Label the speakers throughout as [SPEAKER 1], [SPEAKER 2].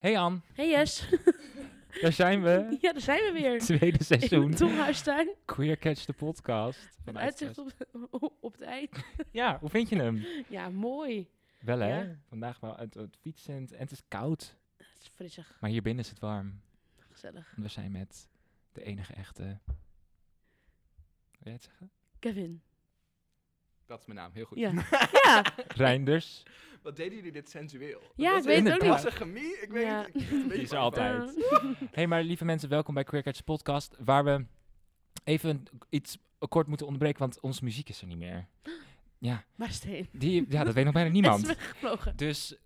[SPEAKER 1] Hey Ann,
[SPEAKER 2] Hey Jess.
[SPEAKER 1] daar zijn we.
[SPEAKER 2] Ja, daar zijn we weer.
[SPEAKER 1] Tweede
[SPEAKER 2] In
[SPEAKER 1] seizoen.
[SPEAKER 2] Tom Huistuin.
[SPEAKER 1] Queer Catch de podcast.
[SPEAKER 2] Met
[SPEAKER 1] van
[SPEAKER 2] uitzicht
[SPEAKER 1] Uitgest.
[SPEAKER 2] op, op, het eind.
[SPEAKER 1] Ja, hoe vind je hem?
[SPEAKER 2] Ja, mooi.
[SPEAKER 1] Wel hè?
[SPEAKER 2] Ja.
[SPEAKER 1] Vandaag wel het, het fietsen en het is koud.
[SPEAKER 2] Het is frissig.
[SPEAKER 1] Maar hier binnen is het warm.
[SPEAKER 2] Gezellig.
[SPEAKER 1] Want we zijn met de enige echte... Wil jij het zeggen?
[SPEAKER 2] Kevin.
[SPEAKER 3] Dat is mijn naam, heel goed.
[SPEAKER 2] Ja. ja.
[SPEAKER 1] Reinders.
[SPEAKER 3] Wat deden jullie dit sensueel?
[SPEAKER 2] Ja,
[SPEAKER 3] Dat
[SPEAKER 2] ik weet
[SPEAKER 1] het ook
[SPEAKER 3] was
[SPEAKER 1] niet.
[SPEAKER 3] een chemie, ik weet
[SPEAKER 2] Ja.
[SPEAKER 3] het. Ik ben er een beetje
[SPEAKER 1] is er
[SPEAKER 3] bang
[SPEAKER 1] altijd.
[SPEAKER 2] Eh,
[SPEAKER 1] Hey maar lieve mensen, welkom bij Queer Catch de podcast. Waar we even iets kort moeten onderbreken, want onze muziek is er niet meer.
[SPEAKER 2] maar steen.
[SPEAKER 1] Die, ja, dat weet nog bijna
[SPEAKER 2] Het
[SPEAKER 1] niemand.
[SPEAKER 2] is weggevlogen.
[SPEAKER 1] Dus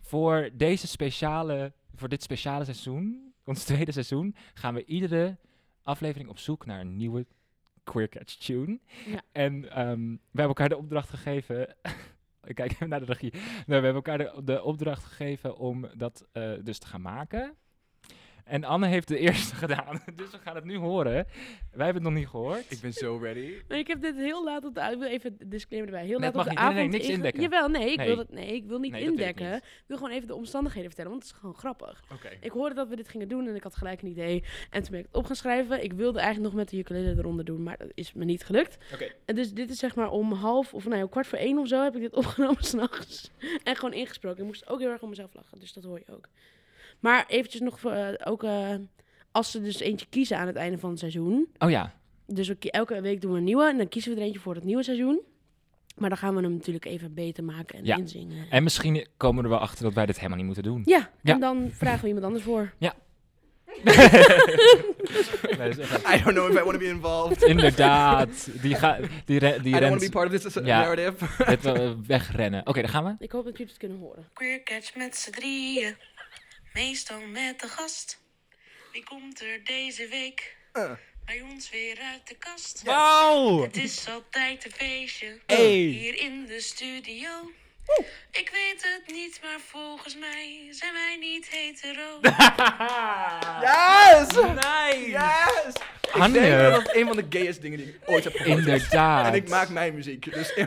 [SPEAKER 1] voor, deze speciale, voor dit speciale seizoen, ons tweede seizoen, gaan we iedere aflevering op zoek naar een nieuwe Queer Catch Tune.
[SPEAKER 2] Ja.
[SPEAKER 1] En ehm, we hebben elkaar de opdracht gegeven. Ik kijk even naar de regie. Nee, we hebben elkaar de, de opdracht gegeven om dat eh, dus te gaan maken. En Anne heeft de eerste gedaan, dus we gaan het nu horen. Wij hebben het nog niet gehoord.
[SPEAKER 3] voor. Ik ben zo ready.
[SPEAKER 2] Nee, ik heb dit heel laat op de avond. Ik wil even een disclaimer erbij. Heel
[SPEAKER 1] Nee,
[SPEAKER 2] laat
[SPEAKER 1] dat
[SPEAKER 2] op de
[SPEAKER 1] mag niet. Nee, nee,
[SPEAKER 2] avond.
[SPEAKER 1] niks
[SPEAKER 2] inge-
[SPEAKER 1] indekken.
[SPEAKER 2] Jawel, nee, ik
[SPEAKER 1] Nee.
[SPEAKER 2] wil, dat, nee, ik wil niet
[SPEAKER 1] Nee, dat wil ik
[SPEAKER 2] indekken.
[SPEAKER 1] niet.
[SPEAKER 2] Ik wil gewoon even de omstandigheden vertellen, want het is gewoon grappig.
[SPEAKER 3] Oké.
[SPEAKER 2] Ik hoorde dat we dit gingen doen en ik had gelijk een idee. En toen ben ik het op gaan schrijven. Ik wilde eigenlijk nog met de ukulele eronder doen, maar dat is me niet gelukt.
[SPEAKER 3] Oké.
[SPEAKER 2] En dus dit is zeg maar om half of nou, ja, kwart voor één of zo heb ik dit opgenomen s'nachts. En gewoon ingesproken. Ik moest ook heel erg om mezelf lachen, dus dat hoor je ook. Maar eventjes nog voor, eh, ook eh, als ze dus eentje kiezen aan het einde van het seizoen.
[SPEAKER 1] Oh ja,
[SPEAKER 2] Dus we ki- elke week doen we een nieuwe en dan kiezen we er eentje voor het nieuwe seizoen. Maar dan gaan we hem natuurlijk even beter maken en
[SPEAKER 1] Ja.
[SPEAKER 2] inzingen.
[SPEAKER 1] en misschien komen we er wel achter dat wij dit helemaal niet moeten doen.
[SPEAKER 2] Ja,
[SPEAKER 1] Ja.
[SPEAKER 2] en dan vragen we iemand anders voor.
[SPEAKER 1] Nee, dus- dat is echt waar.
[SPEAKER 3] I don't know if I want to be involved.
[SPEAKER 1] Inderdaad. Die, ga, die, re, die
[SPEAKER 3] I don't want to
[SPEAKER 1] rent
[SPEAKER 3] be part of this
[SPEAKER 1] Ja.
[SPEAKER 3] narrative.
[SPEAKER 1] het, eh, wegrennen. Oké, daar gaan we.
[SPEAKER 2] Ik hoop dat jullie het kunnen horen.
[SPEAKER 4] Queer catch met z'n drieën. Meestal met de gast. Wie komt er deze week
[SPEAKER 3] Eh.
[SPEAKER 4] bij ons weer uit de kast?
[SPEAKER 1] Wow!
[SPEAKER 4] Het is altijd een feestje.
[SPEAKER 3] Eh.
[SPEAKER 1] Hey!
[SPEAKER 4] Hier in de studio. Ik weet het niet, maar volgens mij zijn wij niet hetero.
[SPEAKER 3] Yes!
[SPEAKER 1] Nice!
[SPEAKER 3] Yes! Ik denk dat
[SPEAKER 1] Anne,
[SPEAKER 3] dat een van de gayest dingen die ik ooit heb gehoord is.
[SPEAKER 1] inderdaad.
[SPEAKER 3] En ik maak mijn muziek, dus I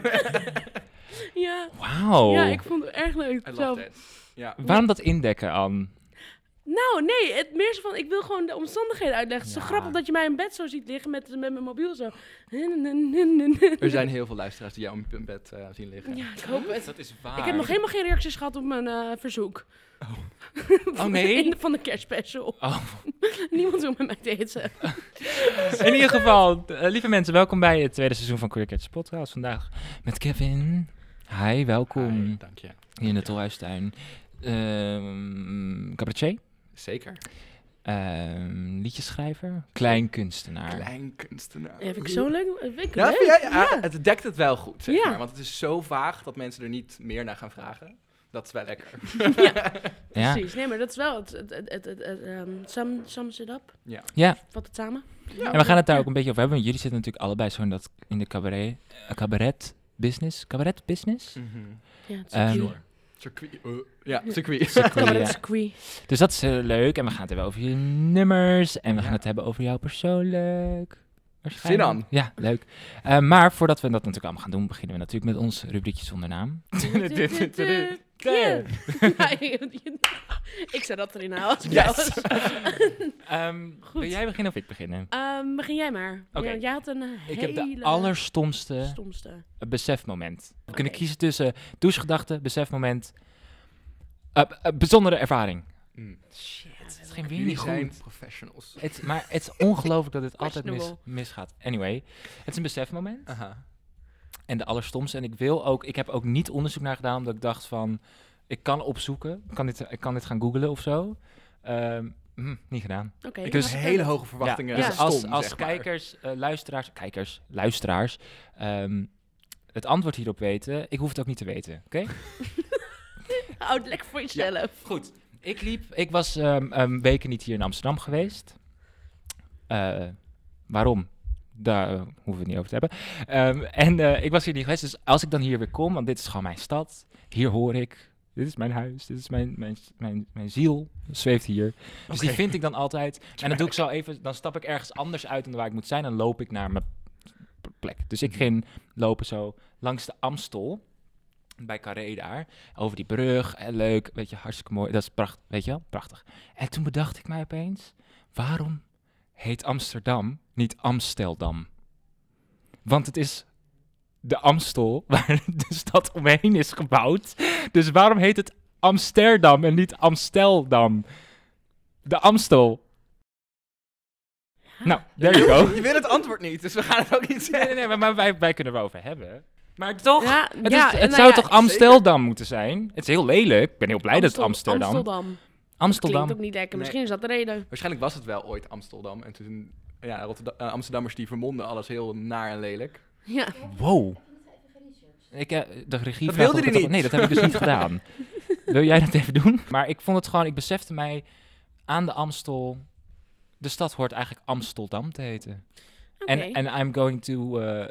[SPEAKER 2] Ja.
[SPEAKER 3] Oh.
[SPEAKER 1] Wauw.
[SPEAKER 2] Ja, ik vond het erg leuk. zelf.
[SPEAKER 3] love that. Ja.
[SPEAKER 1] Waarom dat indekken, Anne?
[SPEAKER 2] Nou, nee, het meer zo van, ik wil gewoon de omstandigheden uitleggen. Het is
[SPEAKER 1] Ja.
[SPEAKER 2] zo grappig dat je mij in bed zo ziet liggen met, met mijn mobiel zo.
[SPEAKER 3] Er zijn heel veel luisteraars die jou in bed eh, zien liggen.
[SPEAKER 2] Ja, ik hoop het.
[SPEAKER 1] Dat is waar.
[SPEAKER 2] Ik heb nog helemaal geen reacties gehad op mijn eh, verzoek.
[SPEAKER 1] Oh, nee?
[SPEAKER 2] Van de, van de kerstspecial.
[SPEAKER 1] Oh.
[SPEAKER 2] Niemand wil met mij daten.
[SPEAKER 1] In ieder geval, eh, lieve mensen, welkom bij het tweede seizoen van Queer Cats Podcast. Vandaag met Kevin. Hi, welkom
[SPEAKER 3] Hi, Dank je.
[SPEAKER 1] hier in de Tolhuistuin. Ehm cabaretier,
[SPEAKER 3] Zeker.
[SPEAKER 1] ehm, liedjeschrijver, klein kunstenaar.
[SPEAKER 3] Klein kunstenaar.
[SPEAKER 2] Ja, vind ik zo leuk. Eh, Vind ik
[SPEAKER 3] Ja,
[SPEAKER 2] leuk.
[SPEAKER 3] vind jij- ja, het dekt het wel goed, zeg
[SPEAKER 2] Ja.
[SPEAKER 3] maar. Want het is zo vaag dat mensen er niet meer naar gaan vragen. Dat is wel lekker.
[SPEAKER 1] Ja.
[SPEAKER 2] Precies. Nee, maar dat is wel het, het, het, het, het, het, ehm, sum- sums it up.
[SPEAKER 3] Ja.
[SPEAKER 1] Ja.
[SPEAKER 2] Vat het samen.
[SPEAKER 1] En we gaan het daar ook een beetje over hebben. Want jullie zitten natuurlijk allebei zo in, dat, in de cabaret, eh, cabaret business. Cabaret business?
[SPEAKER 3] Mhm.
[SPEAKER 2] Ja, het is
[SPEAKER 1] Ehm,
[SPEAKER 2] cute.
[SPEAKER 3] Circuit. eh, ja, circuit.
[SPEAKER 2] Kan maar
[SPEAKER 1] ja.
[SPEAKER 2] dat is queer.
[SPEAKER 1] Dus dat is eh, leuk. En we gaan het hebben over je nummers. En we gaan
[SPEAKER 3] Ja.
[SPEAKER 1] het hebben over jou persoonlijk.
[SPEAKER 3] Zin aan.
[SPEAKER 1] Ja, leuk. Eh, maar voordat we dat natuurlijk allemaal gaan doen, beginnen we natuurlijk met ons rubriekje zonder naam.
[SPEAKER 2] Ja. Ik zou dat erin halen als ik jou was.
[SPEAKER 1] Ehm,
[SPEAKER 2] Goed.
[SPEAKER 1] Wil jij beginnen of ik beginnen?
[SPEAKER 2] Ehm, begin jij maar.
[SPEAKER 1] Oké.
[SPEAKER 2] Ja, want jij had een eh, hele
[SPEAKER 1] Ik heb de allerstomste
[SPEAKER 2] stomste.
[SPEAKER 1] besefmoment. We kunnen
[SPEAKER 2] Oké.
[SPEAKER 1] kiezen tussen douchegedachten, besefmoment, eh, eh, bijzondere ervaring.
[SPEAKER 3] Mm.
[SPEAKER 1] Shit, het ging weer
[SPEAKER 3] Jullie
[SPEAKER 1] niet
[SPEAKER 3] zijn
[SPEAKER 1] goed.
[SPEAKER 3] professionals.
[SPEAKER 1] Het, maar het is ongelooflijk dat het altijd mis,
[SPEAKER 2] Questionable.
[SPEAKER 1] misgaat. Anyway, het is een besefmoment.
[SPEAKER 3] Aha.
[SPEAKER 1] En de allerstomste. En ik wil ook, ik heb ook niet onderzoek naar gedaan, omdat ik dacht van, ik kan opzoeken. Ik kan dit, ik kan dit gaan googlen of zo. Ehm, hm, niet gedaan.
[SPEAKER 2] Oké.
[SPEAKER 1] Ik
[SPEAKER 3] Ik
[SPEAKER 1] dus-
[SPEAKER 3] dus hele hoge verwachtingen.
[SPEAKER 1] dus
[SPEAKER 2] Ja.
[SPEAKER 3] Stom,
[SPEAKER 1] als, als
[SPEAKER 3] zeg maar.
[SPEAKER 1] kijkers, eh, luisteraars, kijkers, luisteraars, ehm, het antwoord hierop weten, ik hoef het ook niet te weten, oké?
[SPEAKER 2] Houd het lekker voor jezelf.
[SPEAKER 1] Goed, ik liep, ik was ehm, ehm, weken niet hier in Amsterdam geweest. Eh, waarom? Daar eh, hoeven we het niet over te hebben. Ehm, en eh, ik was hier niet geweest, dus als ik dan hier weer kom, want dit is gewoon mijn stad, hier hoor ik, dit is mijn huis, dit is mijn, mijn, mijn, mijn ziel, zweeft hier. Dus die vind ik dan altijd. En dan doe ik zo even, dan stap ik ergens anders uit dan waar ik moet zijn en loop ik naar mijn p- plek. Dus ik ging lopen zo langs de Amstel. bij Carré daar, over die brug, en leuk, weet je, hartstikke mooi, dat is prachtig, weet je wel, prachtig. En toen bedacht ik mij opeens, waarom heet Amsterdam niet Amsteldam? Want het is de Amstel, waar de stad omheen is gebouwd. Dus waarom heet het Amsterdam en niet Amsteldam? De Amstel. Nou, there you go.
[SPEAKER 3] Je weet het antwoord niet, dus we gaan het ook niet
[SPEAKER 1] Nee,
[SPEAKER 3] zeggen.
[SPEAKER 1] nee, nee, maar- maar wij, wij kunnen erover hebben. Maar toch,
[SPEAKER 2] Ja,
[SPEAKER 1] het,
[SPEAKER 2] ja,
[SPEAKER 1] is, het
[SPEAKER 2] nou
[SPEAKER 1] zou
[SPEAKER 2] ja,
[SPEAKER 1] toch Amsterdam moeten zijn? Het is heel lelijk. Ik ben heel blij dat
[SPEAKER 2] Amstel-
[SPEAKER 1] het Amsterdam...
[SPEAKER 2] Amsterdam. Klinkt
[SPEAKER 1] Amsterdam.
[SPEAKER 2] ook niet lekker.
[SPEAKER 3] Nee.
[SPEAKER 2] Misschien is dat de reden.
[SPEAKER 3] Waarschijnlijk was het wel ooit Amsterdam. En toen, ja, Rotterdam, eh, Amsterdammers die vermonden alles heel naar en lelijk.
[SPEAKER 2] Ja.
[SPEAKER 1] Wow. Ik, eh, de regie
[SPEAKER 3] Dat
[SPEAKER 1] vraagt
[SPEAKER 3] wilde
[SPEAKER 1] of ik
[SPEAKER 3] hij
[SPEAKER 1] Nee, dat heb ik dus niet gedaan. Wil jij dat even doen? Maar ik vond het gewoon... Ik besefte mij aan de Amstel... De stad hoort eigenlijk Amsterdam te heten.
[SPEAKER 2] Oké.
[SPEAKER 1] En and I'm going to eh,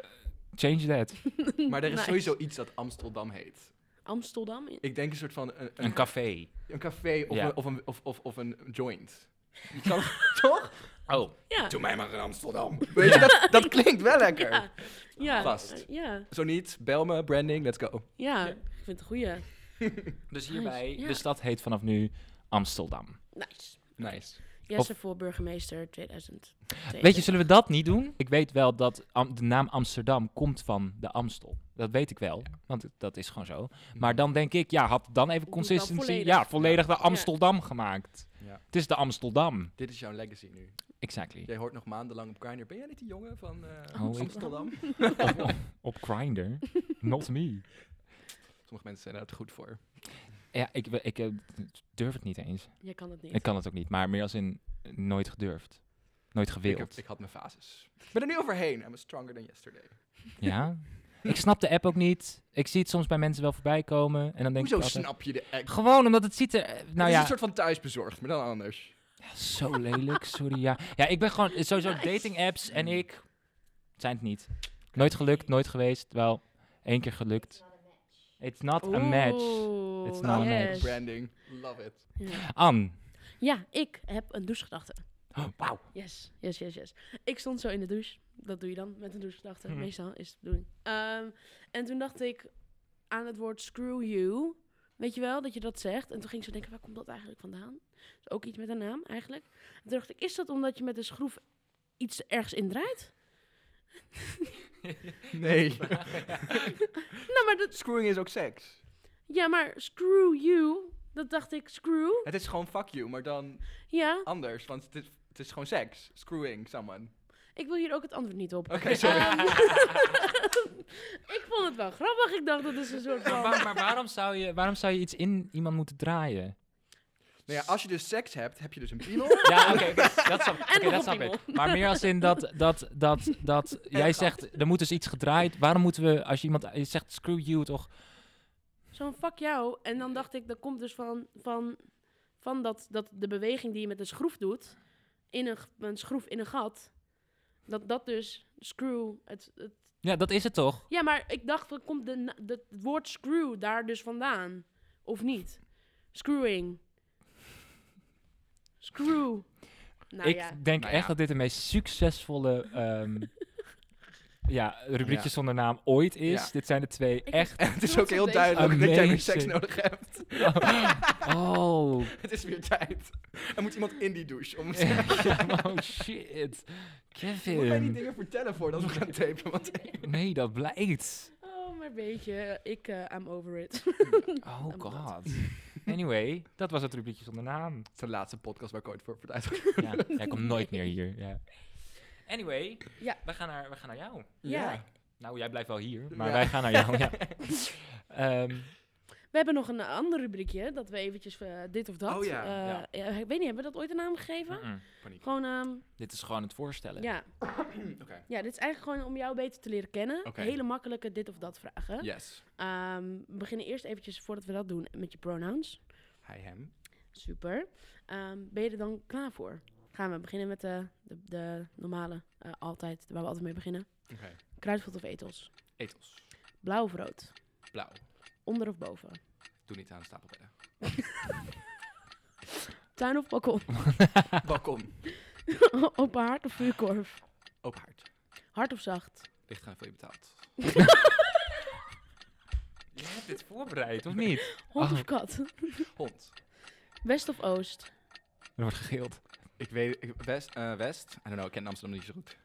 [SPEAKER 1] change that.
[SPEAKER 3] Maar er is
[SPEAKER 2] Nice.
[SPEAKER 3] sowieso iets dat Amsterdam heet.
[SPEAKER 2] Amsterdam.
[SPEAKER 3] Ik denk een soort van een,
[SPEAKER 1] Een café.
[SPEAKER 3] een café of,
[SPEAKER 1] Ja.
[SPEAKER 3] een, of, een, of, of, of een joint. Je kan- toch?
[SPEAKER 1] Oh.
[SPEAKER 2] Ja.
[SPEAKER 3] Doe mij maar in Amsterdam. Weet je, dat, dat klinkt wel lekker.
[SPEAKER 2] Ja. Ja. eh,
[SPEAKER 3] Vast.
[SPEAKER 2] Ja.
[SPEAKER 3] Zo niet, bel me, branding, let's go.
[SPEAKER 2] Ja. Ik vind het een goeie.
[SPEAKER 1] Dus hierbij...
[SPEAKER 2] Nice, ja.
[SPEAKER 1] De stad heet vanaf nu Amsterdam.
[SPEAKER 2] Nice.
[SPEAKER 3] Nice.
[SPEAKER 2] Jesse voor burgemeester 2000.
[SPEAKER 1] Weet je, zullen we dat niet doen? Ik weet wel dat Am- de naam Amsterdam komt van de Amstel. Dat weet ik wel, want het- dat is gewoon zo. Maar dan denk ik, ja, had dan even
[SPEAKER 2] dan
[SPEAKER 1] consistency.
[SPEAKER 2] volledig.
[SPEAKER 1] Ja, volledig de Amsterdam gemaakt.
[SPEAKER 3] Ja.
[SPEAKER 1] Het is de Amsterdam.
[SPEAKER 3] Dit is jouw legacy nu.
[SPEAKER 1] Exactly.
[SPEAKER 3] Jij hoort nog maandenlang op Grindr. Ben jij niet die jongen van eh,
[SPEAKER 1] Oh, ik-
[SPEAKER 3] Amsterdam?
[SPEAKER 1] Op, op, op Grindr. Not me.
[SPEAKER 3] Sommige mensen zijn daar het goed voor.
[SPEAKER 1] Ja, ik, we- ik eh, durf het niet eens.
[SPEAKER 2] Je kan het niet.
[SPEAKER 1] Ik kan het ook niet, maar meer als in eh, nooit gedurfd. Nooit
[SPEAKER 3] Ik, heb-
[SPEAKER 1] gewild.
[SPEAKER 3] ik had mijn fases. Ik ben er nu overheen. I'm stronger than yesterday.
[SPEAKER 1] Ja? Ik snap de app ook niet. Ik zie het soms bij mensen wel voorbij komen. En dan denk
[SPEAKER 3] Hoezo
[SPEAKER 1] ik altijd,
[SPEAKER 3] snap je de act?
[SPEAKER 1] Gewoon omdat het ziet er... eh,
[SPEAKER 3] Het
[SPEAKER 1] Nou
[SPEAKER 3] is
[SPEAKER 1] ja,
[SPEAKER 3] een soort van thuisbezorgd, maar dan anders.
[SPEAKER 1] Zo lelijk, sorry. Ja, ja ik ben gewoon sowieso dating apps en ik zijn het niet. Nooit gelukt, nooit geweest. Wel, één keer gelukt. It's not a match.
[SPEAKER 2] Oeh,
[SPEAKER 1] It's not a match.
[SPEAKER 2] yes.
[SPEAKER 3] Branding. Love it.
[SPEAKER 2] Ja.
[SPEAKER 1] An.
[SPEAKER 2] Ja, ik heb een douchegedachte.
[SPEAKER 1] Oh, Wauw.
[SPEAKER 2] Yes, yes, yes, yes. Ik stond zo in de douche. Dat doe je dan met een douchegedachte.
[SPEAKER 3] Hm.
[SPEAKER 1] Mhm.
[SPEAKER 2] Meestal is het de bedoeling. Ehm, en toen dacht ik aan het woord screw you. Weet je wel, dat je dat zegt. En toen ging ik zo denken, waar komt dat eigenlijk vandaan? Dat is ook iets met een naam eigenlijk. En toen dacht ik, is dat omdat je met een schroef iets ergens indraait?
[SPEAKER 3] Nee.
[SPEAKER 2] Nou, maar dat...
[SPEAKER 3] Screwing is ook seks.
[SPEAKER 2] Ja, maar screw you. Dat dacht ik, screw.
[SPEAKER 3] Het is gewoon fuck you, maar dan
[SPEAKER 2] Ja,
[SPEAKER 3] anders. Want het is, het is gewoon seks. Screwing someone.
[SPEAKER 2] ik wil hier ook het antwoord niet op.
[SPEAKER 3] Oké, sorry.
[SPEAKER 2] Ehm, ik vond het wel grappig. Ik dacht, dat is een soort
[SPEAKER 1] Maar,
[SPEAKER 2] van...
[SPEAKER 1] waar- maar waarom, zou je, waarom zou je iets in iemand moeten draaien?
[SPEAKER 3] Nou ja, als je dus seks hebt, heb je dus een piemel.
[SPEAKER 1] Ja, oké, dat snap, oké,
[SPEAKER 2] nog
[SPEAKER 1] dat
[SPEAKER 2] een
[SPEAKER 1] snap ik.
[SPEAKER 2] pingel.
[SPEAKER 1] Maar meer als in dat, dat, dat, dat jij zegt, er moet dus iets gedraaid. Waarom moeten we, als je iemand je zegt screw you toch?
[SPEAKER 2] Zo'n fuck jou. En dan dacht ik, dat komt dus van, van, van dat, dat de beweging die je met een schroef doet, in een, g- een schroef in een gat, dat dat dus screw... Het, het,
[SPEAKER 1] Ja, dat is het toch?
[SPEAKER 2] ja, maar ik dacht, dat komt de, na- de, het woord screw daar dus vandaan? Of niet? Screwing. Screw. Nou
[SPEAKER 1] ik
[SPEAKER 2] ja.
[SPEAKER 1] denk
[SPEAKER 3] Nou
[SPEAKER 1] echt
[SPEAKER 3] ja.
[SPEAKER 1] dat dit de meest succesvolle ehm, ja, rubriekjes
[SPEAKER 3] Ja.
[SPEAKER 1] zonder naam ooit is.
[SPEAKER 3] Ja.
[SPEAKER 1] Dit zijn de twee
[SPEAKER 2] Ik-
[SPEAKER 1] echt.
[SPEAKER 3] het is ook heel
[SPEAKER 2] Amazing.
[SPEAKER 3] duidelijk dat jij weer seks
[SPEAKER 1] Amazing.
[SPEAKER 3] nodig hebt.
[SPEAKER 1] Oh.
[SPEAKER 3] Het is weer tijd. Er moet iemand in die douche. Om
[SPEAKER 1] oh shit.
[SPEAKER 3] Moet mij die
[SPEAKER 1] Kevin.
[SPEAKER 3] dingen vertellen voordat we gaan tapen. Want
[SPEAKER 1] Nee, dat blijkt.
[SPEAKER 2] Oh, maar weet je, ik eh I'm over it.
[SPEAKER 1] Oh
[SPEAKER 2] I'm not.
[SPEAKER 1] god. Anyway, dat was het rubriekje zonder naam.
[SPEAKER 3] het is de laatste podcast waar ik ooit voor heb
[SPEAKER 1] Ja, jij komt nooit meer hier. Ja. Anyway,
[SPEAKER 2] Ja.
[SPEAKER 1] we, gaan naar, we gaan naar jou.
[SPEAKER 2] Ja.
[SPEAKER 1] Nou, jij blijft wel hier, maar
[SPEAKER 3] Ja.
[SPEAKER 1] wij gaan naar jou. Ja. Ehm,
[SPEAKER 2] We hebben nog een eh, ander rubriekje, dat we eventjes eh, dit of dat...
[SPEAKER 3] Oh ja,
[SPEAKER 2] eh, eh, ik weet niet, hebben we dat ooit een naam gegeven?
[SPEAKER 1] mm-mm.
[SPEAKER 3] Paniek.
[SPEAKER 2] Gewoon, ehm,
[SPEAKER 1] Dit is gewoon het voorstellen.
[SPEAKER 2] ja.
[SPEAKER 3] Oké.
[SPEAKER 2] ja, dit is eigenlijk gewoon om jou beter te leren kennen.
[SPEAKER 3] Oké.
[SPEAKER 2] Hele makkelijke dit of dat vragen.
[SPEAKER 3] Yes.
[SPEAKER 2] Ehm, we beginnen eerst eventjes, voordat we dat doen, met je pronouns.
[SPEAKER 3] Hij, hem.
[SPEAKER 2] Super. Ehm, ben je er dan klaar voor? Gaan we beginnen met de, de, de normale, eh, altijd, waar we altijd mee beginnen.
[SPEAKER 3] Oké.
[SPEAKER 2] Kruidvat of etels?
[SPEAKER 3] Etels.
[SPEAKER 2] Blauw of rood?
[SPEAKER 3] Blauw.
[SPEAKER 2] Onder of boven?
[SPEAKER 3] Doe niet aan stapelbedden.
[SPEAKER 2] Tuin of balkon?
[SPEAKER 3] Balkon.
[SPEAKER 2] Open haard of vuurkorf?
[SPEAKER 3] Open haard.
[SPEAKER 2] Hard of zacht?
[SPEAKER 3] Ligt aan veel je betaalt.
[SPEAKER 1] dit voorbereid, of niet?
[SPEAKER 2] Hond
[SPEAKER 1] Oh.
[SPEAKER 2] of kat?
[SPEAKER 3] Hond.
[SPEAKER 2] West of oost?
[SPEAKER 1] Er wordt gegild.
[SPEAKER 3] Ik weet, ik- West, eh, West, I don't know, ik ken Amsterdam niet zo goed.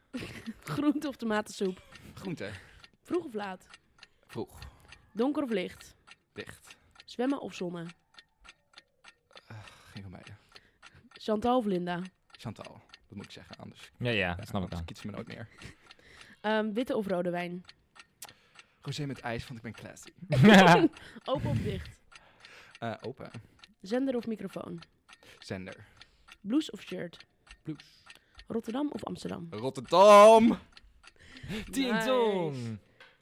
[SPEAKER 2] Groente of tomatensoep?
[SPEAKER 3] Groente,
[SPEAKER 2] Vroeg of laat?
[SPEAKER 3] vroeg,
[SPEAKER 2] Donker of licht?
[SPEAKER 3] dicht.
[SPEAKER 2] Zwemmen of zonnen?
[SPEAKER 3] Geen van beiden.
[SPEAKER 2] Chantal of Linda?
[SPEAKER 3] Chantal, dat moet ik zeggen, anders,
[SPEAKER 1] Ja, ja, dat snap ik
[SPEAKER 3] anders
[SPEAKER 1] dan.
[SPEAKER 3] kiet ze me nooit meer.
[SPEAKER 2] Ehm, witte of rode wijn?
[SPEAKER 3] Rosé met ijs, want ik ben classy.
[SPEAKER 2] Open of dicht?
[SPEAKER 3] Eh, open,
[SPEAKER 2] Zender of microfoon?
[SPEAKER 3] zender,
[SPEAKER 2] Blouse of shirt?
[SPEAKER 3] blues.
[SPEAKER 2] Rotterdam of Amsterdam?
[SPEAKER 3] Rotterdam!
[SPEAKER 1] Tien
[SPEAKER 2] Nice.
[SPEAKER 1] ton!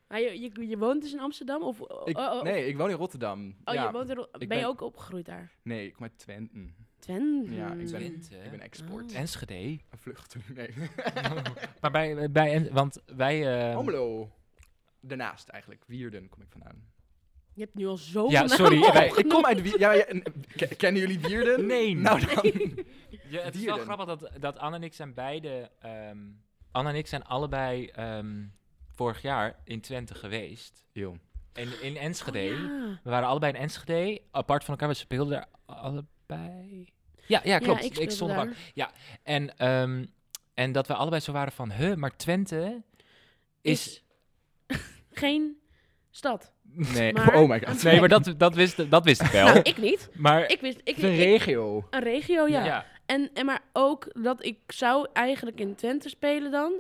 [SPEAKER 2] Maar je, je, je woont dus in Amsterdam? Of,
[SPEAKER 3] Ik,
[SPEAKER 2] oh, oh, oh.
[SPEAKER 3] Nee, ik woon in Rotterdam.
[SPEAKER 2] Oh,
[SPEAKER 3] ja.
[SPEAKER 2] je woont in Ro- ben,
[SPEAKER 3] ben-
[SPEAKER 2] je ook opgegroeid daar?
[SPEAKER 3] Nee, ik kom uit Twenten.
[SPEAKER 2] Twente.
[SPEAKER 3] Ja, ik ben,
[SPEAKER 1] Twente?
[SPEAKER 3] ik ben export.
[SPEAKER 2] Oh.
[SPEAKER 1] Enschede.
[SPEAKER 3] Een vluchteling, nee.
[SPEAKER 1] Maar bij, eh, bij en- want wij... eh,
[SPEAKER 3] Omelo. Daarnaast eigenlijk, Wierden kom ik vandaan.
[SPEAKER 2] Je hebt nu al zoveel
[SPEAKER 1] Ja,
[SPEAKER 2] namen
[SPEAKER 1] sorry,
[SPEAKER 2] opgenoemd.
[SPEAKER 1] wij-
[SPEAKER 3] ik kom uit Wierden. Ja, ja, en- k- kennen jullie Wierden?
[SPEAKER 1] Nee.
[SPEAKER 3] Nou dan.
[SPEAKER 1] Ja, het is wel
[SPEAKER 3] Dierden.
[SPEAKER 1] grappig dat, dat Anne en ik zijn beide... ehm Anne en ik zijn allebei ehm, vorig jaar in Twente geweest.
[SPEAKER 3] Yo.
[SPEAKER 1] En in Enschede.
[SPEAKER 2] Oh, ja.
[SPEAKER 1] We waren allebei in Enschede, apart van elkaar. We speelden er allebei... Ja, ja klopt.
[SPEAKER 2] Ja, ik,
[SPEAKER 1] ik,
[SPEAKER 2] speelde
[SPEAKER 1] stond op
[SPEAKER 2] daar.
[SPEAKER 1] de bank. En, ehm, en dat we allebei zo waren van... Huh, maar Twente is...
[SPEAKER 2] Is geen stad.
[SPEAKER 3] Nee,
[SPEAKER 2] Maar-
[SPEAKER 3] oh my god.
[SPEAKER 1] Nee, maar dat, dat, wist, dat wist ik wel.
[SPEAKER 2] Nou, ik niet.
[SPEAKER 1] maar...
[SPEAKER 2] Ik wist... Ik,
[SPEAKER 3] Het is een
[SPEAKER 2] ik-
[SPEAKER 3] regio.
[SPEAKER 2] een regio, ja.
[SPEAKER 1] ja.
[SPEAKER 2] En, en maar ook dat ik zou eigenlijk in Twente spelen dan.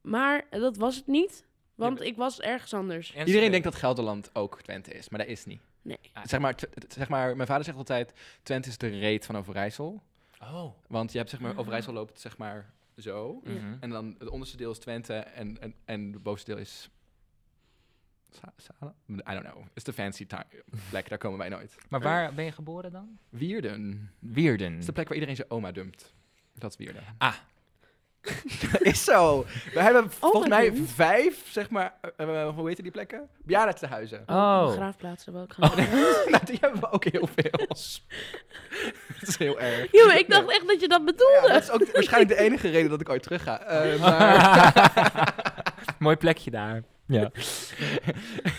[SPEAKER 2] Maar dat was het niet. Want ik was ergens anders.
[SPEAKER 3] Iedereen denkt dat Gelderland ook Twente is, maar dat is niet.
[SPEAKER 2] Nee.
[SPEAKER 1] Ah.
[SPEAKER 3] Zeg maar, Tw- zeg maar, mijn vader zegt altijd, Twente is de reet van Overijssel.
[SPEAKER 1] Oh.
[SPEAKER 3] Want je hebt zeg maar, Overijssel loopt zeg maar zo.
[SPEAKER 1] Mhm.
[SPEAKER 3] En dan het onderste deel is Twente en, en, en het bovenste deel is... Sa- Sala? I don't know. It's the fancy ti- plek, daar komen wij nooit.
[SPEAKER 1] Maar waar ben je geboren dan?
[SPEAKER 3] Wierden.
[SPEAKER 1] eh, Wierden.
[SPEAKER 3] is de plek waar iedereen zijn oma dumpt. Dat is Wierden.
[SPEAKER 1] Ah.
[SPEAKER 3] is zo. We hebben volgens mij
[SPEAKER 2] dumpt?
[SPEAKER 3] vijf, zeg maar, eh, eh, hoe heet die plekken? Bejaardentehuizen.
[SPEAKER 1] Oh.
[SPEAKER 2] Graafplaatsen wel. Ik ga
[SPEAKER 3] nou, die hebben we ook heel veel. dat is heel erg.
[SPEAKER 2] Yo, ik dacht echt dat je dat bedoelde.
[SPEAKER 3] Ja, dat is ook de- waarschijnlijk de enige reden dat ik ooit terug ga. Eh, maar...
[SPEAKER 1] Mooi plekje daar. Ja.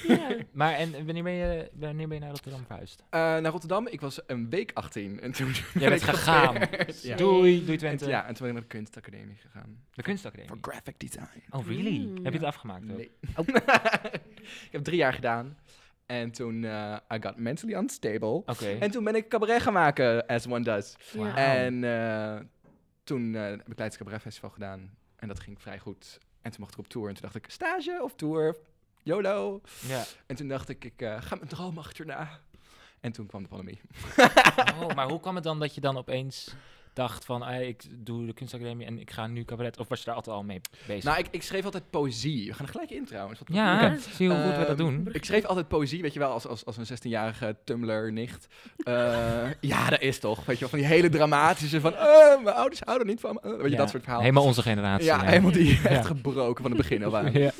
[SPEAKER 2] Ja.
[SPEAKER 1] Maar en wanneer ben je, wanneer ben je naar Rotterdam verhuisd?
[SPEAKER 3] Eh, naar Rotterdam, ik was een week 18 en toen
[SPEAKER 1] Jij bent
[SPEAKER 3] ik
[SPEAKER 1] gegaan. eh,
[SPEAKER 3] geopereerd. Ja.
[SPEAKER 1] Doei, doei
[SPEAKER 3] En,
[SPEAKER 1] Twente.
[SPEAKER 3] t- ja, en toen ben ik naar de kunstacademie gegaan.
[SPEAKER 1] De
[SPEAKER 3] Voor
[SPEAKER 1] kunstacademie.
[SPEAKER 3] graphic design.
[SPEAKER 1] Oh, really?
[SPEAKER 2] Mm.
[SPEAKER 1] Heb je het afgemaakt ook?
[SPEAKER 3] Nee. ik heb drie jaar gedaan. En toen, eh, I got mentally unstable.
[SPEAKER 1] Oké.
[SPEAKER 3] En toen ben ik cabaret gaan maken, as one does.
[SPEAKER 1] Wauw.
[SPEAKER 2] Ja.
[SPEAKER 3] En eh, toen eh, heb ik Leids Cabaret Festival gedaan. En dat ging vrij goed. En toen mocht ik op tour. En toen dacht ik, stage of tour? YOLO.
[SPEAKER 1] Ja.
[SPEAKER 3] En toen dacht ik, ik eh, ga mijn droom achterna. En toen kwam de pandemie.
[SPEAKER 1] Oh, maar hoe kwam het dan dat je dan opeens dacht van... ah, ik doe de kunstacademie en ik ga nu cabaret... Of was je daar altijd al mee bezig?
[SPEAKER 3] Nou, ik, ik schreef altijd poëzie. We gaan er gelijk in trouwens. Wat
[SPEAKER 1] ja,
[SPEAKER 2] Ja.
[SPEAKER 1] zie je hoe goed we dat
[SPEAKER 3] Ehm,
[SPEAKER 1] doen.
[SPEAKER 3] Ik schreef altijd poëzie, weet je wel, als, als, als een 16-jarige Tumblr-nicht. Eh, ja, dat is toch, weet je wel, van die hele dramatische van... eh, mijn ouders houden niet van me, eh, weet je,
[SPEAKER 1] Ja.
[SPEAKER 3] dat soort verhaal.
[SPEAKER 1] Helemaal onze generatie.
[SPEAKER 3] ja, helemaal die
[SPEAKER 1] Ja.
[SPEAKER 3] echt gebroken van het begin al waren.
[SPEAKER 1] Ja.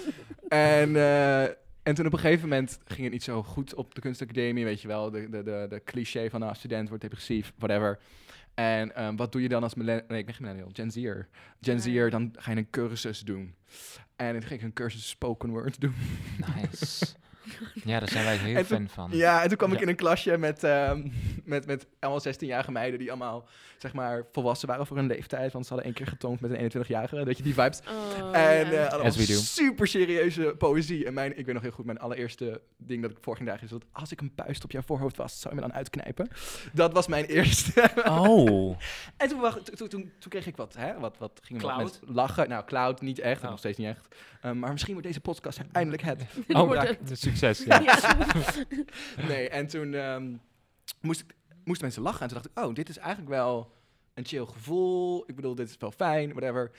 [SPEAKER 3] En, eh, en toen op een gegeven moment ging het niet zo goed op de kunstacademie, weet je wel. De, de, de, de cliché van, nou, student wordt depressief, whatever. En ehm, wat doe je dan als millennial? Nee, ik ben geen millennial, Gen Z'er. Gen
[SPEAKER 2] Ja.
[SPEAKER 3] Z'er, dan ga je een cursus doen. En toen ging ik een cursus spoken word doen.
[SPEAKER 1] Nice. Ja, daar zijn wij heel
[SPEAKER 3] En toen-
[SPEAKER 1] fan van.
[SPEAKER 3] Ja, en toen kwam
[SPEAKER 1] Ja.
[SPEAKER 3] ik in een klasje met, ehm, met, met allemaal 16-jarige meiden die allemaal, zeg maar, volwassen waren voor hun leeftijd. Want ze hadden één keer getoond met een 21-jarige, weet je, die vibes.
[SPEAKER 2] Oh,
[SPEAKER 3] en
[SPEAKER 2] ja.
[SPEAKER 3] eh allemaal
[SPEAKER 1] As we do.
[SPEAKER 3] super serieuze poëzie. En mijn, ik weet nog heel goed, mijn allereerste ding dat ik voor ging dagen is dat als ik een puist op jouw voorhoofd was, zou je me dan uitknijpen? Dat was mijn eerste.
[SPEAKER 1] Oh.
[SPEAKER 3] en toen, wacht, toen, toen, toen- toen kreeg ik wat, hè, wat, wat gingen wat
[SPEAKER 1] Cloud?
[SPEAKER 3] mensen lachen. Nou, cloud niet echt,
[SPEAKER 1] Oh.
[SPEAKER 3] nog steeds niet echt. Eh, maar misschien wordt deze podcast eindelijk het.
[SPEAKER 1] Oh,
[SPEAKER 2] wordt
[SPEAKER 1] ja,
[SPEAKER 2] het.
[SPEAKER 1] succes. Ja.
[SPEAKER 3] Nee, en toen ehm, moest ik, moesten mensen lachen. En toen dacht ik, oh, dit is eigenlijk wel een chill gevoel. Ik bedoel, dit is wel fijn, whatever.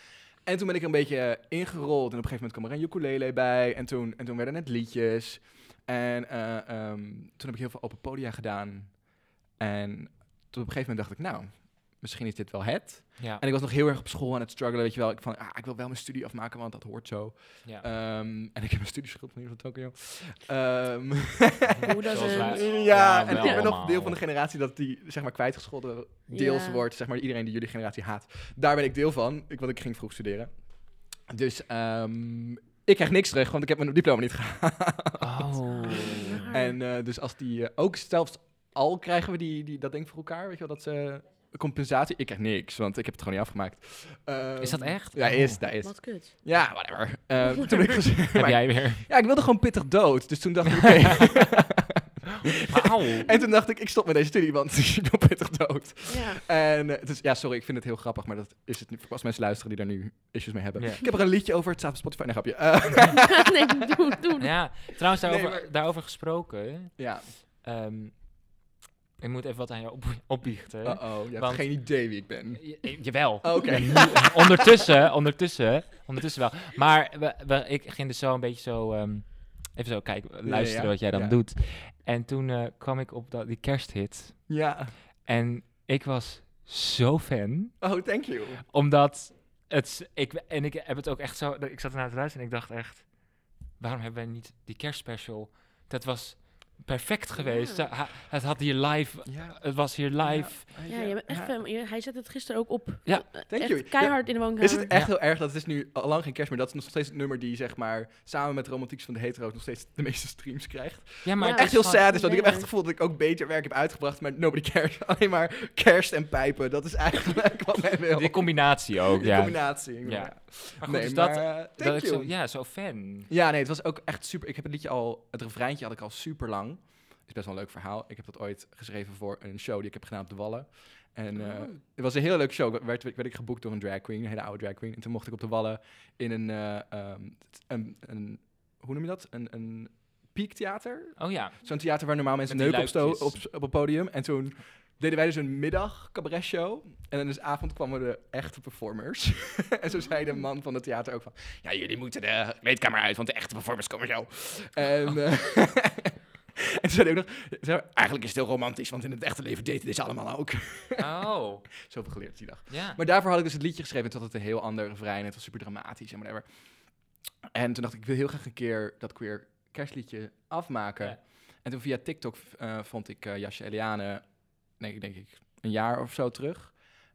[SPEAKER 3] En toen ben ik er een beetje eh, ingerold. En op een gegeven moment kwam er een ukulele bij. En toen, en toen werden het liedjes. En eh, ehm, toen heb ik heel veel open podia gedaan. En toen op een gegeven moment dacht ik, nou, misschien is dit wel het.
[SPEAKER 1] Ja.
[SPEAKER 3] En ik was nog heel erg op school aan het struggelen, weet je wel. Ik van, ah, ik wil wel mijn studie afmaken, want dat hoort zo.
[SPEAKER 1] Ja.
[SPEAKER 3] Ehm, en ik heb een studieschuld van hier van Tokio. Ehm,
[SPEAKER 2] Hoe dat
[SPEAKER 1] Zoals
[SPEAKER 2] is.
[SPEAKER 1] wij.
[SPEAKER 3] ja,
[SPEAKER 1] Ja,
[SPEAKER 3] en
[SPEAKER 1] wel
[SPEAKER 3] ik ben nog
[SPEAKER 1] allemaal.
[SPEAKER 3] deel van de generatie dat die zeg maar kwijtgescholden deels
[SPEAKER 2] Ja.
[SPEAKER 3] wordt. Zeg maar iedereen die jullie generatie haat. Daar ben ik deel van, ik, want ik ging vroeg studeren. Dus ehm, ik krijg niks terug, want ik heb mijn diploma niet gehaald.
[SPEAKER 1] Oh.
[SPEAKER 2] Raar.
[SPEAKER 3] En eh, dus als die eh, ook zelfs al krijgen we die, die, dat ding voor elkaar, weet je wel, dat ze compensatie. Ik krijg niks, want ik heb het gewoon niet afgemaakt.
[SPEAKER 1] Is dat
[SPEAKER 3] Ehm,
[SPEAKER 1] echt?
[SPEAKER 3] Ja, is,
[SPEAKER 1] Oh.
[SPEAKER 3] dat is.
[SPEAKER 2] Wat kut.
[SPEAKER 3] Ja, whatever. Eh, toen ben ik gezien-
[SPEAKER 1] Heb
[SPEAKER 3] maar-
[SPEAKER 1] jij weer?
[SPEAKER 3] Ja, ik wilde gewoon pittig dood. Dus toen dacht ik, oké.
[SPEAKER 1] Auw.
[SPEAKER 3] en toen dacht ik, ik stop met deze studie, want ik wil pittig dood.
[SPEAKER 2] Ja.
[SPEAKER 3] En eh, dus, ja, sorry, ik vind het heel grappig, maar dat is het nu. Als mensen luisteren die daar nu issues mee hebben.
[SPEAKER 1] Ja.
[SPEAKER 3] Ik heb er een liedje over, het staat op Spotify. Nee, grapje. Eh,
[SPEAKER 2] nee, doe, doe.
[SPEAKER 1] Ja, trouwens,
[SPEAKER 3] Nee,
[SPEAKER 1] daarover,
[SPEAKER 3] maar-
[SPEAKER 1] daarover gesproken.
[SPEAKER 3] ja,
[SPEAKER 1] ehm, ik moet even wat aan jou op, opbiechten.
[SPEAKER 3] uh-oh, je hebt
[SPEAKER 1] Want-
[SPEAKER 3] geen idee wie ik ben.
[SPEAKER 1] Je- eh, jawel.
[SPEAKER 3] Oké.
[SPEAKER 1] ondertussen, ondertussen, ondertussen wel. Maar we, we- ik ging dus zo een beetje zo, ehm, even zo kijken, luisteren
[SPEAKER 3] ja.
[SPEAKER 1] wat jij dan
[SPEAKER 3] Ja.
[SPEAKER 1] doet. En toen eh, kwam ik op dat, die kersthit.
[SPEAKER 3] Ja.
[SPEAKER 1] En ik was zo fan,
[SPEAKER 3] Oh, thank you.
[SPEAKER 1] omdat het, ik, en ik heb het ook echt zo, ik zat ernaar te luisteren en ik dacht echt, waarom hebben wij niet die kerstspecial? Dat was perfect geweest.
[SPEAKER 2] Ja.
[SPEAKER 1] Ha- Het had hier live,
[SPEAKER 3] Ja.
[SPEAKER 1] het was hier live.
[SPEAKER 2] Ja, je bent echt fan. Je- Hij zette het gisteren ook op.
[SPEAKER 1] Ja,
[SPEAKER 2] Eh,
[SPEAKER 3] thank
[SPEAKER 2] echt
[SPEAKER 3] you.
[SPEAKER 2] keihard in de woonkamer.
[SPEAKER 3] Is het echt
[SPEAKER 1] Ja.
[SPEAKER 3] heel erg dat het is nu al lang geen kerst meer? Dat is nog steeds het nummer die zeg maar samen met Romantieks van de Hetero's nog steeds de meeste streams krijgt.
[SPEAKER 1] Ja, maar
[SPEAKER 2] Ja,
[SPEAKER 1] het
[SPEAKER 3] echt
[SPEAKER 1] is
[SPEAKER 3] heel
[SPEAKER 1] gewoon-
[SPEAKER 3] sad is, want ik heb echt het
[SPEAKER 2] Ja.
[SPEAKER 3] gevoel dat ik ook beter werk heb uitgebracht, maar nobody cares. Alleen maar kerst en pijpen, dat is eigenlijk wat men wil.
[SPEAKER 1] Die combinatie ook,
[SPEAKER 3] Die
[SPEAKER 1] ja.
[SPEAKER 3] combinatie.
[SPEAKER 1] Ja. Maar goed,
[SPEAKER 3] nee,
[SPEAKER 1] dus
[SPEAKER 3] maar,
[SPEAKER 1] dat,
[SPEAKER 3] eh,
[SPEAKER 1] dat
[SPEAKER 3] thank
[SPEAKER 1] ik
[SPEAKER 3] you.
[SPEAKER 1] zo, ja, zo fan.
[SPEAKER 3] Ja, nee, het was ook echt super. Ik heb het liedje al, het refreintje had ik al super lang. Is best wel een leuk verhaal. Ik heb dat ooit geschreven voor een show die ik heb gedaan op de Wallen. En eh,
[SPEAKER 2] Oh.
[SPEAKER 3] het was een heel leuk show. Ik Werd, werd ik geboekt door een drag queen, een hele oude drag queen. En toen mocht ik op de Wallen in een, eh, ehm, t- een, een hoe noem je dat? Een, een piektheater.
[SPEAKER 1] Oh ja.
[SPEAKER 3] Zo'n theater waar normaal mensen
[SPEAKER 1] Met die
[SPEAKER 3] neuken op, sto- op,
[SPEAKER 1] luikjes.
[SPEAKER 3] op het podium. En toen deden wij dus een middag cabaret show. En dan dus avond kwamen de echte performers. en zo zei de man van het theater ook van... Ja, jullie moeten de kleedkamer uit, want de echte performers komen zo. En, eh, en toen zei hij ook nog... zei hij, Eigenlijk is het heel romantisch, want in het echte leven daten deze allemaal ook.
[SPEAKER 1] Oh,
[SPEAKER 3] Zoveel geleerd die dag.
[SPEAKER 1] ja.
[SPEAKER 3] Maar daarvoor had ik dus het liedje geschreven. En toen had het een heel ander refrein. En het was super dramatisch en whatever. En toen dacht ik, ik wil heel graag een keer dat queer kerstliedje afmaken.
[SPEAKER 1] Ja.
[SPEAKER 3] En toen via TikTok eh, vond ik eh, Jasje Eliane, denk ik, denk ik, een jaar of zo terug.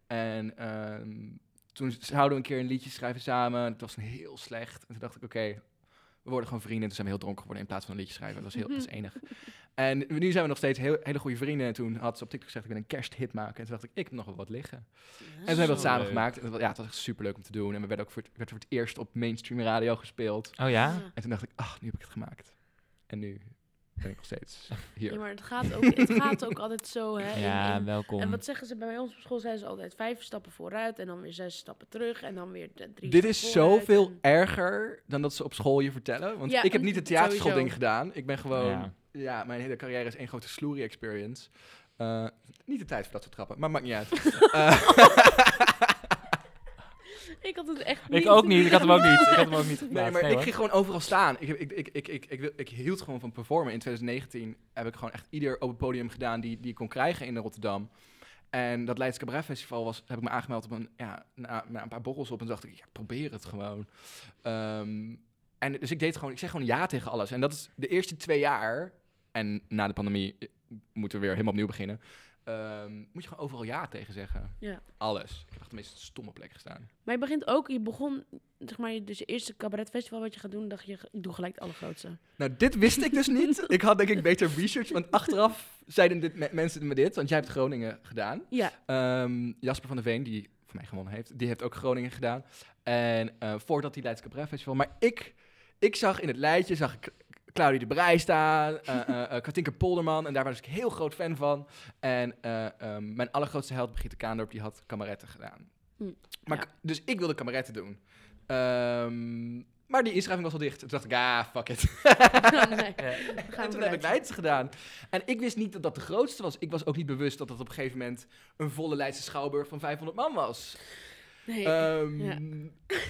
[SPEAKER 3] En ehm, toen zouden we een keer een liedje schrijven samen. Het was een heel slecht. En toen dacht ik, oké, we worden gewoon vrienden. En toen zijn we heel dronken geworden in plaats van een liedje schrijven. Dat was heel, dat is enig. En nu zijn we nog steeds heel, hele goede vrienden. En toen had ze op TikTok gezegd, ik wil een kersthit maken. En toen dacht ik, ik heb nog wel wat liggen. En toen hebben we
[SPEAKER 1] Zo
[SPEAKER 3] dat samen
[SPEAKER 1] leuk.
[SPEAKER 3] gemaakt. En het was, ja, het was echt super leuk om te doen. En we werden ook voor het, werd voor het eerst op mainstream radio gespeeld.
[SPEAKER 1] Oh ja?
[SPEAKER 3] En toen dacht ik, ach, nu heb ik het gemaakt. En nu ben ik nog steeds hier.
[SPEAKER 2] Ja, maar het gaat ook, het gaat ook altijd zo, hè. in-
[SPEAKER 1] Ja,
[SPEAKER 2] in-
[SPEAKER 1] welkom.
[SPEAKER 2] en wat zeggen ze bij ons op school? Zijn ze altijd vijf stappen vooruit en dan weer zes stappen terug en dan weer de- drie
[SPEAKER 3] Dit is
[SPEAKER 2] stappen vooruit
[SPEAKER 3] zoveel
[SPEAKER 2] en-
[SPEAKER 3] erger dan dat ze op school je vertellen. Want
[SPEAKER 2] Ja,
[SPEAKER 3] ik heb niet het
[SPEAKER 2] sowieso.
[SPEAKER 3] theaterschoolding gedaan. Ik ben gewoon... Ja.
[SPEAKER 1] Ja.
[SPEAKER 3] mijn hele carrière is één grote sloerie experience. Eh, niet de tijd voor dat soort grappen, maar maakt niet uit. Eh,
[SPEAKER 2] Ik had het echt niet.
[SPEAKER 1] Ik ook niet, ik had hem ook niet. Ik had hem ook niet
[SPEAKER 3] Nee,
[SPEAKER 1] geplaatst, nee,
[SPEAKER 3] maar ik
[SPEAKER 1] hoor.
[SPEAKER 3] ging gewoon overal staan. Ik, heb- ik, ik, ik, ik, ik, wil- ik hield gewoon van performen. In 2019 heb ik gewoon echt ieder open podium gedaan die, die ik kon krijgen in Rotterdam. En dat Leids Cabaret Festival was, heb ik me aangemeld op een, ja, na, na een paar borrels op. En toen dacht ik, ja, probeer het gewoon. Ehm, en dus ik deed gewoon, ik zeg gewoon ja tegen alles. En dat is de eerste twee jaar. En na de pandemie eh, moeten we weer helemaal opnieuw beginnen. Ehm, moet je gewoon overal ja tegen zeggen.
[SPEAKER 2] Ja.
[SPEAKER 3] Alles. Ik heb echt de meest stomme plek gestaan.
[SPEAKER 2] Maar je begint ook, je begon, zeg maar, je- dus je eerste cabaretfestival wat je gaat doen, dacht je, ik doe gelijk het allergrootste.
[SPEAKER 3] Nou, dit wist ik dus niet. Ik had denk ik beter research, want achteraf zeiden dit me- mensen me dit, want jij hebt Groningen gedaan.
[SPEAKER 2] Ja,
[SPEAKER 3] Ehm, Jasper van der Veen, die voor mij gewonnen heeft, die heeft ook Groningen gedaan. En eh, voordat die Leids Cabaret Festival. Maar ik, ik zag in het lijstje, zag ik Claudie de Brij staan, eh eh, eh, Katinka Polderman, en daar was ik heel groot fan van. En eh, ehm, mijn allergrootste held, Brigitte Kaandorp, die had kameretten gedaan.
[SPEAKER 2] Hm,
[SPEAKER 3] Maar,
[SPEAKER 2] ja.
[SPEAKER 3] k- Dus ik wilde kameretten doen. Ehm, maar die inschrijving was al dicht. Toen dacht ik, ah, fuck it.
[SPEAKER 2] Oh, nee,
[SPEAKER 1] Ja.
[SPEAKER 2] dan gaan
[SPEAKER 3] En
[SPEAKER 2] we
[SPEAKER 3] toen heb ik
[SPEAKER 2] vooruit.
[SPEAKER 3] Leidse gedaan. En ik wist niet dat dat de grootste was. Ik was ook niet bewust dat dat op een gegeven moment een volle Leidse schouwburg van 500 man was.
[SPEAKER 2] Nee.
[SPEAKER 3] Ehm,
[SPEAKER 2] ja.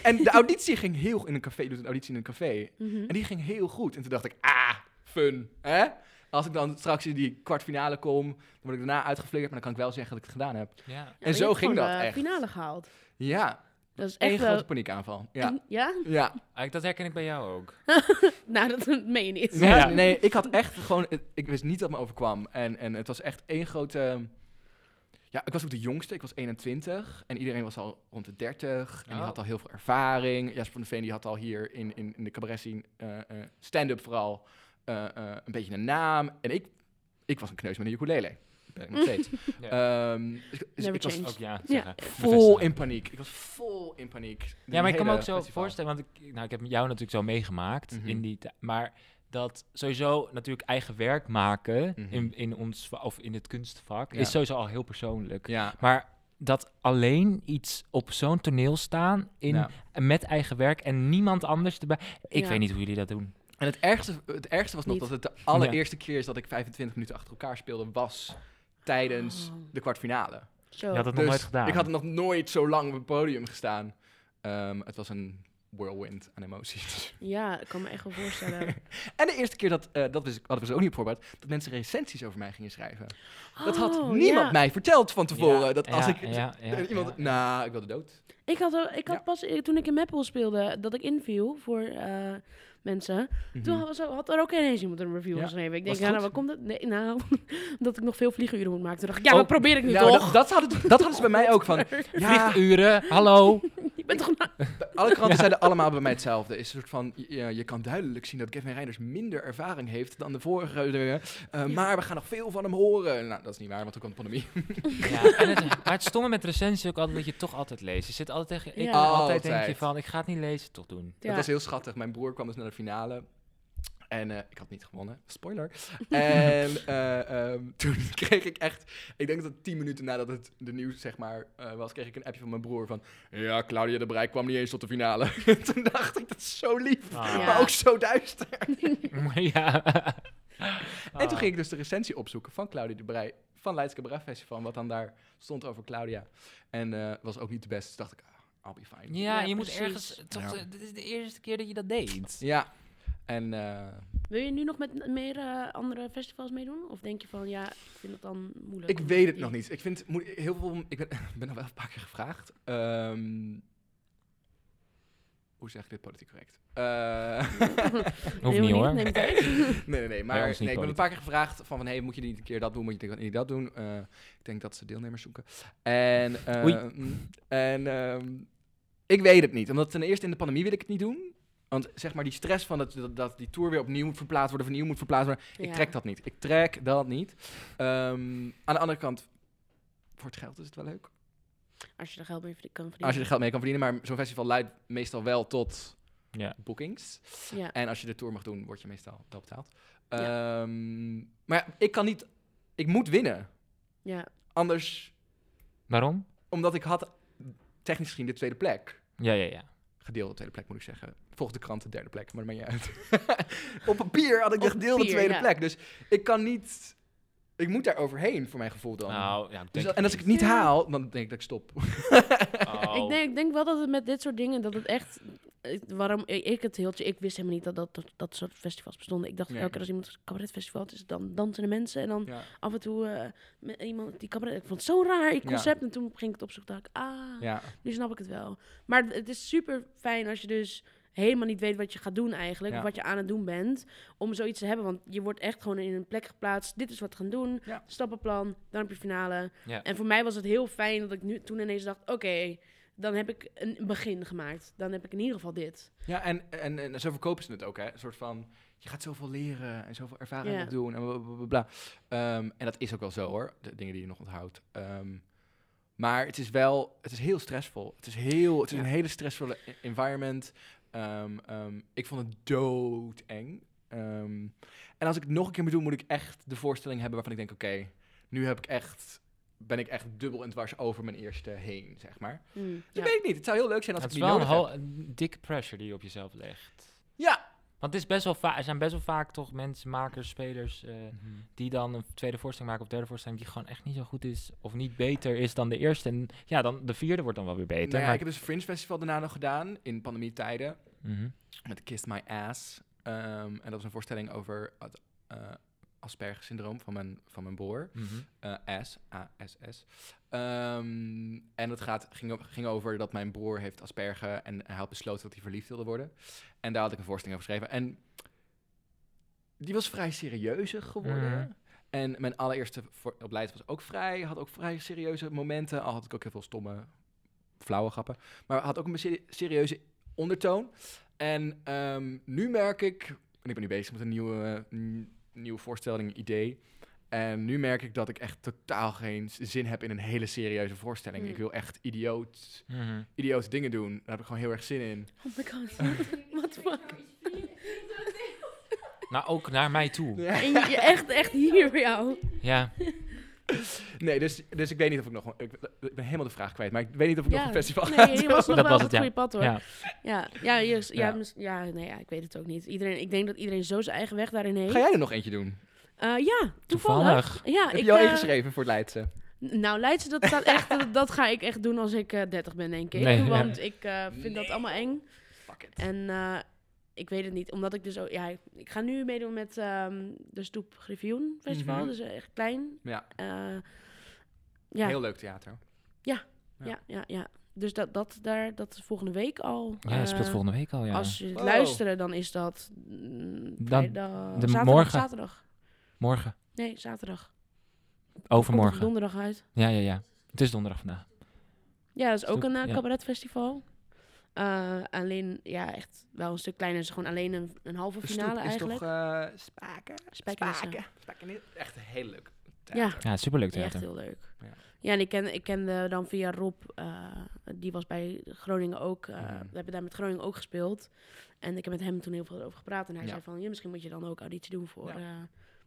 [SPEAKER 3] En de auditie ging heel in een café. Je doet een auditie in een café.
[SPEAKER 2] Mhm.
[SPEAKER 3] En die ging heel goed. En toen dacht ik, ah, fun. Hè? Als ik dan straks in die kwartfinale kom, dan word ik daarna uitgeflikkerd. Maar dan kan ik wel zeggen dat ik het gedaan heb.
[SPEAKER 1] Ja.
[SPEAKER 2] Ja,
[SPEAKER 3] en
[SPEAKER 2] maar
[SPEAKER 3] zo
[SPEAKER 2] je hebt
[SPEAKER 3] ging
[SPEAKER 2] gewoon
[SPEAKER 3] dat
[SPEAKER 2] de
[SPEAKER 3] echt.
[SPEAKER 2] finale gehaald.
[SPEAKER 3] Ja,
[SPEAKER 2] Dat is
[SPEAKER 3] één
[SPEAKER 2] echt
[SPEAKER 3] grote
[SPEAKER 2] wel...
[SPEAKER 3] paniekaanval. Ja,
[SPEAKER 2] Ja?
[SPEAKER 3] ja.
[SPEAKER 1] Ah, Dat herken ik bij jou ook.
[SPEAKER 2] Nou, dat meen je niet.
[SPEAKER 1] Ja.
[SPEAKER 3] Ja, nee, ik had echt gewoon... Ik wist niet dat me overkwam. En, en het was echt één grote... Ja, Ja, ik was ook de jongste. Ik was 21. En iedereen was al rond de 30. En die
[SPEAKER 1] Oh.
[SPEAKER 3] had al heel veel ervaring. Jasper van de Veen die had al hier in, in, in de cabaret zien stand-up vooral eh, eh, een beetje een naam. En ik, ik was een kneus met een ukulele. Ben
[SPEAKER 1] Mm.
[SPEAKER 3] ik nog steeds. Ehm, dus ik- dus
[SPEAKER 2] Never
[SPEAKER 3] ik was
[SPEAKER 2] change.
[SPEAKER 1] Ook ja,
[SPEAKER 2] Ja,
[SPEAKER 1] zeggen.
[SPEAKER 3] vol in paniek. Ik was vol in paniek.
[SPEAKER 1] Ja, maar ik kan me
[SPEAKER 3] Hele
[SPEAKER 1] ook zo
[SPEAKER 3] festival.
[SPEAKER 1] voorstellen, want ik, nou, ik heb jou natuurlijk zo meegemaakt
[SPEAKER 3] Mhm.
[SPEAKER 1] in die ti- Maar dat sowieso natuurlijk eigen werk maken
[SPEAKER 3] Mhm.
[SPEAKER 1] in, in ons va- of in het kunstvak
[SPEAKER 3] Ja.
[SPEAKER 1] is sowieso al heel persoonlijk.
[SPEAKER 3] Ja.
[SPEAKER 1] Maar dat alleen iets op zo'n toneel staan in,
[SPEAKER 3] Ja.
[SPEAKER 1] met eigen werk en niemand anders erbij. Ik
[SPEAKER 2] Ja.
[SPEAKER 1] weet niet hoe jullie dat doen.
[SPEAKER 3] En het ergste, het ergste was nog
[SPEAKER 2] Niet.
[SPEAKER 3] dat het de allereerste keer is dat ik 25 minuten achter elkaar speelde, was tijdens
[SPEAKER 2] Oh.
[SPEAKER 3] de kwartfinale.
[SPEAKER 2] Zo.
[SPEAKER 1] Je had het nog
[SPEAKER 3] Dus
[SPEAKER 1] nooit gedaan.
[SPEAKER 3] Ik had nog nooit zo lang op het podium gestaan. Ehm, het was een whirlwind aan emoties.
[SPEAKER 2] Ja, ik kan me echt wel voorstellen.
[SPEAKER 3] en de eerste keer dat, eh, dat wist ik- hadden we ze ook niet op voorbeeld, dat mensen recensies over mij gingen schrijven. dat had
[SPEAKER 2] Oh,
[SPEAKER 3] niemand
[SPEAKER 2] ja.
[SPEAKER 3] mij verteld van tevoren.
[SPEAKER 1] Ja,
[SPEAKER 3] dat als
[SPEAKER 1] ja,
[SPEAKER 3] ik.
[SPEAKER 1] ja, ja,
[SPEAKER 3] iemand,
[SPEAKER 1] ja.
[SPEAKER 3] nou, ik wilde dood.
[SPEAKER 2] Ik had, al- ik had
[SPEAKER 3] Ja.
[SPEAKER 2] pas eh, toen ik in Meppel speelde, dat ik inviel voor eh, mensen. Toen
[SPEAKER 3] Mhm.
[SPEAKER 2] had, zo- had er ook ineens iemand een review
[SPEAKER 3] Ja.
[SPEAKER 2] geschreven. Ik
[SPEAKER 3] Was
[SPEAKER 2] denk, ja,
[SPEAKER 3] het
[SPEAKER 2] nou,
[SPEAKER 3] goed?
[SPEAKER 2] waar komt dat? Nee, nou, dat ik nog veel vliegenuren moet maken. Toen dacht ik, ja,
[SPEAKER 3] Oh,
[SPEAKER 2] dat probeer ik nu
[SPEAKER 3] Nou,
[SPEAKER 2] toch.
[SPEAKER 3] dat, dat, hadden, dat hadden ze bij mij ook van. Ja,
[SPEAKER 1] Vlieguren, hallo.
[SPEAKER 2] Je bent toch na-
[SPEAKER 3] Alle kranten zeiden allemaal bij mij hetzelfde. Is een soort van, je, je kan duidelijk zien dat Kevin Reinders minder ervaring heeft dan de vorige. eh, eh, Maar we gaan nog veel van hem horen. Nou, dat is niet waar, want toen kwam de pandemie.
[SPEAKER 1] Ja, en het, maar het stomme met recensies is ook altijd dat je het toch altijd leest. Je zit altijd tegen... Ik
[SPEAKER 2] Ja.
[SPEAKER 1] altijd denk je
[SPEAKER 3] Altijd.
[SPEAKER 1] van, ik ga het niet lezen, toch doen.
[SPEAKER 2] Ja.
[SPEAKER 3] Dat was heel schattig. Mijn broer kwam dus naar de finale. En eh, ik had niet gewonnen. Spoiler. en eh, ehm, toen kreeg ik echt... Ik denk dat het tien minuten nadat het de nieuws zeg maar, eh, was... kreeg ik een appje van mijn broer van... Ja, Claudia de Breij kwam niet eens tot de finale. toen dacht ik, dat is zo lief.
[SPEAKER 1] Ah.
[SPEAKER 3] Maar ook zo duister.
[SPEAKER 1] ja.
[SPEAKER 3] En
[SPEAKER 1] Ah.
[SPEAKER 3] toen ging ik dus de recensie opzoeken van Claudia de Brij van Leids Cabaret Festival, wat dan daar stond over Claudia. En eh, was ook niet de beste, dus dacht ik, ah, I'll be fine.
[SPEAKER 1] Ja,
[SPEAKER 2] Ja,
[SPEAKER 1] je moet
[SPEAKER 2] precies.
[SPEAKER 1] ergens... Toch,
[SPEAKER 3] Ja.
[SPEAKER 1] eh, Dit is de eerste keer dat je dat deed.
[SPEAKER 3] Ja, en eh,
[SPEAKER 2] Wil je nu nog met n- meer eh, andere festivals meedoen? Of denk je van, ja, ik vind dat dan moeilijk?
[SPEAKER 3] ik weet het nog niet. Ik vind moe- heel veel, ik ben, ben al wel een paar keer gevraagd. Ehm, hoe zeg ik dit politiek correct? Eh,
[SPEAKER 1] Hoeft
[SPEAKER 2] Nee,
[SPEAKER 1] niet hoor.
[SPEAKER 2] neem het uit.
[SPEAKER 3] nee, nee, nee.
[SPEAKER 1] Bij
[SPEAKER 3] Maar
[SPEAKER 1] ons niet
[SPEAKER 3] nee, ik ben een
[SPEAKER 1] politiek.
[SPEAKER 3] paar keer gevraagd van, van hey, moet je niet een keer dat doen, moet je niet dat doen. Eh, ik denk dat ze deelnemers zoeken. En, eh,
[SPEAKER 1] Oei.
[SPEAKER 3] mm, en ehm, ik weet het niet. Omdat ten eerste in de pandemie wil ik het niet doen. Want zeg maar die stress van dat, dat, dat die tour weer opnieuw moet verplaatst worden, opnieuw moet verplaatst worden. Ik
[SPEAKER 2] Ja.
[SPEAKER 3] trek dat niet. Ik trek dat niet. Ehm, aan de andere kant, voor het geld is het wel leuk.
[SPEAKER 2] Als je er geld mee verd- kan verdienen.
[SPEAKER 3] Als je er geld mee kan verdienen. Maar zo'n festival leidt meestal wel tot
[SPEAKER 1] Ja.
[SPEAKER 3] bookings.
[SPEAKER 2] Ja.
[SPEAKER 3] En als je de tour mag doen, word je meestal wel betaald. Ehm, maar ja, ik kan niet... Ik moet winnen.
[SPEAKER 2] Ja.
[SPEAKER 3] Anders,
[SPEAKER 1] Waarom?
[SPEAKER 3] omdat ik had technisch gezien de tweede plek.
[SPEAKER 1] Ja, ja, ja.
[SPEAKER 3] Gedeelde tweede plek, moet ik zeggen. Volgens de krant de derde plek, maar dat maakt niet uit. Op papier had ik de
[SPEAKER 2] Op
[SPEAKER 3] gedeelde
[SPEAKER 2] papier,
[SPEAKER 3] tweede
[SPEAKER 2] ja.
[SPEAKER 3] plek. Dus ik kan niet... Ik moet daar overheen, voor mijn gevoel dan.
[SPEAKER 1] Nou, ja, ik
[SPEAKER 3] Dus
[SPEAKER 1] denk
[SPEAKER 3] dat- en als ik het niet
[SPEAKER 2] Ja.
[SPEAKER 3] haal, dan denk ik dat ik stop.
[SPEAKER 1] Oh.
[SPEAKER 2] Ik, denk, ik denk wel dat het met dit soort dingen, dat het echt... ik- Waarom ik ik het hield, ik wist helemaal niet dat dat, dat, dat soort festivals bestonden. Ik dacht,
[SPEAKER 3] Nee.
[SPEAKER 2] elke keer als iemand een cabaretfestival had, is het dan dansen de mensen. En dan
[SPEAKER 3] Ja.
[SPEAKER 2] af en toe eh, met iemand die cabaret... Ik vond het zo raar, ik
[SPEAKER 3] Ja.
[SPEAKER 2] concept. En toen ging ik het opzoeken, dacht ik, ah,
[SPEAKER 3] ja.
[SPEAKER 2] nu snap ik het wel. Maar het- het is super fijn als je dus helemaal niet weet wat je gaat doen eigenlijk.
[SPEAKER 3] Ja.
[SPEAKER 2] Of wat je aan het doen bent. Om zoiets te hebben. Want je wordt echt gewoon in een plek geplaatst. Dit is wat we gaan doen.
[SPEAKER 3] Ja.
[SPEAKER 2] Stappenplan. Dan heb je finale.
[SPEAKER 1] Ja.
[SPEAKER 2] En voor mij was het heel fijn dat ik nu, toen ineens dacht... Oké, dan heb ik een begin gemaakt. Dan heb ik in ieder geval dit.
[SPEAKER 3] Ja, en, en, en zo verkopen ze het ook, hè? Een soort van, je gaat zoveel leren en zoveel ervaring
[SPEAKER 2] Ja.
[SPEAKER 3] opdoen en bla, bla, bla, bla. Ehm, en dat is ook wel zo, hoor. De dingen die je nog onthoudt. Ehm, maar het is wel, het is heel stressvol. Het is, heel, het is
[SPEAKER 2] Ja.
[SPEAKER 3] een hele stressvolle e- environment. Ehm, ehm, ik vond het doodeng. Ehm, en als ik het nog een keer moet doen, moet ik echt de voorstelling hebben waarvan ik denk, oké, nu heb ik echt, ben ik echt dubbel en dwars over mijn eerste heen, zeg maar.
[SPEAKER 2] Hmm, ja.
[SPEAKER 3] Dus ik weet het niet. Het zou heel leuk zijn als
[SPEAKER 1] Het is
[SPEAKER 3] ik het niet
[SPEAKER 1] wel een,
[SPEAKER 3] nodig
[SPEAKER 1] ho-
[SPEAKER 3] heb.
[SPEAKER 1] een dikke pressure die je op jezelf legt.
[SPEAKER 3] Ja.
[SPEAKER 1] Want het is best wel va- er zijn best wel vaak toch mensen, makers, spelers... eh,
[SPEAKER 2] Mhm.
[SPEAKER 1] die dan een tweede voorstelling maken of derde voorstelling... die gewoon echt niet zo goed is of niet beter is dan de eerste. En ja, dan de vierde wordt dan wel weer beter.
[SPEAKER 3] Nou ja,
[SPEAKER 1] maar-
[SPEAKER 3] ik heb dus Fringe Festival daarna nog gedaan in pandemietijden
[SPEAKER 1] Mhm.
[SPEAKER 3] met Kiss My Ass. Ehm, en dat was een voorstelling over het eh Asperger syndroom van mijn, van mijn broer.
[SPEAKER 1] Mhm.
[SPEAKER 3] Eh, S, A-S-S. Ehm, en het gaat, ging, o- ging over dat mijn broer heeft Asperger en hij had besloten dat hij verliefd wilde worden. En daar had ik een voorstelling over geschreven. En die was vrij serieus geworden.
[SPEAKER 1] Mhm.
[SPEAKER 3] En En mijn allereerste voor- opleid was ook vrij, had ook vrij serieuze momenten. Al had ik ook heel veel stomme, flauwe grappen. Maar had ook een serie- serieuze ondertoon. En ehm, nu merk ik, en ik ben nu bezig met een nieuwe, eh, n- nieuwe voorstelling, idee. En nu merk ik dat ik echt totaal geen z- zin heb in een hele serieuze voorstelling.
[SPEAKER 2] Mm.
[SPEAKER 3] Ik wil echt idioot,
[SPEAKER 1] Mhm.
[SPEAKER 3] idioot dingen doen. Daar heb ik gewoon heel erg zin in.
[SPEAKER 2] Oh my god. What the fuck?
[SPEAKER 1] Nou, ook naar mij toe.
[SPEAKER 2] En je, je echt, echt hier bij jou.
[SPEAKER 1] Ja.
[SPEAKER 3] Nee, dus, dus ik weet niet of ik nog... Ik, ik ben helemaal de vraag kwijt, maar ik weet niet of ik
[SPEAKER 2] Ja.
[SPEAKER 3] nog een festival ga
[SPEAKER 2] Nee,
[SPEAKER 3] doen.
[SPEAKER 2] je was nog
[SPEAKER 1] Dat
[SPEAKER 2] wel
[SPEAKER 1] was het,
[SPEAKER 2] op het
[SPEAKER 1] ja.
[SPEAKER 2] goede pad hoor.
[SPEAKER 1] ja.
[SPEAKER 2] Ja, ja, je- ja,
[SPEAKER 1] Ja.
[SPEAKER 2] mis- ja, nee, ja, ik weet het ook niet. Iedereen, ik denk dat iedereen zo zijn eigen weg daarin heeft.
[SPEAKER 3] Ga jij er nog eentje doen?
[SPEAKER 2] Eh, ja, toevallig.
[SPEAKER 1] Toevallig.
[SPEAKER 2] Ja,
[SPEAKER 3] Heb
[SPEAKER 2] ik,
[SPEAKER 3] je al
[SPEAKER 2] eh,
[SPEAKER 3] ingeschreven voor het Leidse?
[SPEAKER 2] Nou, Leidse, dat, staat echt, dat, dat ga ik echt doen als ik eh 30 ben, denk ik.
[SPEAKER 1] Nee, ja.
[SPEAKER 2] Want ik eh, vind dat
[SPEAKER 3] Nee.
[SPEAKER 2] allemaal eng.
[SPEAKER 3] Fuck it.
[SPEAKER 2] En eh, ik weet het niet, omdat ik dus ook... Ja, ik- ik ga nu meedoen met ehm, de Stoep Griffioen Festival,
[SPEAKER 3] Mhm.
[SPEAKER 2] dus eh, echt klein.
[SPEAKER 3] Ja.
[SPEAKER 2] Eh, ja,
[SPEAKER 3] Heel leuk theater. ja.
[SPEAKER 2] ja, ja, ja. Dus dat, dat, daar, dat is volgende week al.
[SPEAKER 1] Ja, het speelt
[SPEAKER 2] eh,
[SPEAKER 1] volgende week al, ja.
[SPEAKER 2] Als je het
[SPEAKER 3] Wow.
[SPEAKER 2] luisteren, dan is dat mm,
[SPEAKER 1] Dan-
[SPEAKER 2] vrijdag,
[SPEAKER 1] de
[SPEAKER 2] zaterdag,
[SPEAKER 1] morgen.
[SPEAKER 2] zaterdag.
[SPEAKER 1] Morgen.
[SPEAKER 2] Nee, zaterdag. Komt er
[SPEAKER 1] Overmorgen.
[SPEAKER 2] donderdag uit.
[SPEAKER 1] Ja, ja, ja. Het is donderdag vandaag.
[SPEAKER 2] Ja, dat is ook
[SPEAKER 1] Stuk-
[SPEAKER 2] een eh,
[SPEAKER 1] ja.
[SPEAKER 2] cabaretfestival. Eh, alleen, ja, echt wel een stuk kleiner. Het is gewoon alleen een, een halve finale
[SPEAKER 3] Stoep is
[SPEAKER 2] eigenlijk.
[SPEAKER 3] toch eh, Spaken?
[SPEAKER 2] Spijkenissen.
[SPEAKER 3] Spaken. Echt een heel leuk
[SPEAKER 2] ja,
[SPEAKER 3] theater.
[SPEAKER 1] Ja, superleuk
[SPEAKER 2] echt
[SPEAKER 1] theater.
[SPEAKER 2] heel leuk.
[SPEAKER 3] Ja.
[SPEAKER 2] Ja, en ik, ken, ik kende dan via Rob, eh, die was bij Groningen ook. eh,
[SPEAKER 3] Mhm.
[SPEAKER 2] We hebben daar met Groningen ook gespeeld. En ik heb met hem toen heel veel over gepraat. En hij
[SPEAKER 3] Ja.
[SPEAKER 2] zei van, ja, misschien moet je dan ook auditie doen voor
[SPEAKER 3] Ja.
[SPEAKER 2] eh,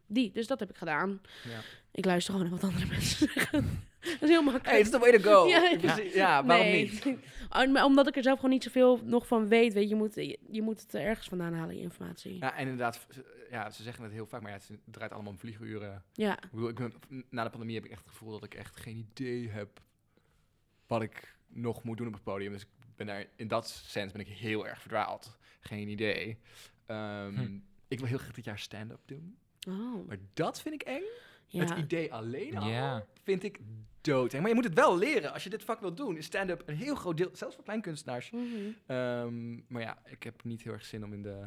[SPEAKER 2] die. Dus dat heb ik gedaan.
[SPEAKER 3] Ja.
[SPEAKER 2] Ik luister gewoon naar wat andere mensen zeggen. dat is heel makkelijk.
[SPEAKER 3] Hey, it's the way to go.
[SPEAKER 2] Ja,
[SPEAKER 3] Ik bedoel- ja, waarom niet?
[SPEAKER 2] Oh, maar Omdat ik er zelf gewoon niet zoveel nog van weet. weet je, je, moet, je, je moet het ergens vandaan halen, je informatie. Ja.
[SPEAKER 3] Ja, en inderdaad, ze- ja, ze zeggen het heel vaak, maar ja, het draait allemaal om vlieguren. Ik bedoel, ik ben- na de pandemie heb ik echt het gevoel dat ik echt geen idee heb wat ik nog moet doen op het podium. Dus ik ben daar, in dat sens ben ik heel erg verdwaald. Geen idee. Ehm,
[SPEAKER 1] Hm.
[SPEAKER 3] Ik wil heel graag dit jaar stand-up doen.
[SPEAKER 2] Oh,
[SPEAKER 3] Maar dat vind ik eng. Het
[SPEAKER 2] ja.
[SPEAKER 3] idee alleen al
[SPEAKER 1] Ja.
[SPEAKER 3] vind ik dood. Maar je moet het wel leren. Als je dit vak wilt doen, is stand-up een heel groot deel, zelfs voor kleinkunstenaars.
[SPEAKER 2] Mhm.
[SPEAKER 3] Ehm, maar ja, ik heb niet heel erg zin om in de,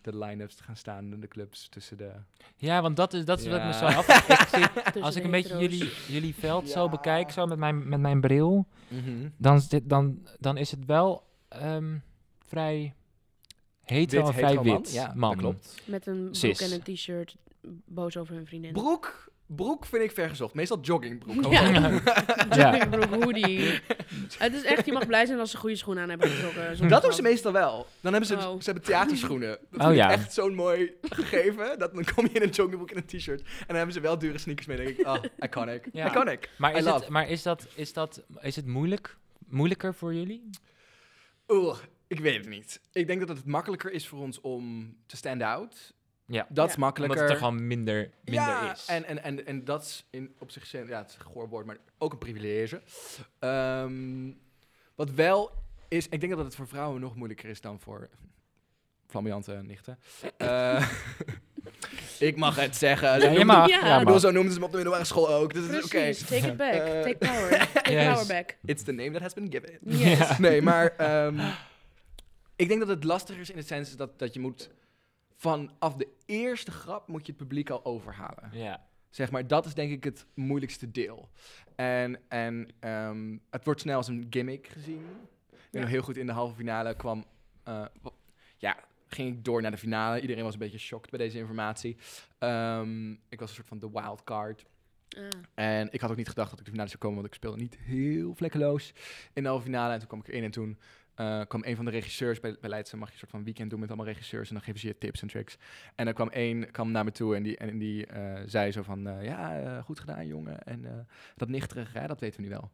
[SPEAKER 3] de line-ups te gaan staan in de clubs tussen de...
[SPEAKER 1] Ja, want dat is, dat is wat ik me
[SPEAKER 3] Ja.
[SPEAKER 1] zo af... Ik zie-
[SPEAKER 2] Tussen
[SPEAKER 1] als ik
[SPEAKER 2] de
[SPEAKER 1] een beetje
[SPEAKER 2] hetero's.
[SPEAKER 1] jullie, jullie veld zo
[SPEAKER 3] Ja.
[SPEAKER 1] bekijk, zo met mijn, met mijn bril,
[SPEAKER 3] Mhm.
[SPEAKER 1] dan is, dit, dan, dan is het wel ehm, vrij hetero
[SPEAKER 3] Wit,
[SPEAKER 1] en vrij
[SPEAKER 3] hetero man.
[SPEAKER 1] wit
[SPEAKER 3] Ja, dat
[SPEAKER 1] man.
[SPEAKER 3] klopt.
[SPEAKER 2] Met een broek
[SPEAKER 1] Cis.
[SPEAKER 2] en een t-shirt boos over hun vriendin.
[SPEAKER 3] Broek, broek vind ik vergezocht. Meestal joggingbroek. Oh,
[SPEAKER 2] Ja.
[SPEAKER 3] gewoon.
[SPEAKER 1] Ja.
[SPEAKER 2] Joggingbroek, hoodie. Het is echt, je mag blij zijn als ze goede schoenen aan hebben getrokken. Zonder
[SPEAKER 3] Dat doen ze
[SPEAKER 2] gat.
[SPEAKER 3] meestal wel. Dan hebben ze, dus,
[SPEAKER 2] Oh.
[SPEAKER 3] ze hebben theaterschoenen. Dat
[SPEAKER 1] Oh,
[SPEAKER 3] vind ik
[SPEAKER 1] ja.
[SPEAKER 3] echt zo'n mooi gegeven. Dat, dan kom je in een joggingbroek en een t-shirt. En dan hebben ze wel dure sneakers mee. Dan denk ik, ah, iconic.
[SPEAKER 1] Ja.
[SPEAKER 3] Iconic.
[SPEAKER 1] Maar,
[SPEAKER 3] I
[SPEAKER 1] is, het,
[SPEAKER 3] love.
[SPEAKER 1] maar is, dat, is, dat, is het moeilijk? Moeilijker voor jullie?
[SPEAKER 3] Oeh, ik weet het niet. Ik denk dat het makkelijker is voor ons om te stand out.
[SPEAKER 1] Ja.
[SPEAKER 2] Ja.
[SPEAKER 3] Dat is
[SPEAKER 1] Omdat
[SPEAKER 3] makkelijker.
[SPEAKER 1] het er gewoon minder, minder
[SPEAKER 3] ja,
[SPEAKER 1] is.
[SPEAKER 3] En, en, en, en dat is in, op zichzelf, ja, het is een goor woord, maar ook een privilege. Ehm, wat wel is, ik denk dat het voor vrouwen nog moeilijker is dan voor flamboyante nichten. Eh, ik mag het zeggen. Ze
[SPEAKER 1] Ja, je
[SPEAKER 3] noemden-
[SPEAKER 1] mag.
[SPEAKER 2] Ja,
[SPEAKER 1] Ja,
[SPEAKER 3] Ik
[SPEAKER 1] mag.
[SPEAKER 3] bedoel, zo noemden ze me op de middelbare school ook. Dus het is oké.
[SPEAKER 2] Precies, take it back.
[SPEAKER 3] Eh,
[SPEAKER 2] take power. Take
[SPEAKER 1] Yes.
[SPEAKER 2] power back.
[SPEAKER 3] It's the name that has been given.
[SPEAKER 2] Yes.
[SPEAKER 1] Ja.
[SPEAKER 3] Nee, maar ehm, ik denk dat het lastiger is in het sens dat, dat je moet... Vanaf de eerste grap moet je het publiek al overhalen.
[SPEAKER 1] Ja.
[SPEAKER 3] Zeg maar, dat is denk ik het moeilijkste deel. En, en ehm, het wordt snel als een gimmick gezien. Ik weet nog heel goed in de halve finale kwam. eh, wa- ja, ging ik door naar de finale. Iedereen was een beetje shocked bij deze informatie. Ehm, ik was een soort van de wildcard.
[SPEAKER 2] Ah.
[SPEAKER 3] En ik had ook niet gedacht dat ik de finale zou komen, want ik speelde niet heel vlekkeloos in de halve finale. En toen kwam ik erin en toen eh, kwam een van de regisseurs bij, bij Leidse, mag je een soort van weekend doen met allemaal regisseurs en dan geven ze je tips en tricks. En dan kwam één kwam naar me toe en die, en die eh, zei zo van, eh, ja, eh, goed gedaan jongen. En eh, dat nichterige, hè, dat weten we nu wel.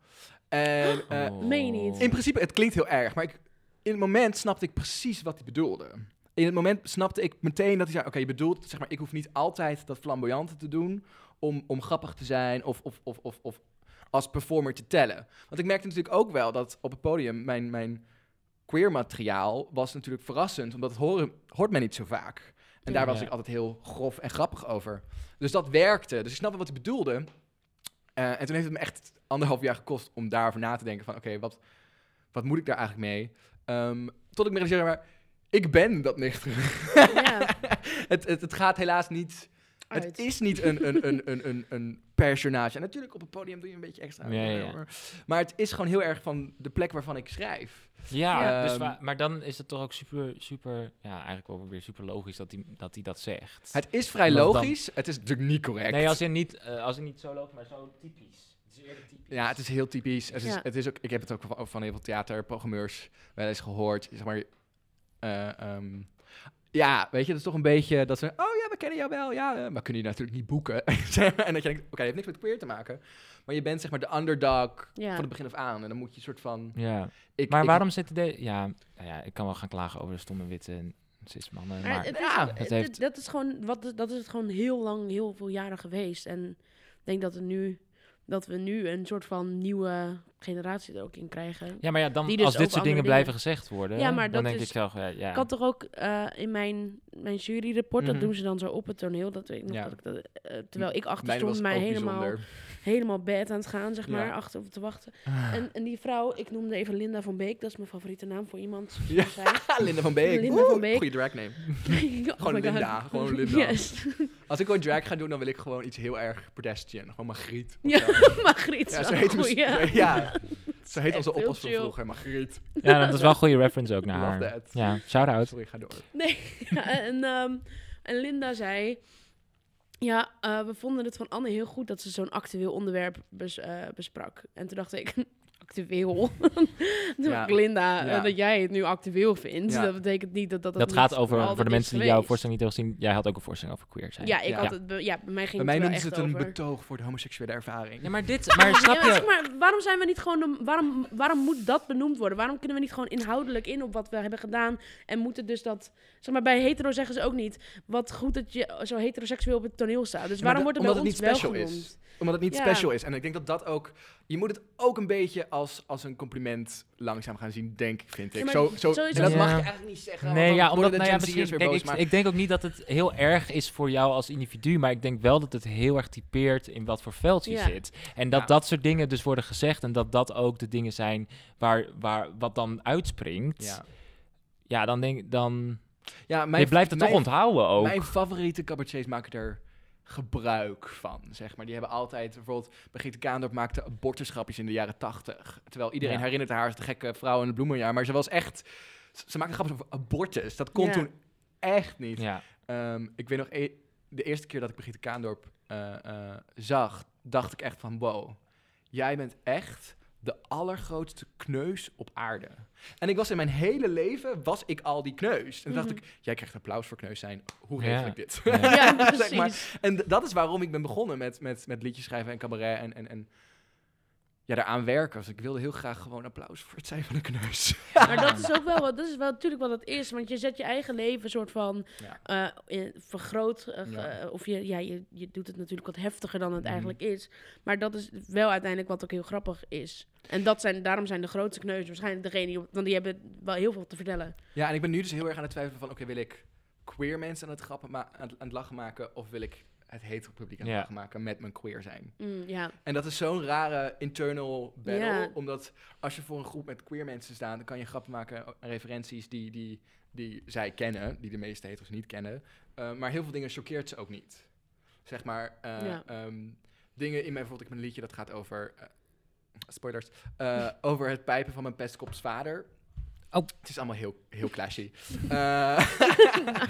[SPEAKER 3] En eh,
[SPEAKER 1] Oh.
[SPEAKER 2] meen je niet?
[SPEAKER 3] in principe, het klinkt heel erg, maar ik, in het moment snapte ik precies wat hij bedoelde. In het moment snapte ik meteen dat hij zei: Oké, je bedoelt, zeg maar, ik hoef niet altijd dat flamboyante te doen om, om grappig te zijn of, of, of, of, of als performer te tellen. Want ik merkte natuurlijk ook wel dat op het podium mijn, mijn queer materiaal was natuurlijk verrassend, omdat het horen, hoort men niet zo vaak. En daar was
[SPEAKER 1] Ja.
[SPEAKER 3] ik altijd heel grof en grappig over. Dus dat werkte. Dus ik snapte wat hij bedoelde. Eh, en toen heeft het me echt anderhalf jaar gekost om daarover na te denken van... oké, wat, wat moet ik daar eigenlijk mee? Ehm, tot ik me realiseerde, maar ik ben dat nicht.
[SPEAKER 2] Ja.
[SPEAKER 3] het, het, het gaat helaas niet
[SPEAKER 2] uit.
[SPEAKER 3] Het is niet een, een, een, een, een, een personage. En natuurlijk, op het podium doe je een beetje extra.
[SPEAKER 1] Ja, ja, ja.
[SPEAKER 3] Maar- Maar het is gewoon heel erg van de plek waarvan ik schrijf.
[SPEAKER 1] Ja,
[SPEAKER 3] Ja.
[SPEAKER 1] dus
[SPEAKER 3] Ehm,
[SPEAKER 1] wa- maar dan is het toch ook super, super, ja, eigenlijk wel weer super logisch dat hij dat, hij dat zegt.
[SPEAKER 3] Het is vrij
[SPEAKER 1] Want dan-
[SPEAKER 3] logisch. Het is natuurlijk niet correct.
[SPEAKER 1] nee, als in, niet, eh, als in niet zo loopt, maar zo typisch. Het is eerder typisch.
[SPEAKER 3] Ja, het is heel typisch. Het is,
[SPEAKER 2] Ja.
[SPEAKER 3] het is ook, ik heb het ook van, van heel veel theaterprogrammeurs wel eens gehoord. Zeg maar, eh, ehm, ja, weet je, dat is toch een beetje dat ze... Oh ja, we kennen jou wel. Ja, eh, maar kunnen je natuurlijk niet boeken. en dat je denkt, oké, het heeft niks met queer te maken. Maar je bent zeg maar de underdog
[SPEAKER 2] Ja.
[SPEAKER 3] van het begin af aan. En dan moet je een soort van...
[SPEAKER 1] Ja,
[SPEAKER 3] Ik,
[SPEAKER 1] maar
[SPEAKER 3] ik-
[SPEAKER 1] waarom zitten de... Ja, nou ja, ik kan wel gaan klagen over de stomme witte cis-mannen,
[SPEAKER 2] Maar
[SPEAKER 1] maar...
[SPEAKER 2] het is-
[SPEAKER 3] ja,
[SPEAKER 2] het-
[SPEAKER 1] dat heeft-
[SPEAKER 2] dat is gewoon, wat, dat is het gewoon heel lang, heel veel jaren geweest. En ik denk dat, het nu, dat we nu een soort van nieuwe generatie er ook in krijgen.
[SPEAKER 1] Ja, maar ja, dan,
[SPEAKER 2] die dus
[SPEAKER 1] als dit
[SPEAKER 2] over
[SPEAKER 1] soort
[SPEAKER 2] andere
[SPEAKER 1] dingen
[SPEAKER 2] dingen-
[SPEAKER 1] blijven gezegd worden,
[SPEAKER 2] Ja, maar
[SPEAKER 1] dan
[SPEAKER 2] dat
[SPEAKER 1] denk
[SPEAKER 2] is-
[SPEAKER 1] ik zelf, ja, ja.
[SPEAKER 2] Ik had toch ook eh, in mijn, mijn juryrapport,
[SPEAKER 3] Mhm.
[SPEAKER 2] dat doen ze dan zo op het toneel. Dat weet ik nog,
[SPEAKER 3] Ja.
[SPEAKER 2] dat ik dat, eh, terwijl ik achter
[SPEAKER 3] Mijne
[SPEAKER 2] stond,
[SPEAKER 3] was
[SPEAKER 2] mij
[SPEAKER 3] ook
[SPEAKER 2] helemaal,
[SPEAKER 3] bijzonder.
[SPEAKER 2] helemaal bed aan het gaan, zeg
[SPEAKER 3] Ja. Ah.
[SPEAKER 2] maar, achter op te wachten. En, en die vrouw, ik noemde even Linda van Beek, dat is mijn favoriete naam voor iemand.
[SPEAKER 3] Ja.
[SPEAKER 2] Zij-
[SPEAKER 3] Ah, Linda van Beek.
[SPEAKER 2] Linda van
[SPEAKER 3] Oeh,
[SPEAKER 2] Beek.
[SPEAKER 3] Goede drag name.
[SPEAKER 2] Oh my God.
[SPEAKER 3] Linda, gewoon Linda.
[SPEAKER 2] Yes.
[SPEAKER 3] Als ik ooit drag ga doen, dan wil ik gewoon iets heel erg pedestrian. Gewoon Margriet. of
[SPEAKER 2] Ja,
[SPEAKER 3] zo.
[SPEAKER 2] Margriet. Oh,
[SPEAKER 3] Ja,
[SPEAKER 2] is
[SPEAKER 3] ze
[SPEAKER 2] wel
[SPEAKER 3] heet,
[SPEAKER 2] een
[SPEAKER 3] ons-
[SPEAKER 2] goeie.
[SPEAKER 3] ja. ze heet
[SPEAKER 2] echt
[SPEAKER 3] onze
[SPEAKER 2] heel
[SPEAKER 3] oppas van
[SPEAKER 2] chill.
[SPEAKER 3] vroeger, Margriet.
[SPEAKER 1] ja, dat is wel een goede reference ook naar
[SPEAKER 3] Love
[SPEAKER 1] haar.
[SPEAKER 3] that.
[SPEAKER 1] Ja, shout-out.
[SPEAKER 3] Sorry, ga door.
[SPEAKER 2] Ja, en, ehm, en Linda zei... Ja, eh, we vonden het van Anne heel goed dat ze zo'n actueel onderwerp bes- eh, besprak. En toen dacht ik, actueel? toen
[SPEAKER 3] Ja.
[SPEAKER 2] dacht ik, Linda, eh,
[SPEAKER 3] Ja.
[SPEAKER 2] dat jij het nu actueel vindt.
[SPEAKER 3] Ja.
[SPEAKER 2] Dat betekent niet dat dat
[SPEAKER 1] Dat
[SPEAKER 2] niet
[SPEAKER 1] gaat over,
[SPEAKER 2] altijd
[SPEAKER 1] voor de
[SPEAKER 2] is
[SPEAKER 1] mensen die jouw
[SPEAKER 2] geweest.
[SPEAKER 1] voorstelling niet hebben gezien, jij had ook een voorstelling over queer zijn.
[SPEAKER 2] Ja, ik
[SPEAKER 3] Ja.
[SPEAKER 2] Had het, be- ja, bij mij ging
[SPEAKER 3] Bij mij
[SPEAKER 2] het wel
[SPEAKER 3] noemden
[SPEAKER 2] echt
[SPEAKER 3] ze het een
[SPEAKER 2] over.
[SPEAKER 3] betoog voor de homoseksuele ervaring.
[SPEAKER 1] Ja, maar dit, maar snap
[SPEAKER 2] Ja, maar, zeg
[SPEAKER 1] je...
[SPEAKER 2] maar, waarom zijn we niet gewoon. de- waarom, waarom moet dat benoemd worden? Waarom kunnen we niet gewoon inhoudelijk in op wat we hebben gedaan? En moeten dus dat. Zeg maar, bij hetero zeggen ze ook niet. Wat goed dat je zo heteroseksueel op het toneel staat. Dus
[SPEAKER 3] Ja, maar
[SPEAKER 2] waarom
[SPEAKER 3] dat-
[SPEAKER 2] wordt er bij
[SPEAKER 3] omdat
[SPEAKER 2] ons
[SPEAKER 3] het niet special
[SPEAKER 2] wel
[SPEAKER 3] is.
[SPEAKER 2] genoemd?
[SPEAKER 3] Omdat het niet
[SPEAKER 2] Ja.
[SPEAKER 3] special is. En ik denk dat dat ook... Je moet het ook een beetje als, als een compliment langzaam gaan zien, denk ik, vind ik.
[SPEAKER 2] Ja, maar
[SPEAKER 3] zo, zo,
[SPEAKER 2] zo is
[SPEAKER 3] en
[SPEAKER 1] het-
[SPEAKER 3] dat mag
[SPEAKER 1] Ja.
[SPEAKER 3] je eigenlijk niet zeggen. want
[SPEAKER 1] Nee,
[SPEAKER 3] dan
[SPEAKER 1] ja,
[SPEAKER 3] worden
[SPEAKER 1] omdat,
[SPEAKER 3] de
[SPEAKER 1] nou ja,
[SPEAKER 3] Gen Z'ers
[SPEAKER 1] misschien,
[SPEAKER 3] weer
[SPEAKER 1] kijk,
[SPEAKER 3] boos,
[SPEAKER 1] ik,
[SPEAKER 3] maar-
[SPEAKER 1] ik denk ook niet dat het heel erg is voor jou als individu, maar ik denk wel dat het heel erg typeert in wat voor veld je
[SPEAKER 2] Ja.
[SPEAKER 1] zit. En dat
[SPEAKER 3] Ja.
[SPEAKER 1] dat soort dingen dus worden gezegd en dat dat ook de dingen zijn waar, waar wat dan uitspringt.
[SPEAKER 3] ja.
[SPEAKER 1] Ja, dan denk ik, dan...
[SPEAKER 3] Ja, mijn,
[SPEAKER 1] je blijft het
[SPEAKER 3] mijn-
[SPEAKER 1] toch onthouden ook.
[SPEAKER 3] Mijn favoriete cabaretiers maken er gebruik van, zeg maar. Die hebben altijd, bijvoorbeeld Brigitte Kaandorp maakte abortusgrapjes in de jaren tachtig. Terwijl iedereen
[SPEAKER 1] Ja.
[SPEAKER 3] herinnert haar als de gekke vrouw in het bloemenjaar. Maar ze was echt, ze- ze maakte grapjes over abortus. Dat kon
[SPEAKER 2] Ja.
[SPEAKER 3] toen echt niet.
[SPEAKER 1] ja.
[SPEAKER 3] Ehm, ik weet nog, e- de eerste keer dat ik Brigitte Kaandorp eh, eh, zag, dacht ik echt van wow, jij bent echt de allergrootste kneus op aarde. En ik was in mijn hele leven, was ik al die kneus. En toen dacht
[SPEAKER 2] Mhm.
[SPEAKER 3] ik, jij krijgt applaus voor kneus zijn. Hoe
[SPEAKER 1] Ja.
[SPEAKER 3] regel ik dit?
[SPEAKER 1] Ja.
[SPEAKER 2] Ja,
[SPEAKER 3] Zeg
[SPEAKER 2] precies.
[SPEAKER 3] maar. En d- dat is waarom ik ben begonnen met, met, met liedjes schrijven en cabaret en... en, en ja, daaraan werken. Dus ik wilde heel graag gewoon applaus voor het zijn van een kneus.
[SPEAKER 2] Maar dat is ook wel wat. Dat is wel natuurlijk wat het is. Want je zet je eigen leven soort van
[SPEAKER 3] Ja.
[SPEAKER 2] eh, in- vergroot. eh, ge-
[SPEAKER 3] Ja.
[SPEAKER 2] eh, Of je, ja, je, je doet het natuurlijk wat heftiger dan het
[SPEAKER 3] Mhm.
[SPEAKER 2] eigenlijk is. Maar dat is wel uiteindelijk wat ook heel grappig is. En dat zijn, daarom zijn de grootste kneuzen waarschijnlijk degene die... op- Want die hebben wel heel veel te vertellen.
[SPEAKER 3] Ja, en ik ben nu dus heel erg aan het twijfelen van... oké, wil ik queer mensen aan het, grappen ma- aan, het, aan het lachen maken... of wil ik het hetero publiek aan het
[SPEAKER 1] Ja.
[SPEAKER 3] lachen maken met mijn queer zijn?
[SPEAKER 2] Mm, ja.
[SPEAKER 3] En dat is zo'n rare internal battle.
[SPEAKER 2] Ja.
[SPEAKER 3] Omdat als je voor een groep met queer mensen staat... dan kan je grappen maken aan referenties die, die, die zij kennen... die de meeste heteros niet kennen. Eh, maar heel veel dingen choqueert ze ook niet. Zeg maar, eh,
[SPEAKER 2] Ja.
[SPEAKER 3] ehm, dingen in mijn... bijvoorbeeld, ik heb een liedje dat gaat over... eh, spoilers. eh, over het pijpen van mijn pestkops vader...
[SPEAKER 1] Oh.
[SPEAKER 3] Het is allemaal heel, heel clashy. Eh,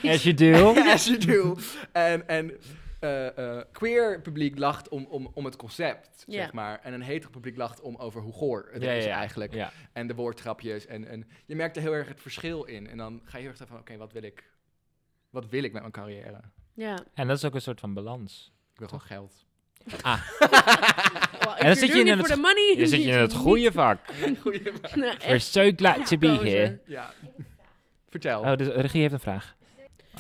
[SPEAKER 1] As you do.
[SPEAKER 3] As you do. En, en eh, eh, queer publiek lacht om, om, om het concept,
[SPEAKER 2] Ja.
[SPEAKER 3] zeg maar. En een hetero publiek lacht om over hoe goor het
[SPEAKER 1] Ja,
[SPEAKER 3] is
[SPEAKER 1] ja, ja.
[SPEAKER 3] eigenlijk.
[SPEAKER 1] Ja.
[SPEAKER 3] En de woordgrapjes. En, en je merkt er heel erg het verschil in. En dan ga je heel erg van, oké, wat wil ik? Wat wil ik met mijn carrière?
[SPEAKER 2] Ja.
[SPEAKER 1] En dat is ook een soort van balans.
[SPEAKER 3] Ik wil gewoon geld.
[SPEAKER 2] Well, if
[SPEAKER 1] dan
[SPEAKER 2] you're
[SPEAKER 1] zit je
[SPEAKER 2] doing
[SPEAKER 1] in
[SPEAKER 2] it
[SPEAKER 1] het
[SPEAKER 2] for the money,
[SPEAKER 1] Je zit je in het
[SPEAKER 2] niet-
[SPEAKER 1] goede vak.
[SPEAKER 3] Goeie vraag.
[SPEAKER 2] Nou, echt
[SPEAKER 1] We're so glad to be
[SPEAKER 2] gekozen.
[SPEAKER 1] here.
[SPEAKER 3] Ja. Vertel.
[SPEAKER 1] Oh, dus regie heeft een vraag.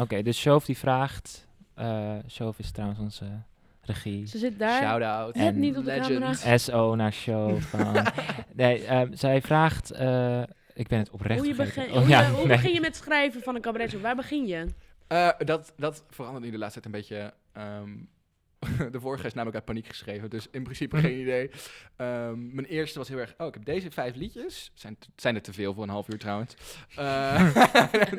[SPEAKER 1] Oké, dus Shoof die vraagt... eh Shoof is trouwens onze regie.
[SPEAKER 2] Ze zit daar.
[SPEAKER 3] Shout-out.
[SPEAKER 1] Let En-
[SPEAKER 2] niet op de camera.
[SPEAKER 1] SO naar show van... nee, ehm, zij vraagt... eh, ik ben het oprecht
[SPEAKER 2] Hoe, je
[SPEAKER 1] vergeten.
[SPEAKER 2] begin,
[SPEAKER 1] Oh,
[SPEAKER 2] hoe,
[SPEAKER 1] ja,
[SPEAKER 2] je- hoe
[SPEAKER 1] nee.
[SPEAKER 2] begin je met schrijven van een cabaretshow? Waar begin je?
[SPEAKER 3] Eh, dat, dat verandert nu de laatste tijd een beetje. ehm, de vorige is namelijk uit paniek geschreven, dus in principe geen idee. Ehm, mijn eerste was heel erg, oh, ik heb deze vijf liedjes. Zijn, zijn er te veel voor een half uur trouwens. Eh,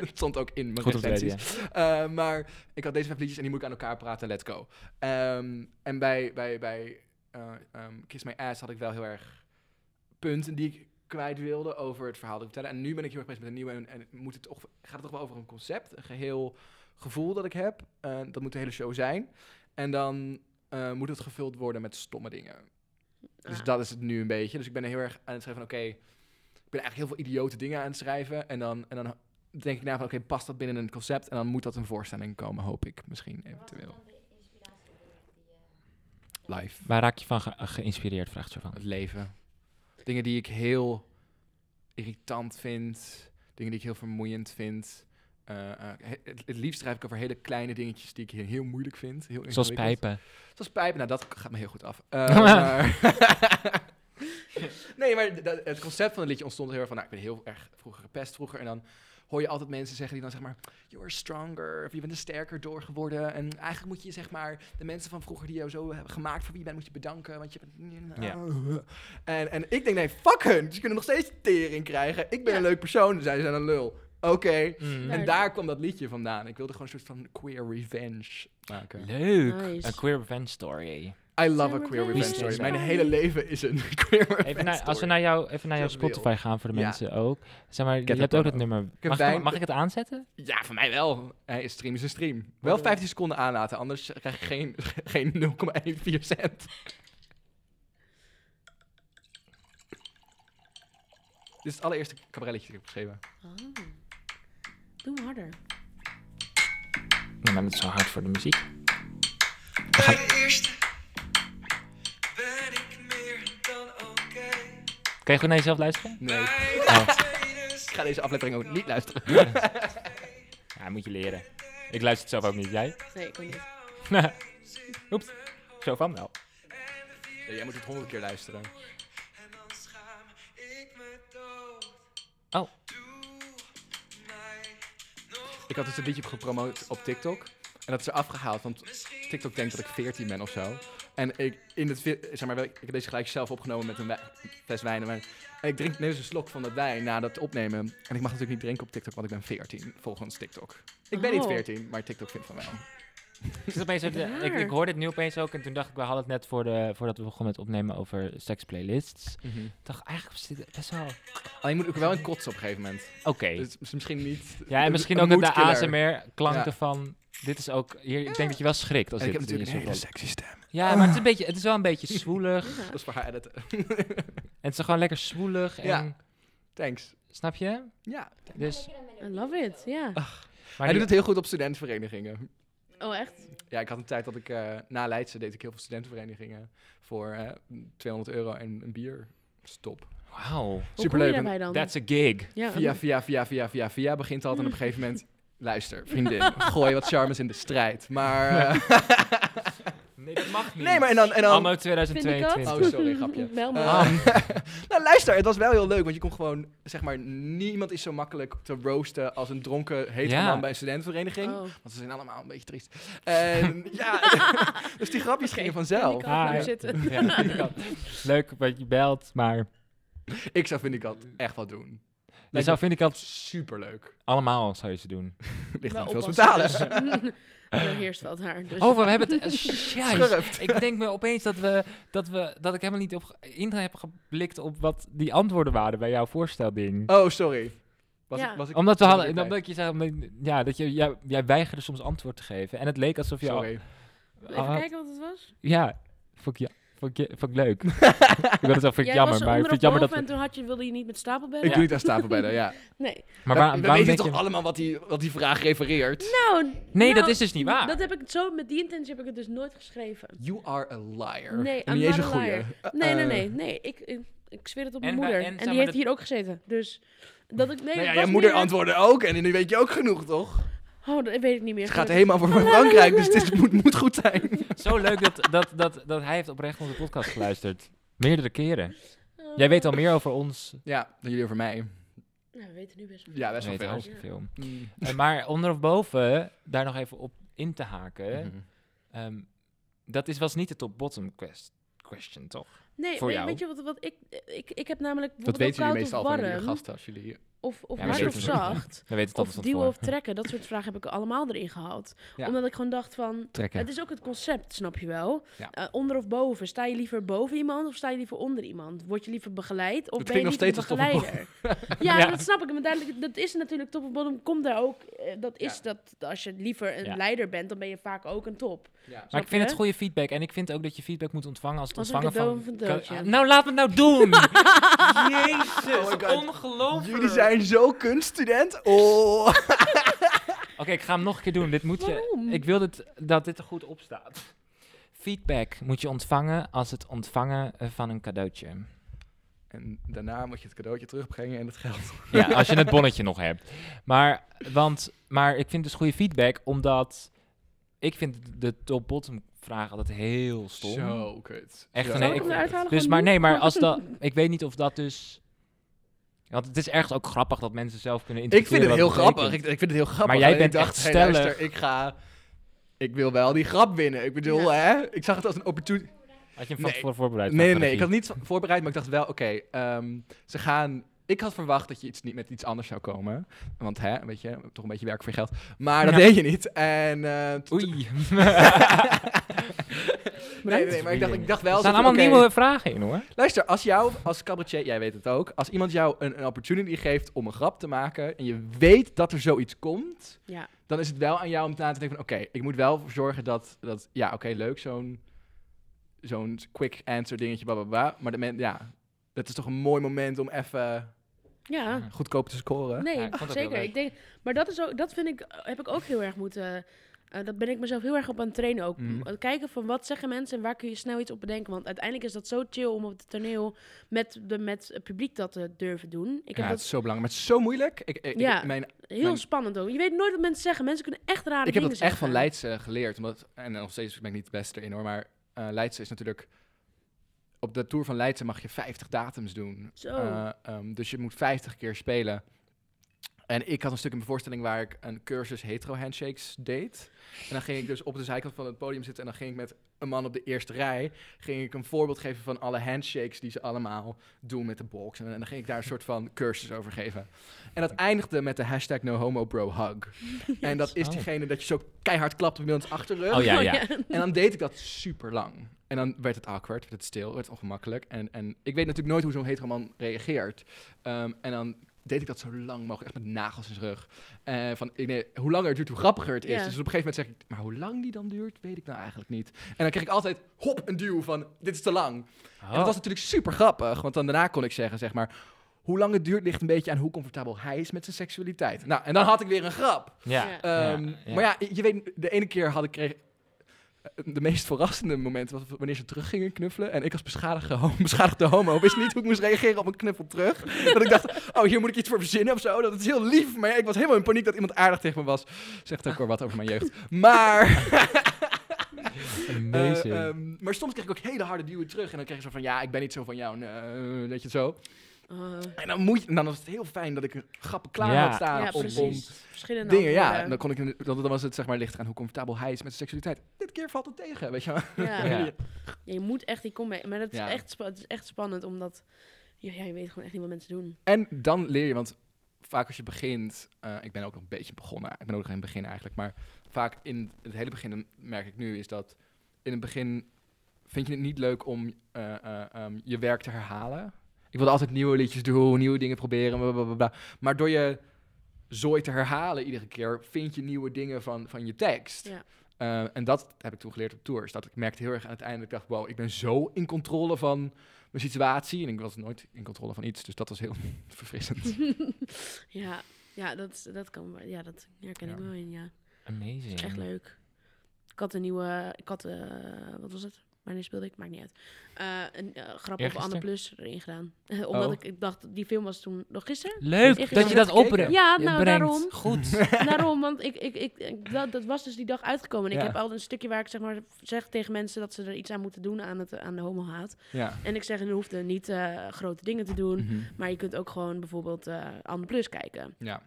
[SPEAKER 3] dat stond ook in mijn
[SPEAKER 1] Goed op de
[SPEAKER 3] recensies.
[SPEAKER 1] radio.
[SPEAKER 3] Eh, maar ik had deze vijf liedjes en die moet ik aan elkaar praten, let's go. Ehm, en bij, bij, bij eh, ehm, Kiss My Ass had ik wel heel erg punten die ik kwijt wilde over het verhaal dat ik vertelde. En nu ben ik heel erg bezig met een nieuwe en, en moet het toch, gaat het toch wel over een concept, een geheel gevoel dat ik heb. Eh, dat moet de hele show zijn. En dan eh, moet het gevuld worden met stomme dingen. Dus
[SPEAKER 2] Ah.
[SPEAKER 3] dat is het nu een beetje. Dus ik ben heel erg aan het schrijven van, oké, ik ben eigenlijk heel veel idiote dingen aan het schrijven. En dan, en dan denk ik na van, oké, past dat binnen een concept? En dan moet dat een voorstelling komen, hoop ik misschien eventueel. Live.
[SPEAKER 1] Waar raak je van ge- eh, geïnspireerd, vraagt ze van.
[SPEAKER 3] Het leven. Dingen die ik heel irritant vind. Dingen die ik heel vermoeiend vind. Eh, eh, he- het, het liefst schrijf ik over hele kleine dingetjes die ik heel, heel moeilijk vind. Heel
[SPEAKER 1] Zoals
[SPEAKER 3] ingewikkeld.
[SPEAKER 1] pijpen.
[SPEAKER 3] Zoals pijpen, nou dat gaat me heel goed af. Eh, maar- nee, maar d- dat- het concept van het liedje ontstond heel erg van, nou, ik ben heel erg vroeger gepest vroeger. En dan hoor je altijd mensen zeggen die dan zeg maar, you're stronger, of je bent er sterker door geworden. En eigenlijk moet je zeg maar, de mensen van vroeger die jou zo hebben gemaakt voor wie je bent, moet je bedanken. Want je bent...
[SPEAKER 1] Ja.
[SPEAKER 3] En, en ik denk, nee, fuck hun, ze kunnen nog steeds tering krijgen. Ik ben
[SPEAKER 2] Ja.
[SPEAKER 3] een leuk persoon, dus zij zijn een lul. Oké. En
[SPEAKER 1] Mm. Mm-hmm.
[SPEAKER 2] Leuk.
[SPEAKER 3] daar kwam dat liedje vandaan. Ik wilde gewoon een soort van queer revenge maken.
[SPEAKER 1] Leuk.
[SPEAKER 2] Nice.
[SPEAKER 1] Een queer revenge story.
[SPEAKER 3] I love a
[SPEAKER 2] Zijn we
[SPEAKER 3] queer
[SPEAKER 2] weer
[SPEAKER 3] revenge
[SPEAKER 1] bij
[SPEAKER 3] story.
[SPEAKER 1] de
[SPEAKER 3] Mijn
[SPEAKER 2] story?
[SPEAKER 3] hele leven is een queer revenge
[SPEAKER 1] Even naar, als we
[SPEAKER 3] story.
[SPEAKER 1] naar, jou, even naar jouw
[SPEAKER 3] Terwijl.
[SPEAKER 1] Spotify gaan voor de
[SPEAKER 3] Ja.
[SPEAKER 1] mensen ook. Zeg maar, je
[SPEAKER 3] Get
[SPEAKER 1] hebt
[SPEAKER 3] it
[SPEAKER 1] ook dat
[SPEAKER 3] done.
[SPEAKER 1] nummer.
[SPEAKER 3] heb
[SPEAKER 1] Mag, ik-
[SPEAKER 3] wijn-
[SPEAKER 1] mag ik het aanzetten?
[SPEAKER 3] Ja, voor mij wel. Hey, stream is een stream. Wel 15 seconden aanlaten, anders krijg je geen, geen 0,14 cent. Dit is het allereerste cabarelletje dat ik heb geschreven.
[SPEAKER 2] Ah. Doe hem harder.
[SPEAKER 1] Nou, maar dat is zo hard voor de muziek.
[SPEAKER 5] Bij de eerste ben ik meer dan oké.
[SPEAKER 1] Kan je goed naar jezelf luisteren?
[SPEAKER 3] Nee, ik
[SPEAKER 5] Bij de tweede
[SPEAKER 3] ga deze aflevering ook niet luisteren.
[SPEAKER 1] Ja, moet je leren. Ik luister het zelf ook niet. Jij?
[SPEAKER 2] Nee, ik kan niet.
[SPEAKER 3] Nou,
[SPEAKER 1] Oeps. Zo van wel.
[SPEAKER 3] Nee, jij moet het honderd keer luisteren.
[SPEAKER 5] en dan schaam ik me dood.
[SPEAKER 1] Oh.
[SPEAKER 5] Doe mij nog
[SPEAKER 3] Ik had dus een liedje gepromoot op TikTok. En dat is er afgehaald, want TikTok denkt dat ik 14 ben of zo. En ik, in het, vi- zeg maar, wel- ik heb deze gelijk zelf opgenomen met een wij- fles wijn. Maar, en ik drink nu eens een slok van dat wijn na dat opnemen. En ik mag natuurlijk niet drinken op TikTok, want ik ben 14 volgens TikTok. Ik ben niet
[SPEAKER 2] Oh.
[SPEAKER 3] 14, maar TikTok vindt van wel.
[SPEAKER 1] Ik, zat opeens zo te- ik, ik hoorde het nu opeens ook en toen dacht ik, we hadden het net voor de, voordat we begonnen met opnemen over seksplaylists. Ik dacht, eigenlijk zit het best wel... Oké.
[SPEAKER 3] Alleen moet ik er wel een kots op een gegeven moment. Dus is misschien niet...
[SPEAKER 1] Ja, en
[SPEAKER 3] een-
[SPEAKER 1] misschien
[SPEAKER 3] een
[SPEAKER 1] ook met de
[SPEAKER 3] moodkiller.
[SPEAKER 1] ASMR-klanken
[SPEAKER 3] Ja.
[SPEAKER 1] van... Dit is ook... Hier, ik denk dat je wel schrikt als
[SPEAKER 3] En ik
[SPEAKER 1] dit
[SPEAKER 3] heb
[SPEAKER 1] in je
[SPEAKER 3] natuurlijk een hele Ah.
[SPEAKER 1] soort-
[SPEAKER 3] sexy stem.
[SPEAKER 1] Ja, maar het is, een beetje, het is wel een beetje zwoelig. en
[SPEAKER 3] Dat is voor haar editen.
[SPEAKER 1] het is gewoon lekker zwoelig en...
[SPEAKER 3] Ja. Thanks.
[SPEAKER 1] Snap je?
[SPEAKER 3] Ja.
[SPEAKER 1] Dus...
[SPEAKER 2] I love it, ja.
[SPEAKER 1] Ah. Maar
[SPEAKER 3] Hij
[SPEAKER 1] die-
[SPEAKER 3] doet het heel goed op studentenverenigingen.
[SPEAKER 2] Oh, echt?
[SPEAKER 3] Ja, ik had een tijd dat ik eh, na Leidse deed ik heel veel studentenverenigingen voor eh, 200 euro en een bier. Stop.
[SPEAKER 1] Wauw.
[SPEAKER 2] Hoe kom je
[SPEAKER 3] Superleuk,
[SPEAKER 2] daarbij dan?
[SPEAKER 1] That's a gig.
[SPEAKER 2] ja,
[SPEAKER 3] Via, via, via, via, via, via begint dat en op een gegeven moment... Luister, vriendin, gooi wat charmes in de strijd. Maar... eh,
[SPEAKER 1] Nee, dat mag niet.
[SPEAKER 3] nee, maar en dan... En dan
[SPEAKER 1] Anno
[SPEAKER 2] Vind ik
[SPEAKER 1] 2022.
[SPEAKER 2] dat?
[SPEAKER 3] Oh, sorry, grapje.
[SPEAKER 2] Bel me.
[SPEAKER 3] Eh, nou, luister, het was wel heel leuk, want je kon gewoon... Zeg maar, niemand is zo makkelijk te roosten als een dronken, hete
[SPEAKER 1] Ja.
[SPEAKER 3] man bij een studentenvereniging.
[SPEAKER 2] Oh.
[SPEAKER 3] Want ze zijn allemaal een beetje triest. En ja, dus die grapjes gingen vanzelf.
[SPEAKER 2] Ik kan
[SPEAKER 1] Ah, ja.
[SPEAKER 2] blijven zitten.
[SPEAKER 1] Ja, Leuk wat je belt, maar...
[SPEAKER 3] Ik zou, vind ik, dat echt wel doen.
[SPEAKER 1] Je zou, vind ik dat
[SPEAKER 3] Superleuk.
[SPEAKER 1] allemaal zou je ze doen.
[SPEAKER 2] Dus-
[SPEAKER 3] Ligt
[SPEAKER 2] Wel
[SPEAKER 3] aan veel
[SPEAKER 2] Nou, oppassen,
[SPEAKER 3] betalen.
[SPEAKER 2] dus. Er heerst wel daar. Dus.
[SPEAKER 1] Oh, we hebben het... Juist.
[SPEAKER 3] Schurft.
[SPEAKER 1] Ik denk me opeens dat, we, dat, we, dat ik helemaal niet op ge- in heb geblikt op wat die antwoorden waren bij jouw voorstelding.
[SPEAKER 3] Oh, sorry. Was
[SPEAKER 2] Ja.
[SPEAKER 3] ik, was ik,
[SPEAKER 1] omdat we
[SPEAKER 3] was ik
[SPEAKER 1] hadden,
[SPEAKER 3] erbij?
[SPEAKER 1] omdat ik je zei, omdat ik- ja, dat je, jij, jij weigerde soms antwoord te geven. En het leek alsof je al-
[SPEAKER 3] Sorry.
[SPEAKER 2] Even
[SPEAKER 1] Ah,
[SPEAKER 2] kijken wat het was.
[SPEAKER 1] Ja, vond ik, ja, vond ik, vond ik leuk. ik wil het zeggen, vind ik
[SPEAKER 2] Jij
[SPEAKER 1] jammer,
[SPEAKER 2] was
[SPEAKER 1] maar ik
[SPEAKER 2] onder
[SPEAKER 1] vind het
[SPEAKER 2] op
[SPEAKER 1] jammer dat...
[SPEAKER 2] boven en toen had je, wilde je niet met stapelbedden.
[SPEAKER 3] Ik doe niet aan stapel bij de, ja.
[SPEAKER 2] Nee.
[SPEAKER 1] Maar
[SPEAKER 3] We-
[SPEAKER 1] waar, waarom
[SPEAKER 3] we weten
[SPEAKER 1] denk
[SPEAKER 3] toch
[SPEAKER 1] je...
[SPEAKER 3] allemaal wat die, wat die vraag refereert?
[SPEAKER 2] Nou,
[SPEAKER 1] Nee,
[SPEAKER 2] nou,
[SPEAKER 1] dat is dus niet waar. Eh.
[SPEAKER 2] Dat heb ik zo, met die intentie heb ik het dus nooit geschreven.
[SPEAKER 3] You are a liar.
[SPEAKER 2] Nee,
[SPEAKER 3] En
[SPEAKER 2] I'm
[SPEAKER 3] niet eens
[SPEAKER 2] not
[SPEAKER 3] een
[SPEAKER 2] a
[SPEAKER 3] goeie. Eh, nou
[SPEAKER 2] liar. Nee, nee, nee. nee ik, ik, ik zweer het op mijn
[SPEAKER 1] En wij-
[SPEAKER 2] moeder.
[SPEAKER 1] en
[SPEAKER 2] En,
[SPEAKER 1] zeg
[SPEAKER 2] die
[SPEAKER 1] maar
[SPEAKER 2] heeft
[SPEAKER 1] dat-
[SPEAKER 2] hier ook gezeten. Dus dat ik... Nee,
[SPEAKER 3] Nou ja,
[SPEAKER 2] het
[SPEAKER 3] jouw
[SPEAKER 2] was
[SPEAKER 3] moeder
[SPEAKER 2] meer-
[SPEAKER 3] antwoordde ook en nu weet je ook genoeg, toch?
[SPEAKER 2] Oh, dat weet ik niet meer. Oh,
[SPEAKER 3] Het gaat
[SPEAKER 2] gelukkig.
[SPEAKER 3] helemaal voor Frankrijk, dus dit moet, moet goed zijn.
[SPEAKER 1] Zo leuk dat, dat, dat, dat hij heeft oprecht onze podcast geluisterd. Meerdere keren.
[SPEAKER 2] Oh.
[SPEAKER 1] Jij weet al meer over ons.
[SPEAKER 3] Ja, dan jullie over mij.
[SPEAKER 2] Nou, we weten nu best wel.
[SPEAKER 3] Ja, best
[SPEAKER 1] Weet
[SPEAKER 3] wel veel.
[SPEAKER 1] hartstikke veel. Eh, maar onder of boven, daar nog even op in te haken.
[SPEAKER 3] Mhm.
[SPEAKER 1] ehm, dat is, was niet de top-bottom quest, question, toch?
[SPEAKER 2] Nee,
[SPEAKER 1] Voor
[SPEAKER 2] weet-
[SPEAKER 1] jou.
[SPEAKER 2] weet je wat, wat ik, ik... Ik heb namelijk
[SPEAKER 3] Dat
[SPEAKER 2] bijvoorbeeld
[SPEAKER 3] weten
[SPEAKER 2] ook
[SPEAKER 3] jullie
[SPEAKER 2] koud
[SPEAKER 3] meestal
[SPEAKER 2] of
[SPEAKER 3] van
[SPEAKER 2] warm.
[SPEAKER 3] jullie gasten als jullie...
[SPEAKER 2] Of, of
[SPEAKER 1] Ja,
[SPEAKER 2] hard
[SPEAKER 1] maar
[SPEAKER 2] of
[SPEAKER 1] zeker.
[SPEAKER 2] zacht.
[SPEAKER 1] Dan weet het
[SPEAKER 2] of
[SPEAKER 1] anders
[SPEAKER 2] duwen
[SPEAKER 1] voor.
[SPEAKER 2] of trekken. Dat soort vragen heb ik allemaal erin gehad.
[SPEAKER 3] Ja.
[SPEAKER 2] Omdat ik gewoon dacht van...
[SPEAKER 1] Trekken.
[SPEAKER 2] Het is ook het concept, snap je wel?
[SPEAKER 3] Ja.
[SPEAKER 2] Eh, onder of boven? Sta je liever boven iemand of sta je liever onder iemand? Word je liever begeleid of
[SPEAKER 3] Het
[SPEAKER 2] ben je
[SPEAKER 3] ging nog
[SPEAKER 2] liever
[SPEAKER 3] steeds als top of
[SPEAKER 2] begeleider? ja,
[SPEAKER 1] Ja.
[SPEAKER 2] dat snap ik. Maar duidelijk, dat is natuurlijk top of bottom. Komt daar ook... eh, dat is
[SPEAKER 3] Ja.
[SPEAKER 2] dat als je liever een
[SPEAKER 1] Ja.
[SPEAKER 2] leider bent, dan ben je vaak ook een top.
[SPEAKER 3] Ja.
[SPEAKER 1] Maar
[SPEAKER 2] Snap
[SPEAKER 1] ik vind
[SPEAKER 2] je?
[SPEAKER 1] het goede feedback. En ik vind ook dat je feedback moet ontvangen als het
[SPEAKER 2] Als een
[SPEAKER 1] ontvangen
[SPEAKER 2] cadeau
[SPEAKER 1] van...
[SPEAKER 2] of een cadeautje.
[SPEAKER 1] Ah, nou, laat me het nou doen!
[SPEAKER 3] Oh my
[SPEAKER 1] Jezus,
[SPEAKER 3] God.
[SPEAKER 1] ongelooflijk!
[SPEAKER 3] Jullie zijn zo kunststudent. Oh.
[SPEAKER 1] Oké, ik ga hem nog een keer doen. Dit moet je...
[SPEAKER 2] Waarom?
[SPEAKER 1] Ik wil dit, dat dit er goed op staat. Feedback moet je ontvangen als het ontvangen eh, van een cadeautje.
[SPEAKER 3] En daarna moet je het cadeautje terugbrengen en het geld.
[SPEAKER 1] Ja, als je het bonnetje nog hebt. Maar, want, maar ik vind dus goede feedback, omdat ik vind de top-bottom vraag altijd heel stom.
[SPEAKER 3] Zo kut.
[SPEAKER 1] Echt,
[SPEAKER 3] Zo
[SPEAKER 1] nee,
[SPEAKER 2] Zal
[SPEAKER 1] ik-
[SPEAKER 2] ik hem eruit halen?
[SPEAKER 1] Dus,
[SPEAKER 2] Gewoon
[SPEAKER 1] maar
[SPEAKER 2] nu?
[SPEAKER 1] nee, maar als dat... Ik weet niet of dat dus... Want het is ergens ook grappig dat mensen zelf kunnen
[SPEAKER 3] Ik
[SPEAKER 1] interpreteren
[SPEAKER 3] vind het heel
[SPEAKER 1] wat betekent.
[SPEAKER 3] grappig. Ik, ik vind het heel grappig.
[SPEAKER 1] Maar jij
[SPEAKER 3] Alleen
[SPEAKER 1] bent
[SPEAKER 3] ik dacht,
[SPEAKER 1] echt
[SPEAKER 3] hey,
[SPEAKER 1] stellig.
[SPEAKER 3] luister, ik ga... Ik wil wel die grap winnen. Ik bedoel, hè? Ik zag het als een opportunity.
[SPEAKER 1] Had je hem van
[SPEAKER 3] Nee.
[SPEAKER 1] tevoren voorbereid?
[SPEAKER 3] Nee, nee,
[SPEAKER 1] van
[SPEAKER 3] nee. Ik had
[SPEAKER 1] regie?
[SPEAKER 3] niet voorbereid, maar ik dacht wel, oké, ehm, ze gaan... Ik had verwacht dat je iets niet met iets anders zou komen. Want, hè, weet je, toch een beetje werk voor je geld. Maar dat
[SPEAKER 1] Ja.
[SPEAKER 3] deed je niet. En... eh, t-
[SPEAKER 1] Oei.
[SPEAKER 3] nee, nee, maar ik dacht, ik dacht wel...
[SPEAKER 1] Er staan
[SPEAKER 3] zo van,
[SPEAKER 1] allemaal
[SPEAKER 3] oké,
[SPEAKER 1] nieuwe vragen in, hoor.
[SPEAKER 3] Luister, als jou, als cabaretier, jij weet het ook, als iemand jou een, een opportunity geeft om een grap te maken en je weet dat er zoiets komt,
[SPEAKER 2] Ja.
[SPEAKER 3] dan is het wel aan jou om na te denken van, oké, ik moet wel voor zorgen dat, dat ja, oké, leuk, zo'n zo'n quick answer dingetje, bla, bla, bla. Maar de men, ja, dat is toch een mooi moment om even
[SPEAKER 2] Ja.
[SPEAKER 3] goedkoop te scoren.
[SPEAKER 2] Nee,
[SPEAKER 1] Ja, ik vond het ook heel
[SPEAKER 2] zeker.
[SPEAKER 1] leuk.
[SPEAKER 2] Ik denk, maar dat, is ook, dat vind ik, eh, heb ik ook heel erg moeten. eh, dat ben ik mezelf heel erg op aan het trainen ook.
[SPEAKER 3] Mhm.
[SPEAKER 2] Kijken van wat zeggen mensen en waar kun je snel iets op bedenken. Want uiteindelijk is dat zo chill om op het toneel met, de, met het publiek dat te durven doen. Ik heb
[SPEAKER 3] ja, het
[SPEAKER 2] dat
[SPEAKER 3] is zo belangrijk, maar het is zo moeilijk. Ik, ik,
[SPEAKER 2] Ja.
[SPEAKER 3] ik, mijn
[SPEAKER 2] heel
[SPEAKER 3] mijn-
[SPEAKER 2] spannend ook. Je weet nooit wat mensen zeggen. Mensen kunnen echt rare
[SPEAKER 3] Ik heb
[SPEAKER 2] dingen
[SPEAKER 3] dat echt
[SPEAKER 2] zeggen.
[SPEAKER 3] van Leidse geleerd. Omdat, en nog steeds ben ik niet het beste erin hoor. Maar eh Leidse is natuurlijk... Op de Tour van Leidse mag je 50 datums doen.
[SPEAKER 2] Zo.
[SPEAKER 3] Eh, ehm, dus je moet 50 keer spelen. En ik had een stuk in mijn voorstelling waar ik een cursus hetero handshakes deed. En dan ging ik dus op de zijkant van het podium zitten. En dan ging ik met een man op de eerste rij. Ging ik een voorbeeld geven van alle handshakes die ze allemaal doen met de box. En, en dan ging ik daar een soort van cursus over geven. En dat eindigde met de hashtag NoHomoBroHug. En dat is
[SPEAKER 1] Oh.
[SPEAKER 3] diegene dat je zo keihard klapt op iemands achterrug.
[SPEAKER 1] Oh ja,
[SPEAKER 2] Oh,
[SPEAKER 1] ja.
[SPEAKER 3] En dan deed ik dat super lang. En dan werd het awkward, werd het stil, werd het ongemakkelijk. En, en ik weet natuurlijk nooit hoe zo'n hetero man reageert. Ehm, en dan deed ik dat zo lang mogelijk, echt met nagels in zijn rug. Eh, van, ik, nee, hoe langer het duurt, hoe grappiger het is.
[SPEAKER 2] Ja.
[SPEAKER 3] Dus op een gegeven moment zeg ik, maar hoe lang die dan duurt, weet ik nou eigenlijk niet. En dan kreeg ik altijd, hop, een duw van, dit is te lang. En
[SPEAKER 1] Oh.
[SPEAKER 3] dat Oh. was natuurlijk super grappig, want dan daarna kon ik zeggen, zeg maar... Hoe lang het duurt ligt een beetje aan hoe comfortabel hij is met zijn seksualiteit. Nou, en dan had ik weer een grap.
[SPEAKER 1] Ja.
[SPEAKER 2] Ja.
[SPEAKER 3] Ehm,
[SPEAKER 1] Ja, ja.
[SPEAKER 3] Maar ja, je weet, de ene keer had ik kreeg, de meest verrassende moment was wanneer ze terug gingen knuffelen. En ik als beschadigde, homo- beschadigde homo wist niet hoe ik moest reageren op een knuffel terug. dat ik dacht, oh, hier moet ik iets voor verzinnen of zo. Dat is heel lief. Maar ja, ik was helemaal in paniek dat iemand aardig tegen me was. Zegt ook weer wat over mijn jeugd. Maar, eh,
[SPEAKER 1] Amazing.
[SPEAKER 3] ehm, maar soms kreeg ik ook hele harde duwen terug. En dan kreeg ik zo van, ja, ik ben niet zo van jou. Nee, weet je zo.
[SPEAKER 2] Eh,
[SPEAKER 3] En dan, moet je, dan was het heel fijn dat ik een grappen klaar
[SPEAKER 1] Ja.
[SPEAKER 3] had staan.
[SPEAKER 2] ja,
[SPEAKER 3] om- om,
[SPEAKER 2] precies. Verschillende
[SPEAKER 3] dingen, ja. En
[SPEAKER 2] antwoorden.
[SPEAKER 3] dan, kon ik, in- dan, dan was het zeg maar licht aan hoe comfortabel hij is met zijn seksualiteit. Dit keer valt het tegen, weet je wel.
[SPEAKER 2] Ja.
[SPEAKER 1] Ja.
[SPEAKER 2] Ja, je moet echt die combi. Maar dat is,
[SPEAKER 3] Ja.
[SPEAKER 2] echt, spa- het is echt spannend omdat ja, ja, je weet gewoon echt niet wat mensen doen.
[SPEAKER 3] En dan leer je, want vaak als je begint, eh, ik ben ook nog een beetje begonnen, ik ben ook nog in het begin eigenlijk, maar vaak in het hele begin, dan merk ik nu, is dat in het begin vind je het niet leuk om eh, eh, ehm, je werk te herhalen. Ik wilde altijd nieuwe liedjes doen, nieuwe dingen proberen, bla, bla, bla, bla. maar door je zooi te herhalen iedere keer, vind je nieuwe dingen van, van je tekst.
[SPEAKER 2] Ja.
[SPEAKER 3] Eh, en dat heb ik toen geleerd op tours. Dat ik merkte heel erg aan het einde, ik dacht, wow, ik ben zo in controle van mijn situatie. En ik was nooit in controle van iets, dus dat was heel verfrissend.
[SPEAKER 2] Ja, ja, dat, is- dat kan wel- Ja, dat herken ik
[SPEAKER 3] Ja.
[SPEAKER 2] wel in, ja.
[SPEAKER 1] Amazing.
[SPEAKER 2] Echt leuk. Ik had een nieuwe... Ik had... eh, wat was het? Wanneer speelde ik? Maakt niet uit. Eh, een eh, grap op
[SPEAKER 1] Eergisteren?
[SPEAKER 2] Anne Plus erin gedaan. Omdat
[SPEAKER 3] Oh.
[SPEAKER 2] ik, ik dacht, die film was toen... Nog gisteren?
[SPEAKER 1] Leuk
[SPEAKER 2] Echt
[SPEAKER 1] dat je
[SPEAKER 2] leuk.
[SPEAKER 1] dat opbrengt.
[SPEAKER 2] Ja, nou,
[SPEAKER 1] brengt.
[SPEAKER 2] daarom.
[SPEAKER 1] Goed.
[SPEAKER 2] Daarom, want ik, ik, ik, ik- dat, dat was dus die dag uitgekomen. En ik
[SPEAKER 3] Ja.
[SPEAKER 2] heb al een stukje waar ik zeg maar zeg tegen mensen... dat ze er iets aan moeten doen aan, het, aan de homohaat.
[SPEAKER 3] ja.
[SPEAKER 2] En ik zeg, je hoeft er
[SPEAKER 1] Mhm.
[SPEAKER 2] niet eh, grote dingen te doen. Maar je kunt ook gewoon bijvoorbeeld eh Anne Plus kijken.
[SPEAKER 3] ja.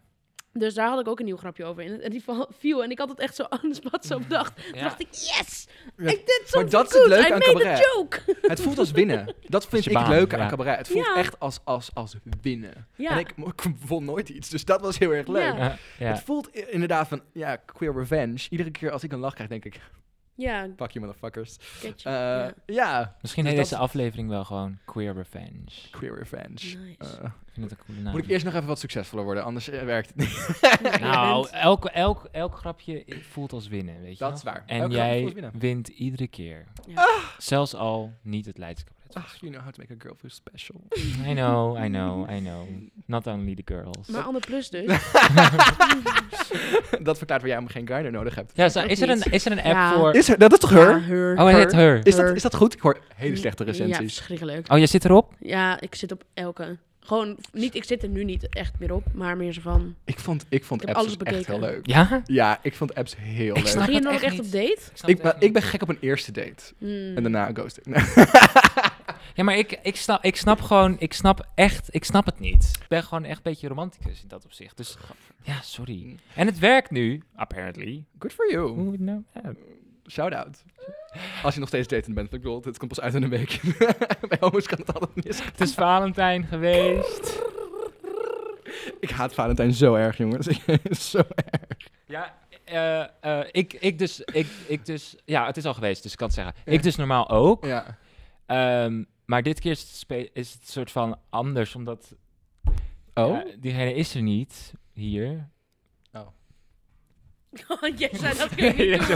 [SPEAKER 2] Dus daar had ik ook een nieuw grapje over in. En die val- viel. En ik had het echt zo aan de spot zo bedacht. Toen
[SPEAKER 1] Ja.
[SPEAKER 2] dacht ik, yes!
[SPEAKER 3] Ja.
[SPEAKER 2] Ik deed something
[SPEAKER 3] dat is het
[SPEAKER 2] good.
[SPEAKER 3] leuke
[SPEAKER 2] I
[SPEAKER 3] aan
[SPEAKER 2] made a
[SPEAKER 3] cabaret.
[SPEAKER 2] joke!
[SPEAKER 3] Het voelt als winnen. Dat vind
[SPEAKER 1] je
[SPEAKER 3] ik het
[SPEAKER 1] baan,
[SPEAKER 3] leuke
[SPEAKER 1] ja.
[SPEAKER 3] aan cabaret. Het voelt
[SPEAKER 2] Ja.
[SPEAKER 3] echt als, als, als winnen.
[SPEAKER 2] Ja.
[SPEAKER 3] En ik, ik won nooit iets, dus dat was heel erg leuk.
[SPEAKER 2] Ja.
[SPEAKER 1] Ja, ja.
[SPEAKER 3] Het voelt i- inderdaad van, ja, queer revenge. Iedere keer als ik een lach krijg, denk ik,
[SPEAKER 2] Ja,
[SPEAKER 3] fuck you motherfuckers. Eh,
[SPEAKER 2] catchy.
[SPEAKER 3] ja.
[SPEAKER 2] Ja.
[SPEAKER 1] Misschien
[SPEAKER 3] Dus
[SPEAKER 1] heet
[SPEAKER 3] dat-
[SPEAKER 1] deze aflevering wel gewoon Queer Revenge.
[SPEAKER 3] queer revenge.
[SPEAKER 2] Nice.
[SPEAKER 3] Eh,
[SPEAKER 1] Ik vind het een coole naam.
[SPEAKER 3] moet ik eerst nog even wat succesvoller worden, anders eh, werkt het niet.
[SPEAKER 2] Ja, je
[SPEAKER 1] Nou,
[SPEAKER 2] bent-
[SPEAKER 1] elk, elk, elk grapje i- voelt als winnen, weet je
[SPEAKER 3] Dat
[SPEAKER 1] nog?
[SPEAKER 3] is waar.
[SPEAKER 1] En
[SPEAKER 3] Elk grapje voelt
[SPEAKER 1] jij
[SPEAKER 3] als winnen. Ah!
[SPEAKER 1] wint iedere keer.
[SPEAKER 2] Ja.
[SPEAKER 1] Zelfs al niet het Leidse cabaret.
[SPEAKER 3] Ach, you know how to make a girl feel special.
[SPEAKER 1] I know, I know, I know. Not only the girls.
[SPEAKER 2] maar Anne Plus dus.
[SPEAKER 3] dat verklaart waarom jij geen guider nodig hebt.
[SPEAKER 1] ja, zo-
[SPEAKER 2] ook
[SPEAKER 1] is, er een,
[SPEAKER 2] niet.
[SPEAKER 1] is er een app
[SPEAKER 2] Ja.
[SPEAKER 1] voor...
[SPEAKER 3] Is er, dat is toch
[SPEAKER 2] Ja,
[SPEAKER 3] her?
[SPEAKER 2] her.
[SPEAKER 1] oh, hij heet Her.
[SPEAKER 3] Is dat,
[SPEAKER 2] Her.
[SPEAKER 3] is dat goed? Ik hoor hele slechte
[SPEAKER 2] Ja,
[SPEAKER 3] recensies.
[SPEAKER 2] verschrikkelijk.
[SPEAKER 1] Oh, jij zit erop?
[SPEAKER 2] Ja, ik zit op elke. Gewoon, niet, ik zit er nu niet echt meer op, maar meer zo van.
[SPEAKER 3] Ik vond, ik vond
[SPEAKER 2] Ik heb
[SPEAKER 3] apps dus
[SPEAKER 2] alles
[SPEAKER 3] echt heel
[SPEAKER 2] bekeken.
[SPEAKER 3] leuk.
[SPEAKER 1] Ja?
[SPEAKER 3] Ja, ik vond apps heel
[SPEAKER 1] Ik
[SPEAKER 3] leuk.
[SPEAKER 1] snap
[SPEAKER 2] Ga je
[SPEAKER 1] het
[SPEAKER 2] nou ook
[SPEAKER 1] echt
[SPEAKER 2] echt op
[SPEAKER 1] niet.
[SPEAKER 2] date?
[SPEAKER 1] Ik snap
[SPEAKER 3] Ik,
[SPEAKER 1] het
[SPEAKER 3] ben-
[SPEAKER 1] echt
[SPEAKER 3] ik
[SPEAKER 1] niet. Mm.
[SPEAKER 3] ben gek op een eerste date.
[SPEAKER 2] Hmm.
[SPEAKER 3] En daarna ghosting.
[SPEAKER 1] Ja, maar ik, ik, snap, ik snap gewoon... Ik snap echt... Ik snap het niet. Ik ben gewoon echt een beetje romanticus in dat opzicht. Dus ja, sorry. En het werkt nu, apparently.
[SPEAKER 3] Good for you.
[SPEAKER 1] Hoe het nou... Ja.
[SPEAKER 3] Shout out. Als je nog steeds daten bent. Ik bedoel, het komt pas uit in een week. Bij homo's kan het altijd mis.
[SPEAKER 1] Het is Valentijn geweest.
[SPEAKER 3] Ik haat Valentijn zo erg, jongens. zo erg.
[SPEAKER 1] Ja, eh, eh, ik, ik, dus, ik, ik dus... Ja, het is al geweest, dus ik kan het zeggen. Ik dus normaal ook.
[SPEAKER 3] Ja.
[SPEAKER 1] Ehm, maar dit keer is het, spe- is het soort van anders, omdat...
[SPEAKER 3] Oh?
[SPEAKER 1] ja, diegene is er niet, hier.
[SPEAKER 2] Oh, jij zei dat kun je niet
[SPEAKER 1] Ja,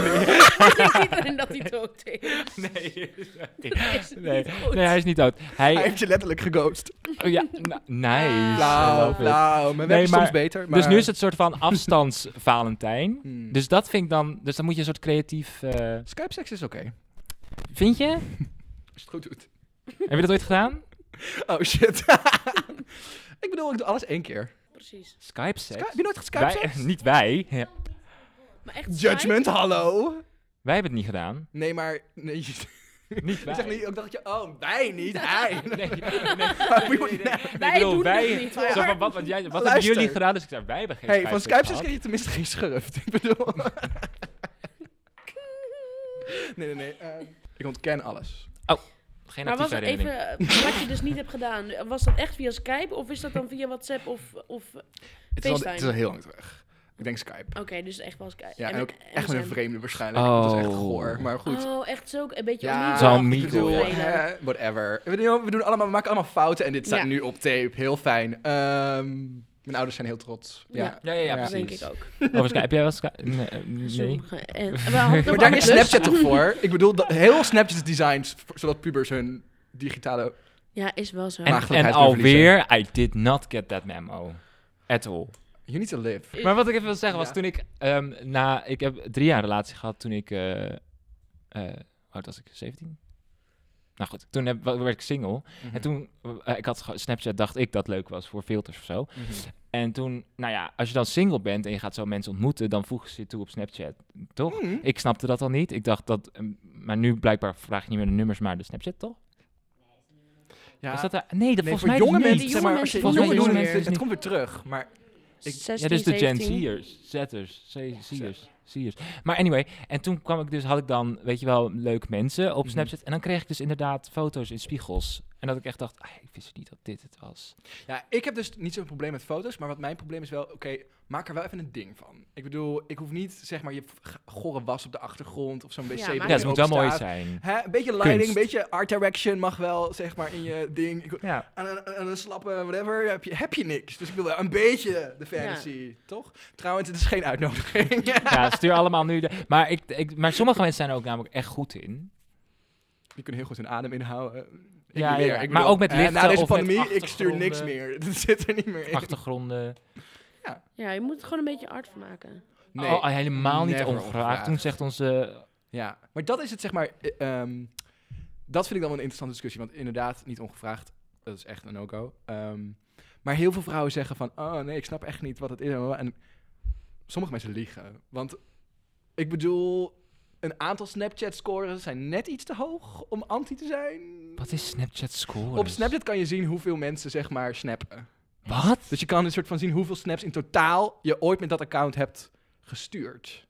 [SPEAKER 1] sorry.
[SPEAKER 2] doen. Ik denk iedereen dat hij dood is.
[SPEAKER 1] Nee,
[SPEAKER 2] Dat is niet
[SPEAKER 1] nee.
[SPEAKER 2] goed.
[SPEAKER 1] nee hij is niet dood.
[SPEAKER 3] Hij
[SPEAKER 1] Hij...
[SPEAKER 3] heeft je letterlijk geghost.
[SPEAKER 1] Oh, ja, na- nice. I
[SPEAKER 3] Blauw,
[SPEAKER 1] love it.
[SPEAKER 3] blauw. Mijn
[SPEAKER 1] Nee,
[SPEAKER 3] werk is soms
[SPEAKER 1] maar-
[SPEAKER 3] beter.
[SPEAKER 1] Dus
[SPEAKER 3] maar-
[SPEAKER 1] nu is het soort van afstands-Valentijn.
[SPEAKER 3] Hmm.
[SPEAKER 1] Dus dat vind ik dan... Dus dan moet je een soort creatief... eh,
[SPEAKER 3] Skype seks is oké.
[SPEAKER 1] vind je?
[SPEAKER 3] Als je het goed doet.
[SPEAKER 1] Heb je dat ooit gedaan?
[SPEAKER 3] Oh shit. ik bedoel, ik doe alles één keer.
[SPEAKER 2] Precies.
[SPEAKER 1] Skype-seks?
[SPEAKER 3] Sky- Heb je nooit geskype
[SPEAKER 1] Wij,
[SPEAKER 3] seks?
[SPEAKER 1] niet wij. Ja.
[SPEAKER 2] Maar echt
[SPEAKER 3] Judgment, hallo.
[SPEAKER 1] Wij hebben het niet gedaan.
[SPEAKER 3] Nee, maar... Nee, je
[SPEAKER 1] Niet wij.
[SPEAKER 3] zeg niet, ik dacht dat je... Oh, wij niet, hij.
[SPEAKER 1] Nee, nee, nee.
[SPEAKER 3] We would never-
[SPEAKER 1] Ik
[SPEAKER 2] Wij
[SPEAKER 1] bedoel,
[SPEAKER 2] doen
[SPEAKER 1] wij,
[SPEAKER 2] het niet,
[SPEAKER 1] zo
[SPEAKER 2] hoor.
[SPEAKER 1] van, wat, wat, jij, wat hebben
[SPEAKER 3] Luister.
[SPEAKER 1] jullie gedaan? Dus ik zei, wij hebben geen
[SPEAKER 3] Hey, van Skype
[SPEAKER 1] gehad.
[SPEAKER 3] kreeg je tenminste geen schurft. Ik bedoel. nee, nee, nee. eh, ik ontken alles.
[SPEAKER 1] Geen
[SPEAKER 2] Maar was
[SPEAKER 1] actieve
[SPEAKER 2] het
[SPEAKER 1] herinnering.
[SPEAKER 2] even eh, wat je dus niet hebt gedaan? Was dat echt via Skype of is dat dan via WhatsApp of... of Oké,
[SPEAKER 3] Het is, al,
[SPEAKER 2] FaceTime.
[SPEAKER 3] het is al heel lang terug. Ik denk Skype.
[SPEAKER 2] dus echt wel Skype.
[SPEAKER 3] Ja, en, ook echt met
[SPEAKER 2] MSN.
[SPEAKER 3] een vreemde waarschijnlijk. Oh. Dat is echt
[SPEAKER 1] Oh.
[SPEAKER 3] goor. Maar goed.
[SPEAKER 2] dus Oh, echt zo? Een beetje
[SPEAKER 3] Ja,
[SPEAKER 2] ja.
[SPEAKER 1] Zo'n
[SPEAKER 3] ik
[SPEAKER 1] Migo.
[SPEAKER 3] bedoel,
[SPEAKER 2] Vreemde.
[SPEAKER 3] hè, whatever. We doen, we, doen allemaal, we maken allemaal fouten en dit staat
[SPEAKER 2] Ja.
[SPEAKER 3] nu op tape. Heel fijn. Ehm, mijn ouders zijn heel trots. Ja.
[SPEAKER 2] Ja.
[SPEAKER 1] Ja, ja, ja,
[SPEAKER 2] Dat denk
[SPEAKER 1] precies.
[SPEAKER 2] ik ook.
[SPEAKER 1] Over Skype. Heb jij wel Skype? Nee. eh, nee.
[SPEAKER 2] Sommige- En, we hadden het
[SPEAKER 3] Maar
[SPEAKER 2] over
[SPEAKER 3] daar is
[SPEAKER 2] Anne Plus.
[SPEAKER 3] Snapchat toch voor? Ik bedoel, dat, heel Snapchat is designed v- zodat pubers hun digitale...
[SPEAKER 2] Ja, is wel zo.
[SPEAKER 1] En, en
[SPEAKER 3] Maagdelijkheid
[SPEAKER 1] alweer, I did not get that memo. At all.
[SPEAKER 3] You need to live.
[SPEAKER 1] Maar wat ik even wil zeggen was,
[SPEAKER 3] Ja.
[SPEAKER 1] toen ik ehm, na... Ik heb drie jaar een relatie gehad toen ik... eh eh hoe oud was ik? 17? Nou goed, toen heb, werd ik single. En toen, eh, ik had ge- Snapchat, dacht ik dat leuk was voor filters of zo. En toen, nou ja, als je dan single bent en je gaat zo mensen ontmoeten, dan voegen ze je toe op Snapchat, toch?
[SPEAKER 3] Mhm.
[SPEAKER 1] Ik snapte dat al niet. Ik dacht dat, ehm, maar nu blijkbaar vraag je niet meer de nummers, maar de Snapchat, toch?
[SPEAKER 3] Ja.
[SPEAKER 1] Is dat daar? Nee, dat
[SPEAKER 3] Nee,
[SPEAKER 1] volgens
[SPEAKER 3] voor
[SPEAKER 1] mij
[SPEAKER 3] jonge
[SPEAKER 1] niet.
[SPEAKER 3] mensen,
[SPEAKER 2] Die
[SPEAKER 3] zeg
[SPEAKER 2] jonge
[SPEAKER 3] maar, als je-
[SPEAKER 2] mensen
[SPEAKER 3] jonge,
[SPEAKER 1] doen het
[SPEAKER 3] jonge
[SPEAKER 1] niet.
[SPEAKER 3] mensen,
[SPEAKER 1] Jonge
[SPEAKER 3] het komt weer terug, maar ik-
[SPEAKER 2] 16,
[SPEAKER 1] Ja, dus de Gen
[SPEAKER 2] 17.
[SPEAKER 1] Z'ers, Z'ers, C- Z'ers, Z'ers. Maar anyway, en toen kwam ik dus, had ik dan, weet je wel, leuke mensen op
[SPEAKER 3] Mhm.
[SPEAKER 1] Snapchat. En dan kreeg ik dus inderdaad foto's in spiegels. En dat ik echt dacht, ah, ik wist niet dat dit het was.
[SPEAKER 3] ja, ik heb dus niet zo'n probleem met foto's, maar wat mijn probleem is wel, oké, maak er wel even een ding van. Ik bedoel, ik hoef niet, zeg maar, je g- gore was op de achtergrond of zo'n wc.
[SPEAKER 2] Ja,
[SPEAKER 3] waar
[SPEAKER 2] maar-
[SPEAKER 1] Ja,
[SPEAKER 3] je
[SPEAKER 1] het moet wel
[SPEAKER 3] ook
[SPEAKER 1] mooi
[SPEAKER 3] staat.
[SPEAKER 1] zijn.
[SPEAKER 3] Hè, een beetje lighting,
[SPEAKER 1] Kunst.
[SPEAKER 3] een beetje art direction mag wel, zeg maar, in je ding. Ik,
[SPEAKER 1] Ja.
[SPEAKER 3] aan, een, aan een slappe, whatever, heb je, heb je niks. Dus ik wil wel een beetje de fantasy, toch? Trouwens, het is geen uitnodiging.
[SPEAKER 1] Ja, stuur allemaal nu de... Maar, ik, ik, maar sommige mensen zijn er ook namelijk echt goed in.
[SPEAKER 3] Je kunt heel goed hun adem inhouden. Ik
[SPEAKER 1] Ja,
[SPEAKER 3] niet meer.
[SPEAKER 1] ja, ja.
[SPEAKER 3] Ik
[SPEAKER 1] Maar ook met
[SPEAKER 3] eh, Na
[SPEAKER 1] lichten
[SPEAKER 3] deze
[SPEAKER 1] of met
[SPEAKER 3] pandemie, ik stuur niks
[SPEAKER 1] achtergronden.
[SPEAKER 3] meer. Het zit er niet meer in.
[SPEAKER 1] Achtergronden.
[SPEAKER 2] Ja, je moet er gewoon een beetje art van maken.
[SPEAKER 3] Nee.
[SPEAKER 1] Oh, helemaal niet
[SPEAKER 3] never
[SPEAKER 1] ongevraagd.
[SPEAKER 3] ongevraagd.
[SPEAKER 1] Toen zegt onze...
[SPEAKER 3] Ja, maar dat is het, zeg maar. eh, ehm, dat vind ik dan wel een interessante discussie. Want inderdaad, niet ongevraagd. Dat is echt een no-go. Ehm, maar heel veel vrouwen zeggen van... Oh nee, ik snap echt niet wat het is. En sommige mensen liegen. Want ik bedoel... Een aantal Snapchat-scores zijn net iets te hoog om anti te zijn.
[SPEAKER 1] Wat is Snapchat score?
[SPEAKER 3] Op Snapchat kan je zien hoeveel mensen, zeg maar, snappen.
[SPEAKER 1] Wat?
[SPEAKER 3] Dus je kan een soort van zien hoeveel snaps in totaal je ooit met dat account hebt gestuurd.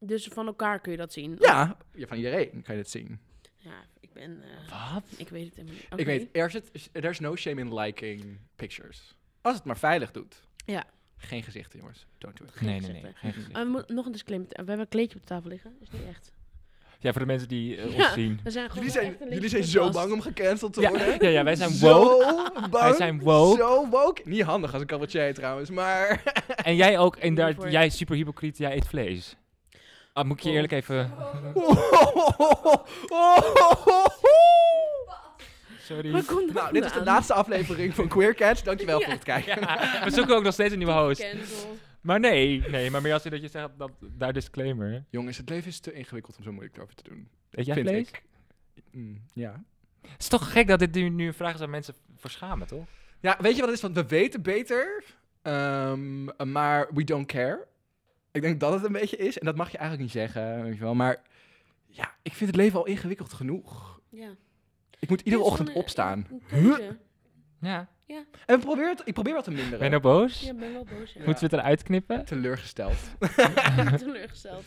[SPEAKER 2] Dus van elkaar kun je dat zien.
[SPEAKER 3] Ja, ja, van iedereen kan je dit zien.
[SPEAKER 2] Ja, ik ben... eh,
[SPEAKER 1] Wat?
[SPEAKER 2] ik weet het helemaal niet.
[SPEAKER 3] Ik
[SPEAKER 2] Oké.
[SPEAKER 3] weet, er is there's no shame in liking pictures. Als het maar veilig doet.
[SPEAKER 2] Ja.
[SPEAKER 3] Geen gezichten, jongens. Don't do it.
[SPEAKER 1] Nee, nee,
[SPEAKER 2] gezicht,
[SPEAKER 1] nee.
[SPEAKER 2] hè?
[SPEAKER 1] geen gezicht.
[SPEAKER 2] Oh, we moeten nog een disclaimer. We hebben een kleedje op de tafel liggen. Is niet echt.
[SPEAKER 1] Ja, voor de mensen die eh, ons
[SPEAKER 2] Ja.
[SPEAKER 1] zien.
[SPEAKER 2] We zijn gewoon
[SPEAKER 3] Jullie
[SPEAKER 2] wel
[SPEAKER 3] zijn,
[SPEAKER 2] echt een
[SPEAKER 3] jullie zijn
[SPEAKER 2] lelijke
[SPEAKER 3] zo
[SPEAKER 2] podcast.
[SPEAKER 3] bang om gecanceld te
[SPEAKER 1] Ja,
[SPEAKER 3] worden.
[SPEAKER 1] ja, ja, wij zijn woke.
[SPEAKER 3] Zo bang.
[SPEAKER 1] Wij zijn woke.
[SPEAKER 3] Zo woke. Niet handig als een cabaretier trouwens, maar...
[SPEAKER 1] En jij ook, en daar,
[SPEAKER 2] Hiervoor.
[SPEAKER 1] jij super hypocriet, jij eet vlees. Ah, moet ik je
[SPEAKER 2] Oh.
[SPEAKER 1] eerlijk even... Sorry.
[SPEAKER 2] Waar komt dat
[SPEAKER 3] Nou, dit was de
[SPEAKER 2] vandaan?
[SPEAKER 3] laatste aflevering van Queer Cats. Dankjewel voor het kijken.
[SPEAKER 1] Ja, we zoeken ook nog steeds een nieuwe host.
[SPEAKER 2] Cancel.
[SPEAKER 1] Maar nee, nee, maar meer als je dat je zegt, dat, daar disclaimer.
[SPEAKER 3] Jongens, het leven is te ingewikkeld om zo moeilijk over te doen.
[SPEAKER 1] Eet jij
[SPEAKER 3] Vind
[SPEAKER 1] vlees?
[SPEAKER 3] ik. Mm, ja.
[SPEAKER 1] Het is toch gek dat dit nu, nu een vraag is waar mensen voor schamen, toch?
[SPEAKER 3] Ja, weet je wat het is? Want we weten beter, ehm, maar we don't care. Ik denk dat het een beetje is. En dat mag je eigenlijk niet zeggen, weet je wel. Maar ja, ik vind het leven al ingewikkeld genoeg.
[SPEAKER 2] Ja.
[SPEAKER 3] Ik moet iedere
[SPEAKER 2] Dit is
[SPEAKER 3] ochtend
[SPEAKER 2] gewoon, eh,
[SPEAKER 3] opstaan.
[SPEAKER 2] een keuze.
[SPEAKER 1] Ja.
[SPEAKER 3] En probeer het, ik probeer wat te minderen.
[SPEAKER 1] Ben je nou boos?
[SPEAKER 2] Ja, ik ben wel boos. Ja.
[SPEAKER 1] Moeten we het eruit knippen?
[SPEAKER 3] teleurgesteld.
[SPEAKER 2] Ik ben teleurgesteld.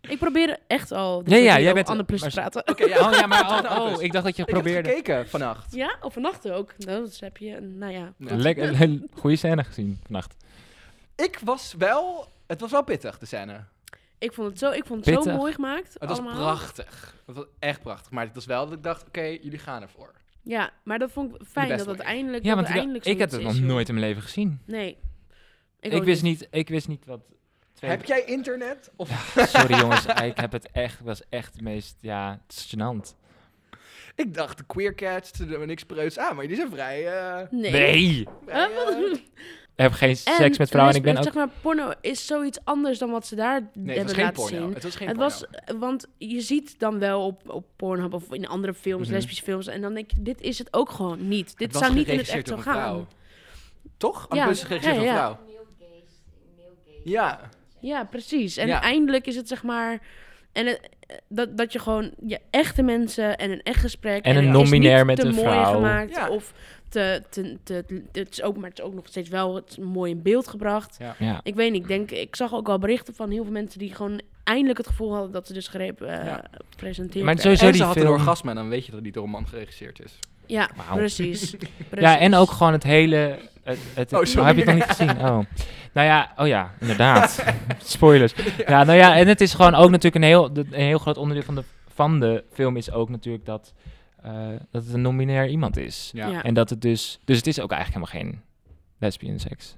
[SPEAKER 2] Ik probeer echt al. dus
[SPEAKER 1] Ja, ja, jij
[SPEAKER 2] jij
[SPEAKER 1] bent-
[SPEAKER 2] bent Anne Plus te
[SPEAKER 1] maar-
[SPEAKER 2] praten.
[SPEAKER 3] Oké, ja.
[SPEAKER 1] Oh ja, maar
[SPEAKER 3] Nou,
[SPEAKER 1] oh,
[SPEAKER 3] dus.
[SPEAKER 1] oh, ik dacht dat je
[SPEAKER 3] Ik heb
[SPEAKER 1] probeerde.
[SPEAKER 3] gekeken vannacht.
[SPEAKER 2] Ja, of vannacht ook. Nou, dat heb je. Nou ja.
[SPEAKER 3] Ja.
[SPEAKER 1] Lekker, le- goede scène gezien vannacht.
[SPEAKER 3] Ik was wel... Het was wel pittig, de scène.
[SPEAKER 2] Ik vond het zo, ik vond het
[SPEAKER 1] Pittig.
[SPEAKER 2] zo mooi gemaakt.
[SPEAKER 3] Het was
[SPEAKER 2] allemaal.
[SPEAKER 3] prachtig. Het was echt prachtig. Maar het was wel dat ik dacht, oké, jullie gaan ervoor.
[SPEAKER 2] Ja, maar dat vond ik
[SPEAKER 3] De
[SPEAKER 2] fijn
[SPEAKER 3] best
[SPEAKER 2] dat het
[SPEAKER 3] wel.
[SPEAKER 2] eindelijk.
[SPEAKER 1] Ja,
[SPEAKER 2] dat
[SPEAKER 1] want
[SPEAKER 2] het
[SPEAKER 1] ik,
[SPEAKER 2] eindelijk
[SPEAKER 1] ik had
[SPEAKER 2] zoiets
[SPEAKER 1] het nog
[SPEAKER 2] is, joh.
[SPEAKER 1] nooit in mijn leven gezien.
[SPEAKER 2] Nee.
[SPEAKER 1] Ik,
[SPEAKER 2] ook
[SPEAKER 1] wist niet, ik wist niet wat. twee-
[SPEAKER 3] Heb jij internet? Of...
[SPEAKER 1] Sorry jongens, ik heb het echt, was echt het meest, ja, het is gênant.
[SPEAKER 3] Ik dacht, de queer cats, ze doen niks preuts aan. Maar die zijn vrij... eh,
[SPEAKER 2] Nee.
[SPEAKER 1] Nee!
[SPEAKER 3] vrij,
[SPEAKER 2] Huh, wat?
[SPEAKER 3] eh,
[SPEAKER 1] Ik heb geen seks met vrouwen en ik ben
[SPEAKER 2] lesb-
[SPEAKER 1] ook...
[SPEAKER 2] Zeg maar, porno is zoiets anders dan wat ze daar
[SPEAKER 3] Nee,
[SPEAKER 2] hebben
[SPEAKER 3] het was geen
[SPEAKER 2] laten
[SPEAKER 3] porno.
[SPEAKER 2] zien.
[SPEAKER 3] Het was geen
[SPEAKER 2] Het
[SPEAKER 3] porno.
[SPEAKER 2] was, want je ziet dan wel op, op Pornhub of in andere films,
[SPEAKER 1] Mhm.
[SPEAKER 2] lesbische films. En dan denk ik, dit is het ook gewoon niet. Dit
[SPEAKER 3] Het was
[SPEAKER 2] zou niet in het
[SPEAKER 3] geregisseerd
[SPEAKER 2] echt zo
[SPEAKER 3] door een
[SPEAKER 2] gaan.
[SPEAKER 3] vrouw. Toch? Oh,
[SPEAKER 2] Ja.
[SPEAKER 3] Ja. Anders geregisseerd
[SPEAKER 2] Ja,
[SPEAKER 3] door een
[SPEAKER 2] ja.
[SPEAKER 3] vrouw. Ja.
[SPEAKER 2] Ja, precies. En
[SPEAKER 3] Ja.
[SPEAKER 2] eindelijk is het zeg maar... En het- eh, dat, dat je gewoon je echte mensen en een echt gesprek...
[SPEAKER 1] En een
[SPEAKER 2] het is
[SPEAKER 1] non-binair
[SPEAKER 2] niet
[SPEAKER 1] met
[SPEAKER 2] te
[SPEAKER 1] een
[SPEAKER 2] mooi
[SPEAKER 1] vrouw.
[SPEAKER 2] gemaakt
[SPEAKER 3] Ja.
[SPEAKER 2] of te... te, te, te- het is ook, maar het is ook nog steeds wel het mooi in beeld gebracht.
[SPEAKER 1] Ja.
[SPEAKER 2] Ik weet niet, ik denk... Ik zag ook al berichten van heel veel mensen die gewoon eindelijk het gevoel hadden dat ze dus greep eh
[SPEAKER 3] Ja.
[SPEAKER 2] presenteerd
[SPEAKER 1] Maar
[SPEAKER 2] werden.
[SPEAKER 1] Sowieso
[SPEAKER 3] En ze
[SPEAKER 1] die
[SPEAKER 3] had een
[SPEAKER 1] film.
[SPEAKER 3] orgasme, dan weet je dat die door een man geregisseerd is.
[SPEAKER 2] Ja,
[SPEAKER 1] Wauw.
[SPEAKER 2] precies.
[SPEAKER 1] ja, en ook gewoon het hele... Het, het,
[SPEAKER 3] Oh,
[SPEAKER 1] oh,
[SPEAKER 3] sorry.
[SPEAKER 1] heb je het nog niet gezien? Oh. Nou ja, oh ja, inderdaad. Spoilers. Ja, nou ja, en het is gewoon ook natuurlijk een heel, de- een heel groot onderdeel van de, van de film is ook natuurlijk dat, eh, dat het een non-binair iemand is.
[SPEAKER 2] Ja. Ja.
[SPEAKER 1] En dat het dus... Dus het is ook eigenlijk helemaal geen lesbian seks.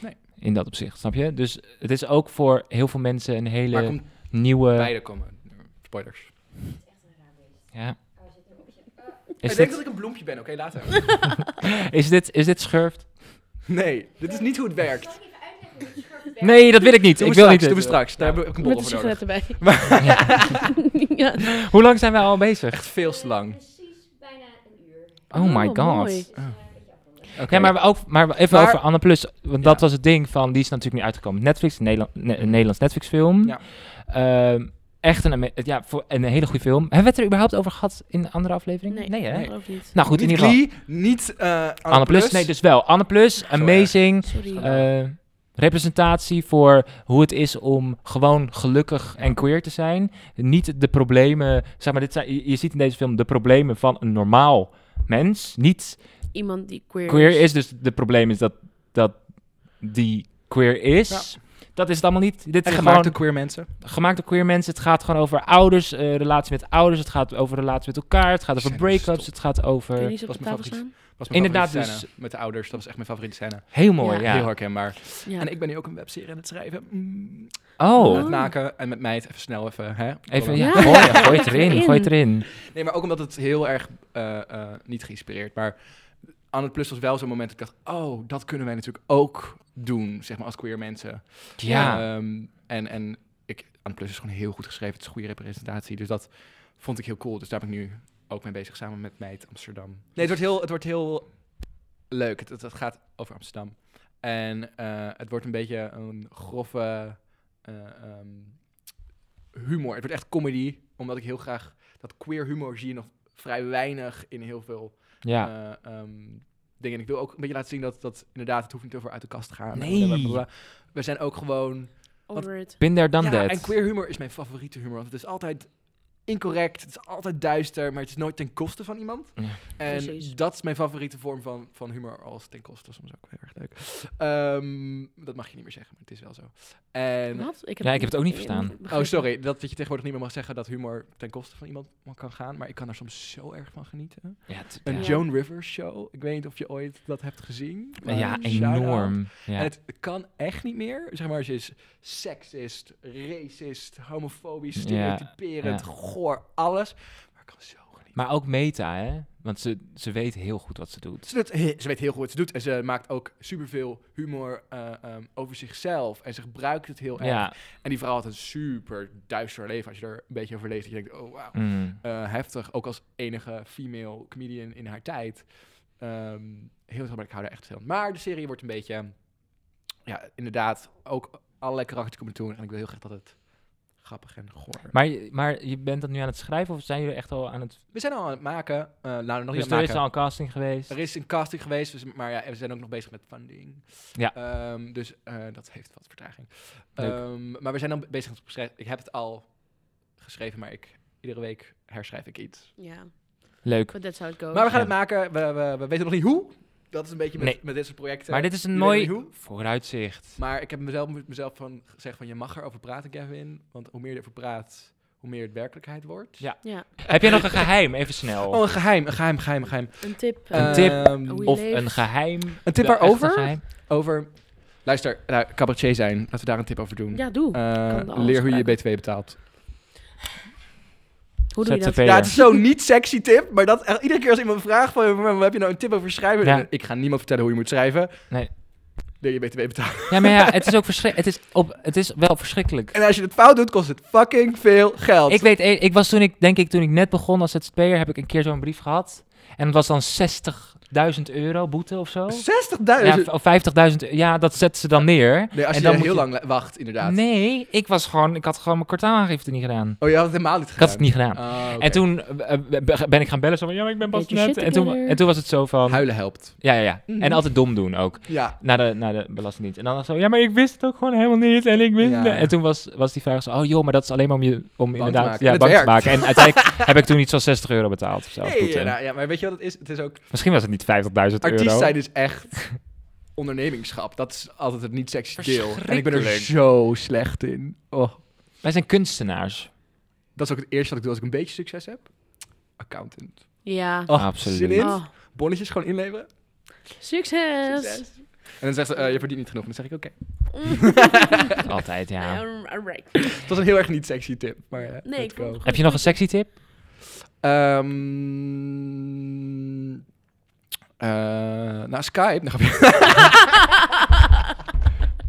[SPEAKER 3] Nee.
[SPEAKER 1] In dat opzicht, snap je? Dus het is ook voor heel veel mensen een hele eh,
[SPEAKER 3] Maar komt
[SPEAKER 1] nieuwe...
[SPEAKER 3] beide komen. Spoilers.
[SPEAKER 1] Ja.
[SPEAKER 3] ik
[SPEAKER 1] Is
[SPEAKER 3] Oh, denk
[SPEAKER 1] dit,
[SPEAKER 3] dat ik een bloempje ben, oké, later.
[SPEAKER 1] is dit, is dit schurft?
[SPEAKER 3] nee, dit is niet hoe het werkt.
[SPEAKER 1] Nee, dat wil ik niet.
[SPEAKER 3] Doe
[SPEAKER 1] Ik
[SPEAKER 3] we
[SPEAKER 1] wil
[SPEAKER 3] straks,
[SPEAKER 1] niet.
[SPEAKER 3] doe we
[SPEAKER 1] weten.
[SPEAKER 3] straks. Daar
[SPEAKER 1] Ja.
[SPEAKER 3] heb ik een bol
[SPEAKER 2] Met een
[SPEAKER 3] over nodig.
[SPEAKER 2] sigaret erbij. ja.
[SPEAKER 1] Hoe lang zijn wij al bezig?
[SPEAKER 3] Echt veel te lang.
[SPEAKER 6] Precies bijna een uur. Dus, eh,
[SPEAKER 1] Oh, my god.
[SPEAKER 2] mooi.
[SPEAKER 3] Oké.
[SPEAKER 1] Ja, maar, ook, maar even
[SPEAKER 3] Maar-
[SPEAKER 1] over Anne Plus. Want
[SPEAKER 3] Ja.
[SPEAKER 1] dat was het ding van, die is natuurlijk niet uitgekomen. Netflix, een Nederland, ne- een Nederlands Netflix film.
[SPEAKER 3] Ja.
[SPEAKER 1] Ehm, echt een, ame- ja, voor een hele goede film. Hebben we het er überhaupt over gehad in een andere aflevering?
[SPEAKER 2] Nee,
[SPEAKER 1] hè?
[SPEAKER 2] dat geloof ik niet.
[SPEAKER 1] Nou goed,
[SPEAKER 3] niet
[SPEAKER 1] in ieder geval.
[SPEAKER 3] Glee, niet eh Anne,
[SPEAKER 1] Anne Plus, nee, dus wel. Anne Plus, amazing.
[SPEAKER 2] Sorry.
[SPEAKER 1] eh, representatie voor hoe het is om gewoon gelukkig en queer te zijn. Niet de problemen, zeg maar, dit zijn, je, je ziet in deze film de problemen van een normaal mens. Niet
[SPEAKER 2] Iemand die queer,
[SPEAKER 1] queer is, dus de probleem is dat, dat die queer is. Dat is het allemaal niet. Dit
[SPEAKER 3] En
[SPEAKER 1] is
[SPEAKER 3] gemaakt
[SPEAKER 1] gewoon
[SPEAKER 3] door queer mensen.
[SPEAKER 1] gemaakt door queer mensen. Het gaat gewoon over ouders, eh, relatie met ouders. Het gaat over relatie met elkaar. Het gaat over
[SPEAKER 3] Zijn
[SPEAKER 1] break-ups.
[SPEAKER 3] gestopt.
[SPEAKER 1] Het gaat over...
[SPEAKER 2] Kun je niet op
[SPEAKER 3] was
[SPEAKER 2] de
[SPEAKER 3] mijn
[SPEAKER 2] tafel
[SPEAKER 3] favoriet.
[SPEAKER 2] staan?
[SPEAKER 3] Was mijn
[SPEAKER 1] Inderdaad,
[SPEAKER 3] favoriete
[SPEAKER 1] dus-
[SPEAKER 3] scène Met de ouders, dat was echt mijn favoriete scène.
[SPEAKER 1] Heel mooi,
[SPEAKER 2] Ja.
[SPEAKER 1] ja.
[SPEAKER 3] Heel herkenbaar.
[SPEAKER 2] Ja.
[SPEAKER 3] En ik ben nu ook een webserie aan het schrijven. Mm.
[SPEAKER 1] Oh,
[SPEAKER 3] Met naken en met meid. Even snel even, hè?
[SPEAKER 1] even...
[SPEAKER 2] Ja.
[SPEAKER 1] Ja. Gooi, gooi het erin,
[SPEAKER 2] Erin.
[SPEAKER 1] gooi het erin.
[SPEAKER 3] Nee, maar ook omdat het heel erg, eh, eh, niet geïnspireerd, maar aan het plus was wel zo'n moment dat ik dacht, oh, dat kunnen wij natuurlijk ook doen, zeg maar, als queer mensen.
[SPEAKER 1] Ja.
[SPEAKER 3] Ehm, en, en ik, aan het plus is gewoon heel goed geschreven, het is een goede representatie, dus dat vond ik heel cool. Dus daar ben ik nu ook mee bezig, samen met Meid Amsterdam. Nee, het wordt heel, het wordt heel leuk. Het, het, het gaat over Amsterdam. En eh, het wordt een beetje een grove eh, ehm, humor. Het wordt echt comedy, omdat ik heel graag dat queer humor zie je nog vrij weinig in heel veel
[SPEAKER 1] Ja.
[SPEAKER 3] eh, ehm, dingen. En ik wil ook een beetje laten zien dat, dat inderdaad, het hoeft niet over uit de kast te gaan. en
[SPEAKER 1] Nee.
[SPEAKER 3] blablabla. We zijn ook gewoon...
[SPEAKER 2] Over it.
[SPEAKER 1] Been there, done
[SPEAKER 3] ja,
[SPEAKER 1] that.
[SPEAKER 3] en queer humor is mijn favoriete humor. Want het is altijd incorrect, het is altijd duister, maar het is nooit ten koste van iemand.
[SPEAKER 1] Ja.
[SPEAKER 3] En
[SPEAKER 2] Precies.
[SPEAKER 3] dat is mijn favoriete vorm van, van humor, als ten koste soms ook heel erg leuk. Ehm, dat mag je niet meer zeggen, maar het is wel zo. En,
[SPEAKER 2] Wat? Ik eh,
[SPEAKER 1] Ja, ik heb het ook niet verstaan.
[SPEAKER 3] oh,
[SPEAKER 2] begrepen.
[SPEAKER 3] sorry, dat, dat je tegenwoordig niet meer mag zeggen dat humor ten koste van iemand kan gaan. Maar ik kan daar soms zo erg van genieten.
[SPEAKER 1] Ja, het-
[SPEAKER 3] Een
[SPEAKER 1] ja.
[SPEAKER 3] Joan Rivers show, ik weet niet of je ooit dat hebt gezien. maar
[SPEAKER 1] Ja,
[SPEAKER 3] shout-out.
[SPEAKER 1] enorm. Ja.
[SPEAKER 3] En het kan echt niet meer. Zeg maar, ze is seksist, racist, homofobisch,
[SPEAKER 1] Ja,
[SPEAKER 3] stereotyperend, goor, alles. Maar ik kan zo genieten.
[SPEAKER 1] Maar ook meta, hè? Want ze, ze weet heel goed wat ze doet.
[SPEAKER 3] Ze, doet, he- ze weet heel goed wat ze doet en ze maakt ook superveel humor eh, ehm, over zichzelf. En ze gebruikt het heel erg.
[SPEAKER 1] Ja.
[SPEAKER 3] En die vrouw had een super duister leven. Als je er een beetje over leest, dat je denkt, oh wauw.
[SPEAKER 1] Mm.
[SPEAKER 3] Eh, heftig, ook als enige female comedian in haar tijd. Ehm, heel erg, maar ik hou daar echt veel van. Maar de serie wordt een beetje, ja, inderdaad, ook allerlei karakters komen toe. En ik wil heel graag dat het grappig en goor.
[SPEAKER 1] Maar, je- maar je bent dat nu aan het schrijven of zijn jullie echt al aan het...
[SPEAKER 3] we zijn al aan het maken. eh nou, nog
[SPEAKER 1] dus
[SPEAKER 3] niet
[SPEAKER 1] er
[SPEAKER 3] aan het
[SPEAKER 1] is
[SPEAKER 3] maken.
[SPEAKER 1] al een casting geweest.
[SPEAKER 3] Er is een casting geweest, dus- maar ja, we zijn ook nog bezig met funding.
[SPEAKER 1] Ja.
[SPEAKER 3] Ehm, dus eh, dat heeft wat vertraging.
[SPEAKER 1] Leuk.
[SPEAKER 3] Ehm, maar we zijn dan bezig met het beschrijven. Ik heb het al geschreven, maar ik, iedere week herschrijf ik iets.
[SPEAKER 2] Ja,
[SPEAKER 1] Leuk.
[SPEAKER 2] but that's how it goes.
[SPEAKER 3] Maar we gaan
[SPEAKER 1] Oh, Ja.
[SPEAKER 3] het maken. We, we, we weten nog niet hoe. Dat is een beetje met,
[SPEAKER 1] Nee.
[SPEAKER 3] met dit soort projecten.
[SPEAKER 1] Maar dit is een
[SPEAKER 3] jullie
[SPEAKER 1] mooi
[SPEAKER 3] weten niet
[SPEAKER 1] vooruitzicht.
[SPEAKER 3] Maar ik heb mezelf, mezelf van gezegd van je mag erover praten, Kevin. Want hoe meer je erover praat, hoe meer het werkelijkheid wordt.
[SPEAKER 1] Ja.
[SPEAKER 2] Ja,
[SPEAKER 1] Heb jij nog een geheim? Even snel.
[SPEAKER 3] Oh, een geheim, een geheim, geheim, geheim.
[SPEAKER 2] een tip.
[SPEAKER 1] Een
[SPEAKER 2] eh,
[SPEAKER 1] tip
[SPEAKER 3] Ehm,
[SPEAKER 2] hoe je
[SPEAKER 1] of
[SPEAKER 2] leeft.
[SPEAKER 1] een geheim.
[SPEAKER 3] Een
[SPEAKER 1] Wel echt een
[SPEAKER 3] tip waarover?
[SPEAKER 1] geheim.
[SPEAKER 3] Over, luister, nou, cabaretier zijn. Laten we daar een tip over doen.
[SPEAKER 2] Ja, doe.
[SPEAKER 3] Eh,
[SPEAKER 2] kan alles
[SPEAKER 3] leer hoe je je btw betaalt.
[SPEAKER 2] Hoe doe je dat?
[SPEAKER 1] ZZP'er.
[SPEAKER 3] Ja, het is zo'n niet sexy tip, maar dat echt iedere keer als iemand vraagt van, "Waar heb je nou een tip over schrijven?
[SPEAKER 1] Ja.
[SPEAKER 3] Ik ga niemand vertellen hoe je moet schrijven.
[SPEAKER 1] Nee.
[SPEAKER 3] Leer je btw betalen.
[SPEAKER 1] Ja, maar ja, het is ook verschrik- het is op, het is wel verschrikkelijk.
[SPEAKER 3] En als je het fout doet, kost het fucking veel geld.
[SPEAKER 1] Ik weet, e- ik was toen ik, denk ik, toen ik net begon als ZZP'er, heb ik een keer zo'n brief gehad. En het was dan 60.000 euro boete of zo.
[SPEAKER 3] 60.000?
[SPEAKER 1] Ja, v- of 50.000, e- ja, dat zetten ze dan neer.
[SPEAKER 3] Nee, als
[SPEAKER 1] En dan
[SPEAKER 3] je dan heel
[SPEAKER 1] moet je-
[SPEAKER 3] lang la- wacht, inderdaad.
[SPEAKER 1] Nee, ik was gewoon, ik had gewoon mijn kwartaalaangifte niet gedaan.
[SPEAKER 3] Oh, je had het helemaal niet
[SPEAKER 1] Ik
[SPEAKER 3] gedaan?
[SPEAKER 1] had het niet gedaan.
[SPEAKER 3] Ah, oké.
[SPEAKER 1] En toen eh, eh, be- ben ik gaan bellen, zo van, ja, maar ik ben pas
[SPEAKER 2] Beetje
[SPEAKER 1] net.
[SPEAKER 2] shit
[SPEAKER 1] En toen,
[SPEAKER 2] together.
[SPEAKER 1] en toen was het zo van,
[SPEAKER 3] Huilen helpt.
[SPEAKER 1] ja, ja, ja.
[SPEAKER 3] Mhm.
[SPEAKER 1] En altijd dom doen ook.
[SPEAKER 3] Ja.
[SPEAKER 1] Naar de, naar de Belastingdienst. En dan zo, ja, maar ik wist het ook gewoon helemaal niet. En ik wist
[SPEAKER 3] Ja.
[SPEAKER 1] het. En toen was, was die vraag zo, oh joh, maar dat is alleen maar om je om inderdaad
[SPEAKER 3] maken. En
[SPEAKER 1] Ja,
[SPEAKER 3] het
[SPEAKER 1] bank te
[SPEAKER 3] werkt.
[SPEAKER 1] maken. En uiteindelijk heb ik toen iets van 60 euro betaald of zo.
[SPEAKER 3] Nee,
[SPEAKER 1] boete.
[SPEAKER 3] ja, nou, ja, maar weet je wat het is? Het is ook...
[SPEAKER 1] Misschien was het niet 50.000
[SPEAKER 3] Artiest
[SPEAKER 1] euro.
[SPEAKER 3] zijn is echt ondernemingschap. Dat is altijd het niet sexy deel. En ik ben er
[SPEAKER 1] Verschrikkelijk.
[SPEAKER 3] zo slecht in. Oh.
[SPEAKER 1] Wij zijn kunstenaars.
[SPEAKER 3] Dat is ook het eerste wat ik doe als ik een beetje succes heb. Accountant.
[SPEAKER 2] Ja.
[SPEAKER 3] Oh,
[SPEAKER 1] Absoluut.
[SPEAKER 3] Zin in?
[SPEAKER 2] Oh,
[SPEAKER 3] Bonnetjes gewoon inleveren.
[SPEAKER 2] Succes!
[SPEAKER 3] Succes. En dan zegt ze, eh, je verdient niet genoeg. En dan zeg ik, oké.
[SPEAKER 2] Mm.
[SPEAKER 1] Altijd, ja.
[SPEAKER 2] Um, alright.
[SPEAKER 3] Het was een heel erg niet sexy tip. Maar eh,
[SPEAKER 2] Nee,
[SPEAKER 3] let's
[SPEAKER 2] ik vond
[SPEAKER 3] go.
[SPEAKER 2] het
[SPEAKER 1] Heb je nog een sexy tip?
[SPEAKER 3] Ehm, eh, nou, Skype. Nou,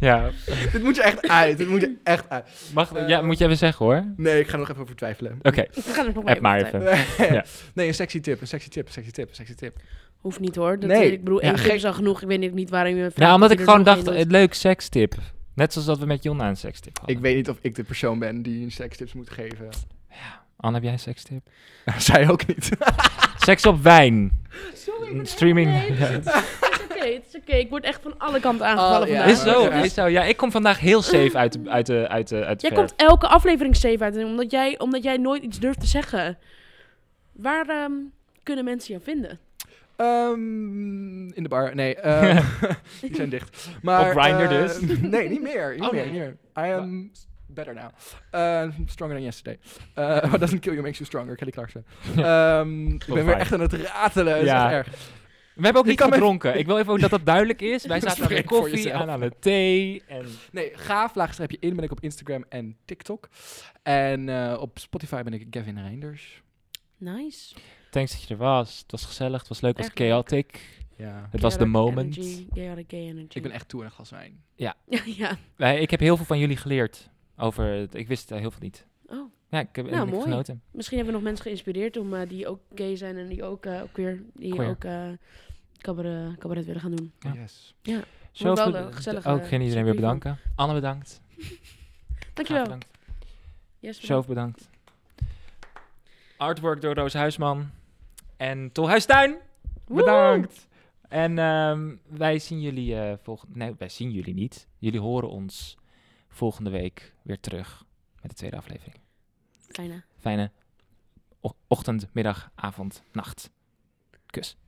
[SPEAKER 1] Ja.
[SPEAKER 3] dit moet je echt uit. Dit moet je echt uit.
[SPEAKER 1] Mag,
[SPEAKER 3] Eh,
[SPEAKER 1] ja, moet je even zeggen hoor.
[SPEAKER 3] Nee, ik ga er nog even over twijfelen.
[SPEAKER 1] Oké,
[SPEAKER 2] We gaan er nog
[SPEAKER 1] app maar
[SPEAKER 2] even op
[SPEAKER 1] even. Ja.
[SPEAKER 3] nee, een sexy tip, een sexy tip, een sexy tip, een sexy tip.
[SPEAKER 2] tijd. Hoeft niet hoor. Dat eh,
[SPEAKER 3] Nee.
[SPEAKER 2] Ik bedoel,
[SPEAKER 3] Ja,
[SPEAKER 2] één tip
[SPEAKER 3] gek.
[SPEAKER 2] is al genoeg. Ik weet ook niet waarom je...
[SPEAKER 1] Nou, omdat
[SPEAKER 2] dat
[SPEAKER 1] ik
[SPEAKER 2] je er
[SPEAKER 1] gewoon
[SPEAKER 2] nog één
[SPEAKER 1] dacht,
[SPEAKER 2] doet.
[SPEAKER 1] een leuk sekstip. Net zoals dat we met Jonna een sekstip hadden.
[SPEAKER 3] Ik weet niet of ik de persoon ben die een sekstips moet geven.
[SPEAKER 1] Anne, heb jij een sekstip?
[SPEAKER 3] Zij ook niet.
[SPEAKER 1] Seks op wijn. Een Streaming. Ja.
[SPEAKER 2] Het is oké, het is oké. Ik word echt van alle kanten aangevallen
[SPEAKER 3] Oh, ja.
[SPEAKER 2] vandaag.
[SPEAKER 1] Is zo,
[SPEAKER 3] Ja.
[SPEAKER 1] is zo. Ja, ik kom vandaag heel safe uit de, uit de, uit de, uit de
[SPEAKER 2] Jij
[SPEAKER 1] verf.
[SPEAKER 2] komt elke aflevering safe uit. Omdat jij, omdat jij nooit iets durft te zeggen. Waar ehm, kunnen mensen jou vinden?
[SPEAKER 3] Ehm, in de bar, nee. ehm, die zijn dicht. Maar,
[SPEAKER 1] Op Grindr
[SPEAKER 3] eh,
[SPEAKER 1] dus?
[SPEAKER 3] Nee, niet meer. Niet,
[SPEAKER 1] Oh,
[SPEAKER 3] meer,
[SPEAKER 1] nee.
[SPEAKER 3] niet meer. I am better now. Eh, stronger than yesterday. Eh, what doesn't kill you makes you stronger, Kelly Clarkson. Ehm, ik ben weer
[SPEAKER 1] fijn.
[SPEAKER 3] echt aan het ratelen. Dat
[SPEAKER 1] Ja.
[SPEAKER 3] is echt erg.
[SPEAKER 1] We hebben ook
[SPEAKER 3] Je
[SPEAKER 1] niet
[SPEAKER 3] kan me-
[SPEAKER 1] gedronken. Ik wil even ook dat dat duidelijk is. Wij zaten aan de
[SPEAKER 3] Spreek voor
[SPEAKER 1] koffie
[SPEAKER 3] jezelf.
[SPEAKER 1] en aan de thee. En...
[SPEAKER 3] Nee, ga je in ben ik op Instagram en TikTok. En eh, op Spotify ben ik Gavin Reinders.
[SPEAKER 2] Nice.
[SPEAKER 1] Thanks dat je er was. Het was gezellig, het was leuk, het was
[SPEAKER 2] Echt leuk.
[SPEAKER 1] chaotic.
[SPEAKER 3] Ja.
[SPEAKER 1] Het was de
[SPEAKER 2] Chaotic
[SPEAKER 1] moment.
[SPEAKER 2] Energy. Jij had een gay energy.
[SPEAKER 3] Ik ben e- echt toe aan een glas wijn.
[SPEAKER 2] ja.
[SPEAKER 1] Wij- ik heb heel veel van jullie geleerd. Over het- ik wist eh, heel veel niet.
[SPEAKER 2] Oh.
[SPEAKER 1] Ja, ik heb
[SPEAKER 2] Nou,
[SPEAKER 1] heb ik
[SPEAKER 2] mooi.
[SPEAKER 1] genoten.
[SPEAKER 2] Misschien hebben we nog mensen geïnspireerd om eh, die ook gay zijn en die ook eh, queer, die
[SPEAKER 1] Queer.
[SPEAKER 2] ook eh, cabaret, cabaret willen gaan doen.
[SPEAKER 1] Ja.
[SPEAKER 3] Yes.
[SPEAKER 1] Zo
[SPEAKER 2] wel
[SPEAKER 1] veel-
[SPEAKER 2] een gezellige
[SPEAKER 1] Ook geen iedereen weer
[SPEAKER 2] review.
[SPEAKER 1] bedanken. Anne bedankt. Graag
[SPEAKER 2] Dankjewel.
[SPEAKER 1] bedankt.
[SPEAKER 2] Yes,
[SPEAKER 1] Sjoof bedankt. Artwork door Roos Huisman. En Tol Huistuin,
[SPEAKER 2] Woe!
[SPEAKER 1] bedankt. En ehm, wij zien jullie eh volgende... Nee, wij zien jullie niet. Jullie horen ons volgende week weer terug met de tweede aflevering.
[SPEAKER 2] Kleine.
[SPEAKER 1] Fijne o- ochtend, middag, avond, nacht. Kus.